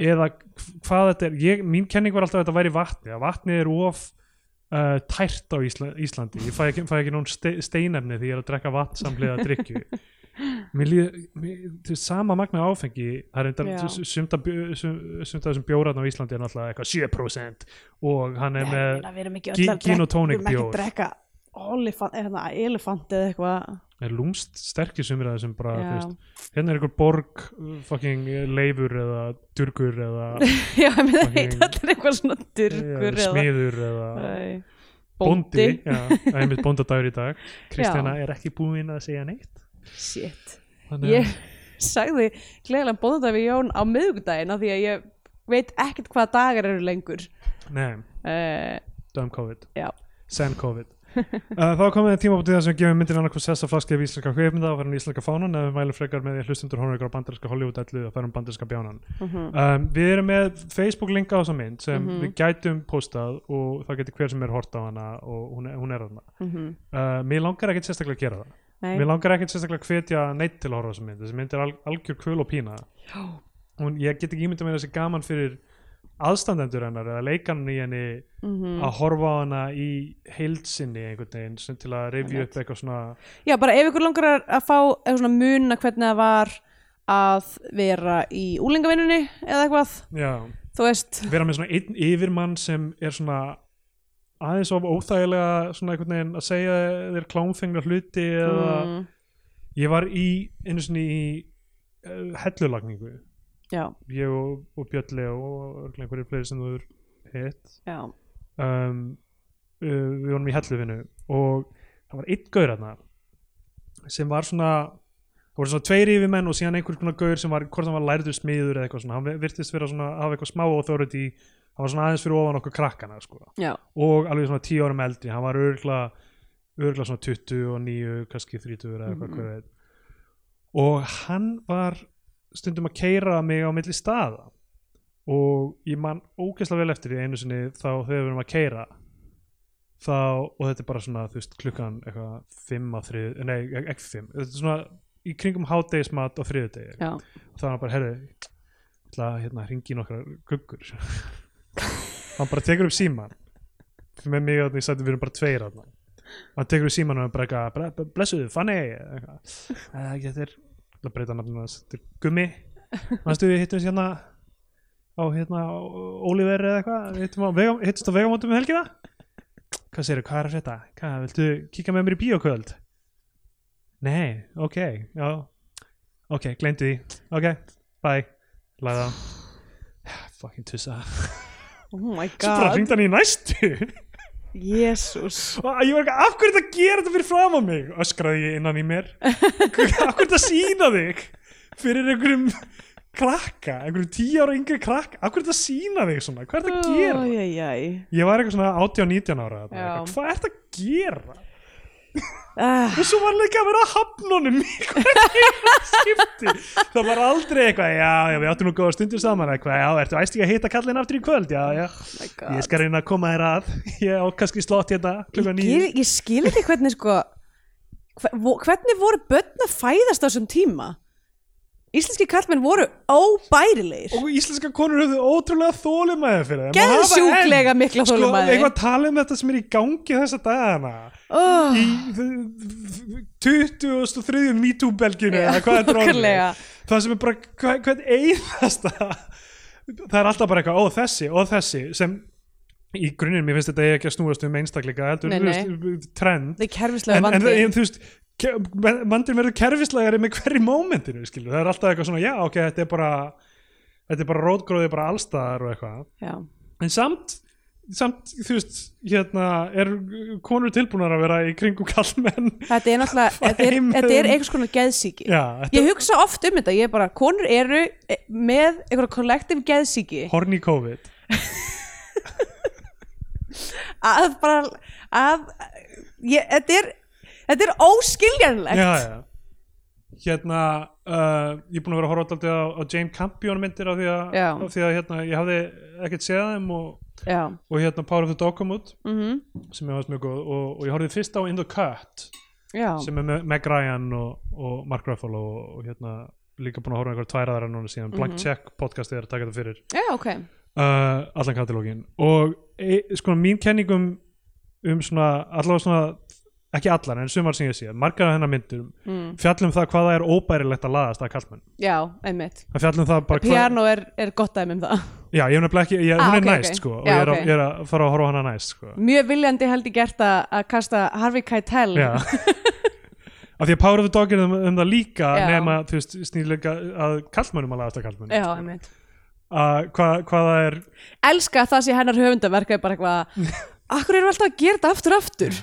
[SPEAKER 1] eða hvað þetta er ég, mín kenning var alltaf að þetta væri vatni að vatni er of uh, tært á Ísla, Íslandi ég fæ ekki, fæ ekki nún ste, steinefni því ég er að drekka vatn samlega að drikju mér líður, mér, þú veist, sama magna áfengi það er
[SPEAKER 2] Já.
[SPEAKER 1] þetta sumt af bjó- sum- sumt af þessum bjóraðn á Íslandi er náttúrulega eitthvað 7% og hann er með gin- gin og tonic
[SPEAKER 2] við erum ekki
[SPEAKER 1] bjór.
[SPEAKER 2] að drekka olifant, eða elefant eða eitthvað
[SPEAKER 1] er lúmst sterkir sumir að þessum bara, þú
[SPEAKER 2] Já.
[SPEAKER 1] veist, hérna er einhver borg uh, fucking leifur eða durgur eða
[SPEAKER 2] já, ég meina
[SPEAKER 1] Fucking-
[SPEAKER 2] það heit allir eitthvað svona
[SPEAKER 1] eða
[SPEAKER 2] dyrkur
[SPEAKER 1] smiður eða
[SPEAKER 2] Æ,
[SPEAKER 1] bóndi,
[SPEAKER 2] bóndi
[SPEAKER 1] já, það er mitt bóndadagur í dag Kristjana er ekki búin að segja neitt
[SPEAKER 2] shit,
[SPEAKER 1] þannig
[SPEAKER 2] ég sagði gleðilega bóndandag við Jón á miðvikudaginn af því að ég veit ekkert hvaða dagar eru lengur
[SPEAKER 1] að nei,
[SPEAKER 2] uh,
[SPEAKER 1] Dumb COVID
[SPEAKER 2] Já.
[SPEAKER 1] Sen COVID uh, Þá komið tíma út í þess að við gefum myndir annarkvæm sessa flaskið af íslenska hveifmynda og færum íslenska fánan eða við mælum frekar með því að hlustundur honur ykkur á bandarinska Hollywood-ellu og færum bandarinska bjánan um, Við erum með Facebook linka á þessa mynd sem
[SPEAKER 2] Mhm.
[SPEAKER 1] við gætum postað og það getur hver sem er hort á hana og hún er, hún er hana
[SPEAKER 2] Mhm.
[SPEAKER 1] uh, Mér langar ekkert sérstaklega að gera það
[SPEAKER 2] Nei.
[SPEAKER 1] Mér langar ekkert sérstaklega að hvetja neitt til að horfa á þessa mynd þessi mynd er al algjör kvöl og pína
[SPEAKER 2] Já.
[SPEAKER 1] hún, ég get ekki ímynda mér þessi gaman fyrir aðstandendur hennar eða leikanum í henni
[SPEAKER 2] Mhm.
[SPEAKER 1] að horfa á hana í heilsinni einhvern veginn sem til að revju upp eitthvað svona
[SPEAKER 2] Já, bara ef ykkur langar að- að fá eitthvað svona muna hvernig það var að vera í úlingavinnunni eða eitthvað,
[SPEAKER 1] já,
[SPEAKER 2] þú veist
[SPEAKER 1] vera með svona einn yfirmann sem er svona aðeins of óþægilega svona einhvern veginn að segja þér klámfengra hluti eða
[SPEAKER 2] mm,
[SPEAKER 1] ég var í einu svona í uh, hellulagningu
[SPEAKER 2] Já,
[SPEAKER 1] ég og, og Bjölli og örugglega einhverjir fleiri sem þú er hitt
[SPEAKER 2] já,
[SPEAKER 1] um, uh, við vorum í hellufinu og það var einn gaur þarna sem var svona það voru svona tveir yfirmenn og síðan einhver svona gaur sem var, hvort hann var lærður smiður eða eitthvað svona, hann virtist vera svona hafa eitthvað smá authority, hann var svona aðeins fyrir ofan okkur krakkana sko,
[SPEAKER 2] já,
[SPEAKER 1] og alveg svona tíu árum eldri, hann var örgla örgla svona 29, kannski 30 eða eitthvað,
[SPEAKER 2] Mhm.
[SPEAKER 1] hver veit og hann var stundum að keira mig á milli staða og ég man ógeðslega vel eftir því einu sinni þá þegar við erum að keira þá, og þetta er bara svona þú veist, klukkan eitthvað fimm á þrið, nei, ek- ekki fimm þetta er svona í kringum hádegismat á þriðudegi
[SPEAKER 2] já
[SPEAKER 1] þá er hann bara, herðu ég ætla að hérna, ringi nokkra guggur hann bara tekur upp síman með mig að því sætti við erum bara tveir hann hann tekur upp síman og hann bara eitthvað "Ble- ble- blessuðu, fanni eitthvað, "Eh, þetta er, það breyta nafnum hans þetta er gummi, mannstu við hittum hérna á hérna Oliver eða eitthvað, við hittum á vega, hittust á vegamótum um helgina hvað segirðu, hvað er að frétta, hvað, viltu kíka með mér í bíókvöld nei, ok, já ok, gleymdu því, ok, bye lagði á fucking tussa
[SPEAKER 2] Oh my
[SPEAKER 1] svo bara
[SPEAKER 2] god,
[SPEAKER 1] hringd hann í næstu
[SPEAKER 2] jésús
[SPEAKER 1] og ég var eitthvað, af hverju þetta gera þetta fyrir fram á mig öskraði ég innan í mér af hverju þetta sína þig fyrir einhverjum krakka einhverjum tíu ára yngri krakka af hverju þetta sína þig svona, hvað er þetta að gera
[SPEAKER 2] Æjæjæj
[SPEAKER 1] ég var eitthvað svona 18-19 ára þarna,
[SPEAKER 2] Já.
[SPEAKER 1] eitthvað, hvað er þetta að gera
[SPEAKER 2] ah,
[SPEAKER 1] og svo var líka að vera að hafnunum í hverju skipti það var aldrei eitthvað, já, já, við áttum nú góða stundir saman eitthvað, já, ertu æst ekki að hitta kallin aftur í kvöld, já, já
[SPEAKER 2] oh my
[SPEAKER 1] Ég
[SPEAKER 2] god
[SPEAKER 1] skal reyna að koma þér að Ég á kannski slott hérna klukka
[SPEAKER 2] Ég,
[SPEAKER 1] nýju
[SPEAKER 2] ég, ég skil ekki hvernig sko hve- vo- hvernig voru börn að fæðast á þessum tíma Íslenski kallmenn voru óbærilegir
[SPEAKER 1] Og íslenska konur höfðu ótrúlega þólimæði fyrir þeim og hafa
[SPEAKER 2] Geðsjúklega
[SPEAKER 1] enn.
[SPEAKER 2] mikla
[SPEAKER 1] Sko,
[SPEAKER 2] þolinmæði.
[SPEAKER 1] eitthvað tala um þetta sem er í gangi þessa dagana
[SPEAKER 2] oh,
[SPEAKER 1] Í 23. MeToo-belginu eða hvað þetta er orðið
[SPEAKER 2] okkarlega.
[SPEAKER 1] Það sem er bara hvern hvern einasta Það er alltaf bara eitthvað, ó þessi, ó þessi sem í grunninn, mér finnst þetta eigi ekki að snúast um einstakleika, heldur,
[SPEAKER 2] Nei,
[SPEAKER 1] þú
[SPEAKER 2] nei.
[SPEAKER 1] veist, uh, trend
[SPEAKER 2] Það er kerfislega
[SPEAKER 1] en, en,
[SPEAKER 2] vandi
[SPEAKER 1] en þú veist ke- men- mandir verður kerfislegari með hverju mómentinu skilur, það er alltaf eitthvað svona, já ok þetta er bara, þetta er bara rótgróði bara allstaðar og eitthvað,
[SPEAKER 2] Já,
[SPEAKER 1] en samt samt, þú veist, hérna er konur tilbúnar að vera í kringum kallmenn,
[SPEAKER 2] Þetta er náttúrulega,
[SPEAKER 1] Hvað
[SPEAKER 2] þetta er,
[SPEAKER 1] heimurinn-
[SPEAKER 2] þetta er einhvers konar geðsíki
[SPEAKER 1] já, þetta
[SPEAKER 2] Ég hugsa oft um þetta, ég er bara, konur eru eh, með einhverja kollektiv geðsíki
[SPEAKER 1] er horny COVID
[SPEAKER 2] að bara, að ég, þetta er, þetta er óskiljanlegt
[SPEAKER 1] já, já. hérna uh, ég er búin að vera að horfa alltaf á, á Jane Campion myndir af því að,
[SPEAKER 2] Já.
[SPEAKER 1] af því að hérna, ég hafði ekkert séð þeim og,
[SPEAKER 2] Já,
[SPEAKER 1] og hérna Power of the Dog kom út
[SPEAKER 2] mhm,
[SPEAKER 1] sem ég varst mjög góð og, og ég horfði fyrst á In the Cut
[SPEAKER 2] já
[SPEAKER 1] sem er með Meg Ryan og, og Mark Ruffalo og, og hérna líka búin að horfa á einhver tværaðara núna síðan
[SPEAKER 2] Mhm.
[SPEAKER 1] Blank Check podcastið er að taka þetta fyrir
[SPEAKER 2] Já, ok
[SPEAKER 1] uh, allan katalógin og e, sko mín kenningum um svona allavega svona ekki allar en sumar sem ég sé margar af hennar myndur
[SPEAKER 2] mm.
[SPEAKER 1] fjallum það hvað það er óbærilegt að laðast að kallmenn
[SPEAKER 2] Já, einmitt
[SPEAKER 1] það fjallum það bara hvað
[SPEAKER 2] Piano er, er gott dæmi um það
[SPEAKER 1] já ég hef nefnilega ekki ég,
[SPEAKER 2] Ah,
[SPEAKER 1] hún er
[SPEAKER 2] ok, ok.
[SPEAKER 1] næst sko og
[SPEAKER 2] Já,
[SPEAKER 1] ég er,
[SPEAKER 2] ok.
[SPEAKER 1] að, ég er að fara að horfa á hana næst sko
[SPEAKER 2] Mjög viljandi held ég gert að að kasta Harvey Keitel
[SPEAKER 1] Já Af því að Power of the Dog er um, um það líka
[SPEAKER 2] Já.
[SPEAKER 1] nema, þú veist, snýðlega að kallmönnum að lagast að
[SPEAKER 2] Já,
[SPEAKER 1] kallmönnum
[SPEAKER 2] einmitt
[SPEAKER 1] að hvað hvað það er
[SPEAKER 2] Elska að það sé hennar höfundaverk er bara eitthvað Akkur erum við alltaf að gera þetta aftur og aftur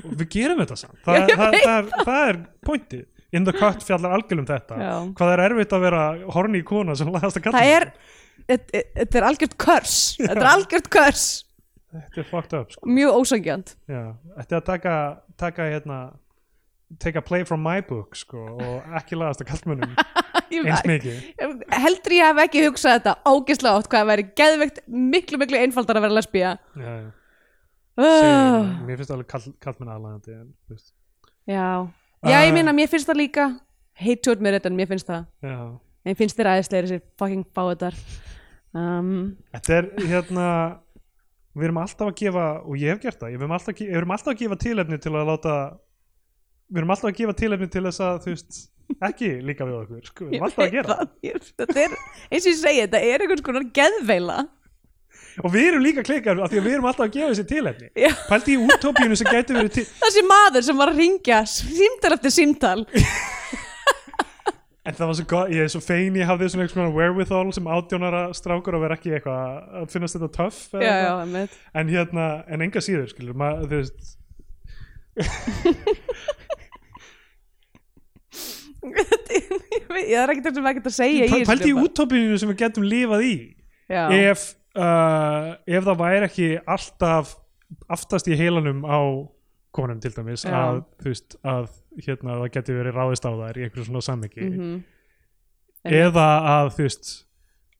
[SPEAKER 1] og við gerum þetta samt það,
[SPEAKER 2] Já, ég
[SPEAKER 1] það,
[SPEAKER 2] veit
[SPEAKER 1] það, er, það er pointið In the Cut fjallar algjörlum þetta
[SPEAKER 2] Já.
[SPEAKER 1] hvað það er erfitt að vera horni í kona sem lagast að
[SPEAKER 2] Það
[SPEAKER 1] kallmönnum
[SPEAKER 2] er, þetta- þetta er algjört körs Þetta er algjört körs
[SPEAKER 1] þetta er fucked up sko.
[SPEAKER 2] mjög ósangjönd
[SPEAKER 1] Já, þetta er að taka, taka hérna take a play from my book sko, og ekki laðast að kallmönnum eins mikið
[SPEAKER 2] heldur ég hef ekki hugsað þetta ágislega átt hvað það væri geðveikt miklu miklu einfaldar að vera lesbía
[SPEAKER 1] já, já.
[SPEAKER 2] oh,
[SPEAKER 1] Segir- mér finnst alveg kall, kallmenn aðlæðandi en, þú veist,
[SPEAKER 2] já, já
[SPEAKER 1] Ah.
[SPEAKER 2] ég meina mér finnst það líka hate to admit it en mér finnst það
[SPEAKER 1] já.
[SPEAKER 2] en ég finnst þér aðeinslega þessir fucking báðar um,
[SPEAKER 1] þetta er hérna við erum alltaf að gefa og ég hef gert það, við erum alltaf, að ge- við erum alltaf að gefa tilefni til að láta við erum alltaf að gefa tilefni til þess að þú veist, ekki líka við okkur sko, við erum alltaf að gera það.
[SPEAKER 2] það ég, þetta er, eins og ég segi, þetta er einhvers konar geðveila
[SPEAKER 1] og við erum líka klikkar af því að við erum alltaf að gefa þessi tilefni
[SPEAKER 2] Já.
[SPEAKER 1] pældi í útópíunum sem gæti verið til
[SPEAKER 2] þessi maður sem var að ringja símtal eftir símtal
[SPEAKER 1] En það var svo gott, ég er svo fein ég hafði svona einhvers konar wherewithal sem átjónara strákur að vera ekki eitthvað að finnast þetta töff eða
[SPEAKER 2] já, já,
[SPEAKER 1] eitthvað.
[SPEAKER 2] einmitt.
[SPEAKER 1] en hérna, en enga síður skilur, maður, þú veist
[SPEAKER 2] ég er ekkert sem ekkert að segja
[SPEAKER 1] pæ-
[SPEAKER 2] þessu
[SPEAKER 1] pældi í
[SPEAKER 2] bara.
[SPEAKER 1] útópinu sem við getum lifað í
[SPEAKER 2] Já.
[SPEAKER 1] ef, uh, ef það væri ekki alltaf aftast í heilanum á konum til dæmis
[SPEAKER 2] Já.
[SPEAKER 1] að, þú veist, að hérna, það geti verið ráðist á þær í einhverju svona samviki
[SPEAKER 2] Mhm.
[SPEAKER 1] eða að þú veist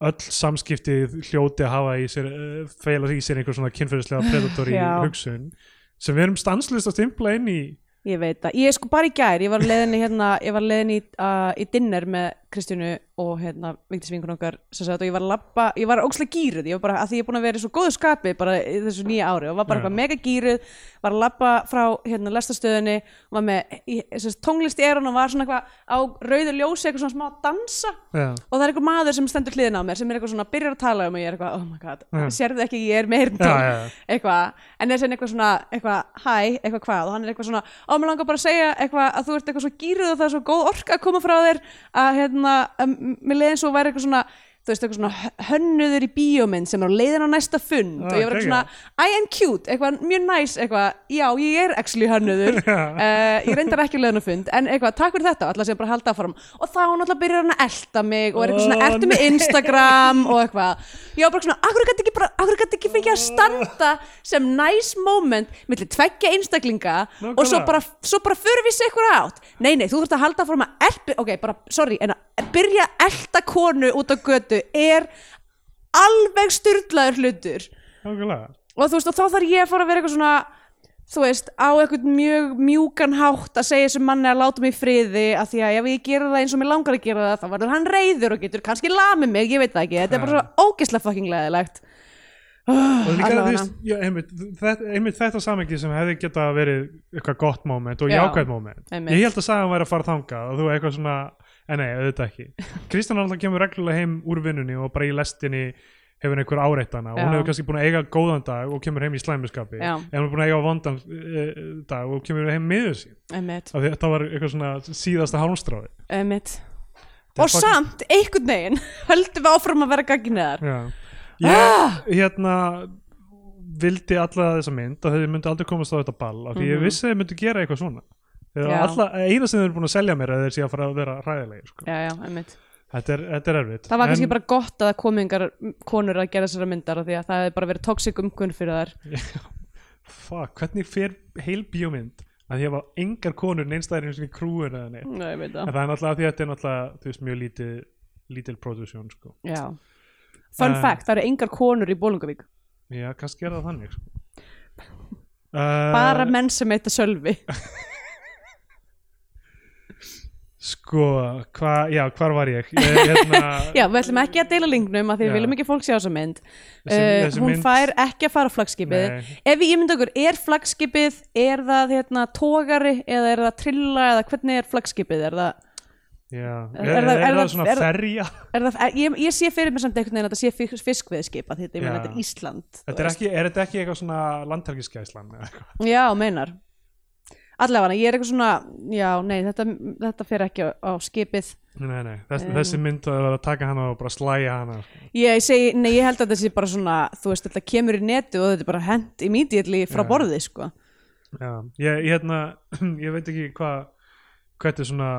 [SPEAKER 1] öll samskipti hljóti að hafa í sér uh, feila í sér einhver svona kynferðislega predatory
[SPEAKER 2] Já.
[SPEAKER 1] hugsun sem við erum stanslust að stimpla inn í
[SPEAKER 2] Ég veit það, ég sko bara í gær, ég var leðinni hérna, ég var leðinni í, uh, í dinner með Kristjánu og hérna Vigdís vingun okkar sem sagt og ég var að labba, ég var ókslega gýruð, ég var bara, að því ég er búin að vera í svo góðu skapi bara í þessu nýja ári og var bara
[SPEAKER 1] Já.
[SPEAKER 2] eitthvað mega gýruð, var að labba frá hérna lestastöðunni, var með í, sérst, tónlist í erun og var svona eitthvað á rauðu ljósi eitthvað svona smá að dansa
[SPEAKER 1] Já.
[SPEAKER 2] og það er eitthvað maður sem stendur hliðin á mér sem er eitthvað svona, byrjar að tala um og ég er eitthvað, oh my god,
[SPEAKER 1] Já.
[SPEAKER 2] sérðu ekki, ég er meirn
[SPEAKER 1] Mm. Já, já, já.
[SPEAKER 2] eitthvað, en er sem eitthvað svona eitthvað, hæ, eitthvað hvað, og hann er eitthvað svona á, mér langar bara að segja eitthvað að þú ert eitthvað svo gýruð og það er svo góð orka að koma frá þér að hérna, að m- mér leiðin svo væri eitthvað svona þú veist, eitthvað svona hö- hönnuður í bíómynd sem er á leiðin á næsta fund
[SPEAKER 1] Ah,
[SPEAKER 2] og ég var eitthvað
[SPEAKER 1] geggjað.
[SPEAKER 2] svona, I am cute, eitthvað mjög næs eitthvað, já, ég er actually hönnuður uh, ég reyndar ekki leiðin á fund en eitthvað, takk fyrir þetta, allar sem bara halda áfram og þá náttúrulega byrjar hann að elta mig og er eitthvað svona,
[SPEAKER 1] Ó,
[SPEAKER 2] ertu með
[SPEAKER 1] nei.
[SPEAKER 2] Instagram og eitthvað ég var bara svona, akkur gæti ekki, bara- af hverju gat ekki fengið að standa sem nice moment millir tveggja einstaklinga
[SPEAKER 1] Nákvæmlega.
[SPEAKER 2] og svo bara, svo bara fyrir við sig ykkur átt nei, nei, þú þurft að halda fórum að elpi, ok, bara, sorry, en að byrja að elta konu út á götu er alveg styrlaður hlutur
[SPEAKER 1] nákvæmlega
[SPEAKER 2] og þú veist, og þá þarf ég að fara að vera eitthvað svona þú veist, á eitthvað mjög mjúkan hátt að segja þessum manni að láta mig í friði af því að ef ég gera það eins og mér langar að gera það þá verður hann reyður og getur kannski lamið mig ég veit það ekki, þetta er bara svo ógeðslega fucking leðilegt
[SPEAKER 1] og líka
[SPEAKER 2] Allavega.
[SPEAKER 1] þú veist, já, einmitt, þetta, einmitt þetta samengi sem hefði geta verið eitthvað gott moment og
[SPEAKER 2] Já,
[SPEAKER 1] jákvæð moment
[SPEAKER 2] einmitt.
[SPEAKER 1] ég held að sagði hann væri að fara þangað og þú eitthvað svona, en nei, auðvitað ekki Kristján alltaf kemur reglulega heim úr vinnunni og bara í lestinni hefur einhver áreittana og
[SPEAKER 2] Já.
[SPEAKER 1] hún hefur kannski búin að eiga góðan dag og kemur heim í slæmuskapi
[SPEAKER 2] Já.
[SPEAKER 1] en hún er búin að eiga vondan uh, dag og kemur heim miður sín
[SPEAKER 2] Einmitt,
[SPEAKER 1] af því að þetta var eitthvað svona síðasta hálmstráði
[SPEAKER 2] einmitt.
[SPEAKER 1] Þetta er
[SPEAKER 2] og
[SPEAKER 1] fucking-
[SPEAKER 2] samt, einhvern veginn höldum við áfram að vera gagginniðar
[SPEAKER 1] Já.
[SPEAKER 2] Ah!
[SPEAKER 1] Ég, hérna vildi alla þessa mynd að þau myndu aldrei komast á þetta ball af því ég vissi að þau myndu gera eitthvað svona Þegar
[SPEAKER 2] Mhm. Já.
[SPEAKER 1] alla, eina sem þau eru búin að selja mér er þeir sé að fara að vera ræðilegir sko.
[SPEAKER 2] Já, já, einmitt.
[SPEAKER 1] þetta, er, þetta er erfitt
[SPEAKER 2] Það var kannski
[SPEAKER 1] En-
[SPEAKER 2] bara gott að það komi engar konur að gera þessara myndar af því að það hefði bara verið toxic umkunn fyrir þær.
[SPEAKER 1] Fuck, hvernig fer heil bíómynd að því að var engar konur neinstæðir eins og í krúin eða neitt
[SPEAKER 2] Nei, ég veit það.
[SPEAKER 1] en það er náttúrulega af því að þetta er náttúrulega þú veist, mjög lítið, lítil production sko.
[SPEAKER 2] Já. Fun
[SPEAKER 1] Eh.
[SPEAKER 2] fact, það eru engar konur í Bólungavík.
[SPEAKER 1] já, kannski er það þannig sko. uh,
[SPEAKER 2] Bara menn sem heita Sölvi.
[SPEAKER 1] sko, hva, já, hvar var ég? ég hérna,
[SPEAKER 2] Já, við ætlum ekki að deila linknum af
[SPEAKER 1] Já.
[SPEAKER 2] því við viljum ekki að fólk sjá þessa mynd.
[SPEAKER 1] Þessi-
[SPEAKER 2] Uh,
[SPEAKER 1] þessi
[SPEAKER 2] hún
[SPEAKER 1] mynd-
[SPEAKER 2] fær ekki að fara á flagskipið.
[SPEAKER 1] Nei.
[SPEAKER 2] Ef við ímynda okkur, er flagskipið, er það hérna, tógari eða er það trilla eða hvernig er flagskipið? Er það...
[SPEAKER 1] Já, er,
[SPEAKER 2] Er-
[SPEAKER 1] er,
[SPEAKER 2] er það- er
[SPEAKER 1] það
[SPEAKER 2] það-
[SPEAKER 1] svona
[SPEAKER 2] er það-
[SPEAKER 1] ferja?
[SPEAKER 2] Er það, er, ég, ég sé fyrir mér samt einhvern veginn að þetta sé fiskveðskip að þetta, ég meina
[SPEAKER 1] Já.
[SPEAKER 2] þetta er Ísland þú
[SPEAKER 1] Þetta er,
[SPEAKER 2] veist.
[SPEAKER 1] ekki, er þetta ekki eitthvað svona landhelgisgæslan? eða eitthvað?
[SPEAKER 2] Já, meinar Allavega, ég er eitthvað svona Já, nei, þetta, þetta fer ekki á, á skipið
[SPEAKER 1] Nei, nei, þessi, þessi mynd að vera að taka hana og bara slæja hana sko.
[SPEAKER 2] Ég segi, nei, ég held að þetta sé bara svona Þú veist, þetta kemur í netu og þetta er bara hent immediately frá
[SPEAKER 1] Já.
[SPEAKER 2] borði, sko
[SPEAKER 1] Já, ég, ég, hérna, ég veit ekki hvað hvað þetta er svona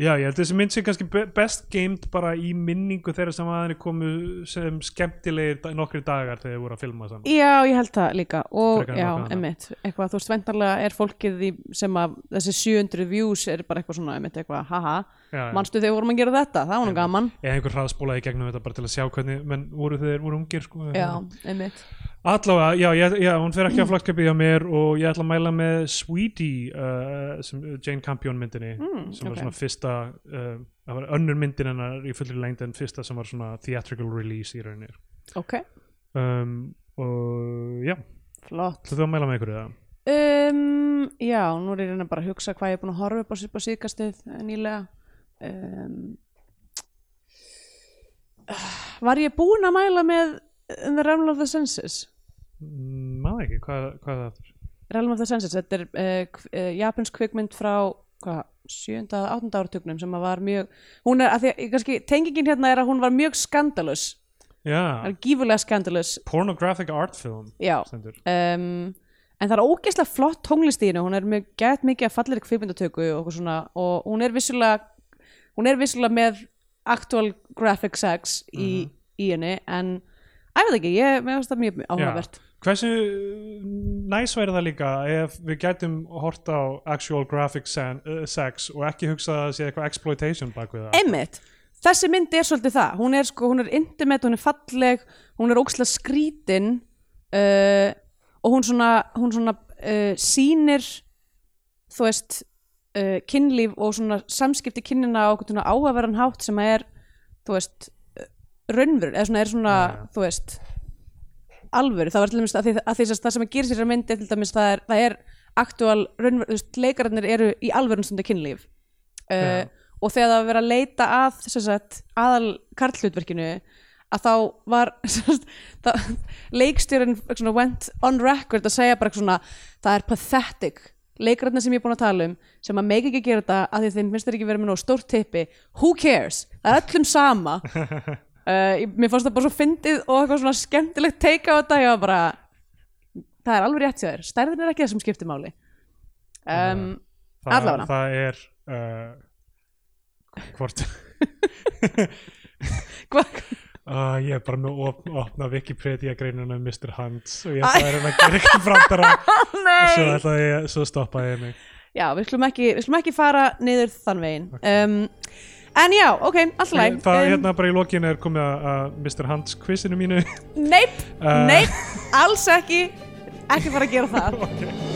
[SPEAKER 1] Já, ég held að þessi mynd sé kannski be- best geimt bara í minningu þeirra sem aðeins komu sem skemmtilegir da- nokkri dagar þegar þeir voru að filma saman.
[SPEAKER 2] Já, ég held það líka og
[SPEAKER 1] Frekar en
[SPEAKER 2] já,
[SPEAKER 1] nokkuð annað.
[SPEAKER 2] einmitt, eitthvað, þú veist, vendarlega er fólkið í, sem að þessi 700 views er bara eitthvað svona, einmitt, eitthvað, haha
[SPEAKER 1] Já, já.
[SPEAKER 2] manstu þegar vorum að gera þetta, það var nú
[SPEAKER 1] Einmitt.
[SPEAKER 2] gaman
[SPEAKER 1] Eða einhver hraðspólaði í gegnum þetta bara til að sjá hvernig menn voru þeir voru ungir sko.
[SPEAKER 2] Já, einmitt
[SPEAKER 1] Allavega, já, já, já, hún fer ekki að flagskapið hjá mér og ég ætla að mæla með Sweetie uh, sem Jane Campion myndinni
[SPEAKER 2] Mm,
[SPEAKER 1] sem var
[SPEAKER 2] ok.
[SPEAKER 1] svona fyrsta uh, það var önnur myndin hennar í fullri lengd en fyrsta sem var svona theatrical release í rauninni
[SPEAKER 2] Ok,
[SPEAKER 1] um, og já,
[SPEAKER 2] flott
[SPEAKER 1] ætla þú að mæla með ykkur eða?
[SPEAKER 2] um, Já, nú er ég að reyna bara að hugsa hvað ég er búin að horfa upp á sér bara síðkastið eh, nýlega um, Var ég búin að mæla með eh, The Realm of the Senses?
[SPEAKER 1] Mm, maður ekki, hvað, hvað er það aftur?
[SPEAKER 2] Realm of the Senses, þetta er uh, kv- uh, japansk kvikmynd frá hvað, 7. að 8. áratugnum sem að var mjög, hún er, að því að kannski tengingin hérna er að hún var mjög skandalus
[SPEAKER 1] Já,
[SPEAKER 2] er gífurlega skandalus,
[SPEAKER 1] pornographic art film
[SPEAKER 2] já
[SPEAKER 1] stendur.
[SPEAKER 2] um, en það er ógeðslega flott tónlist í henni hún er með gæt mikið að fallir kvikmyndatöku og, okkur svona, og hún er vissulega hún er vissulega með actual graphic sex í, í henni en, að ég veit ekki, ég mér finnst það mjög áhugavert
[SPEAKER 1] Hversu uh, næs væri það líka ef við gætum hort á actual graphic sen, uh, sex og ekki hugsa að það sé eitthvað exploitation bak við það
[SPEAKER 2] Einmitt, þessi myndi er svolítið það hún er, sko, hún er intimate, hún er falleg hún er ókslega skrítin uh, og hún svona, hún svona uh, sýnir þú veist uh, kynlíf og svona samskipti kynina á okkur svona áhugaverðan hátt sem er þú veist, uh, raunvör eða svona er svona,
[SPEAKER 1] Já.
[SPEAKER 2] þú veist alvöru, það var til dæmis að því að því að það sem að gera sér að myndi til dæmis það er, það er aktual, raunvör, þú veist, leikararnir eru í alvörun stundi kynlíf uh,
[SPEAKER 1] Já.
[SPEAKER 2] og þegar það var verið að leita að sem sagt, aðal karlhlutverkinu að þá var sem sagt, það, leikstjórinn svona, went on record að segja bara eitthvað svona það er pathetic leikrarna sem ég er búin að tala um sem að meik ekki að gera þetta að því að þeim finnst þeir ekki vera með nóg stórt tippi who cares, það er öllum sama uh, ég- mér fannst það bara svo fyndið og eitthvað svona skemmtilegt teika á þetta ég var bara það er alveg rétt hjá þér, stærðin er ekki það sem skiptir máli um,
[SPEAKER 1] það,
[SPEAKER 2] allavega.
[SPEAKER 1] það er uh, hvort
[SPEAKER 2] hvað
[SPEAKER 1] uh, ég er bara með að op opna Wikipedia greinuna um Mr. Hands og ég
[SPEAKER 2] Æ.
[SPEAKER 1] ætla að reyna að gera eitthvað framtara og svo,
[SPEAKER 2] Nei!
[SPEAKER 1] ætlaði ég, svo stoppaði ég mig
[SPEAKER 2] Já, við skulum ekki, við skulum ekki fara niður þann veginn um, En já, ok, alltaf læg
[SPEAKER 1] það hérna bara í lokinu er komið að, að Mr. Hands quizinu mínu
[SPEAKER 2] Neip,
[SPEAKER 1] Uh.
[SPEAKER 2] neip, alls ekki Ekki fara að gera það
[SPEAKER 1] okay.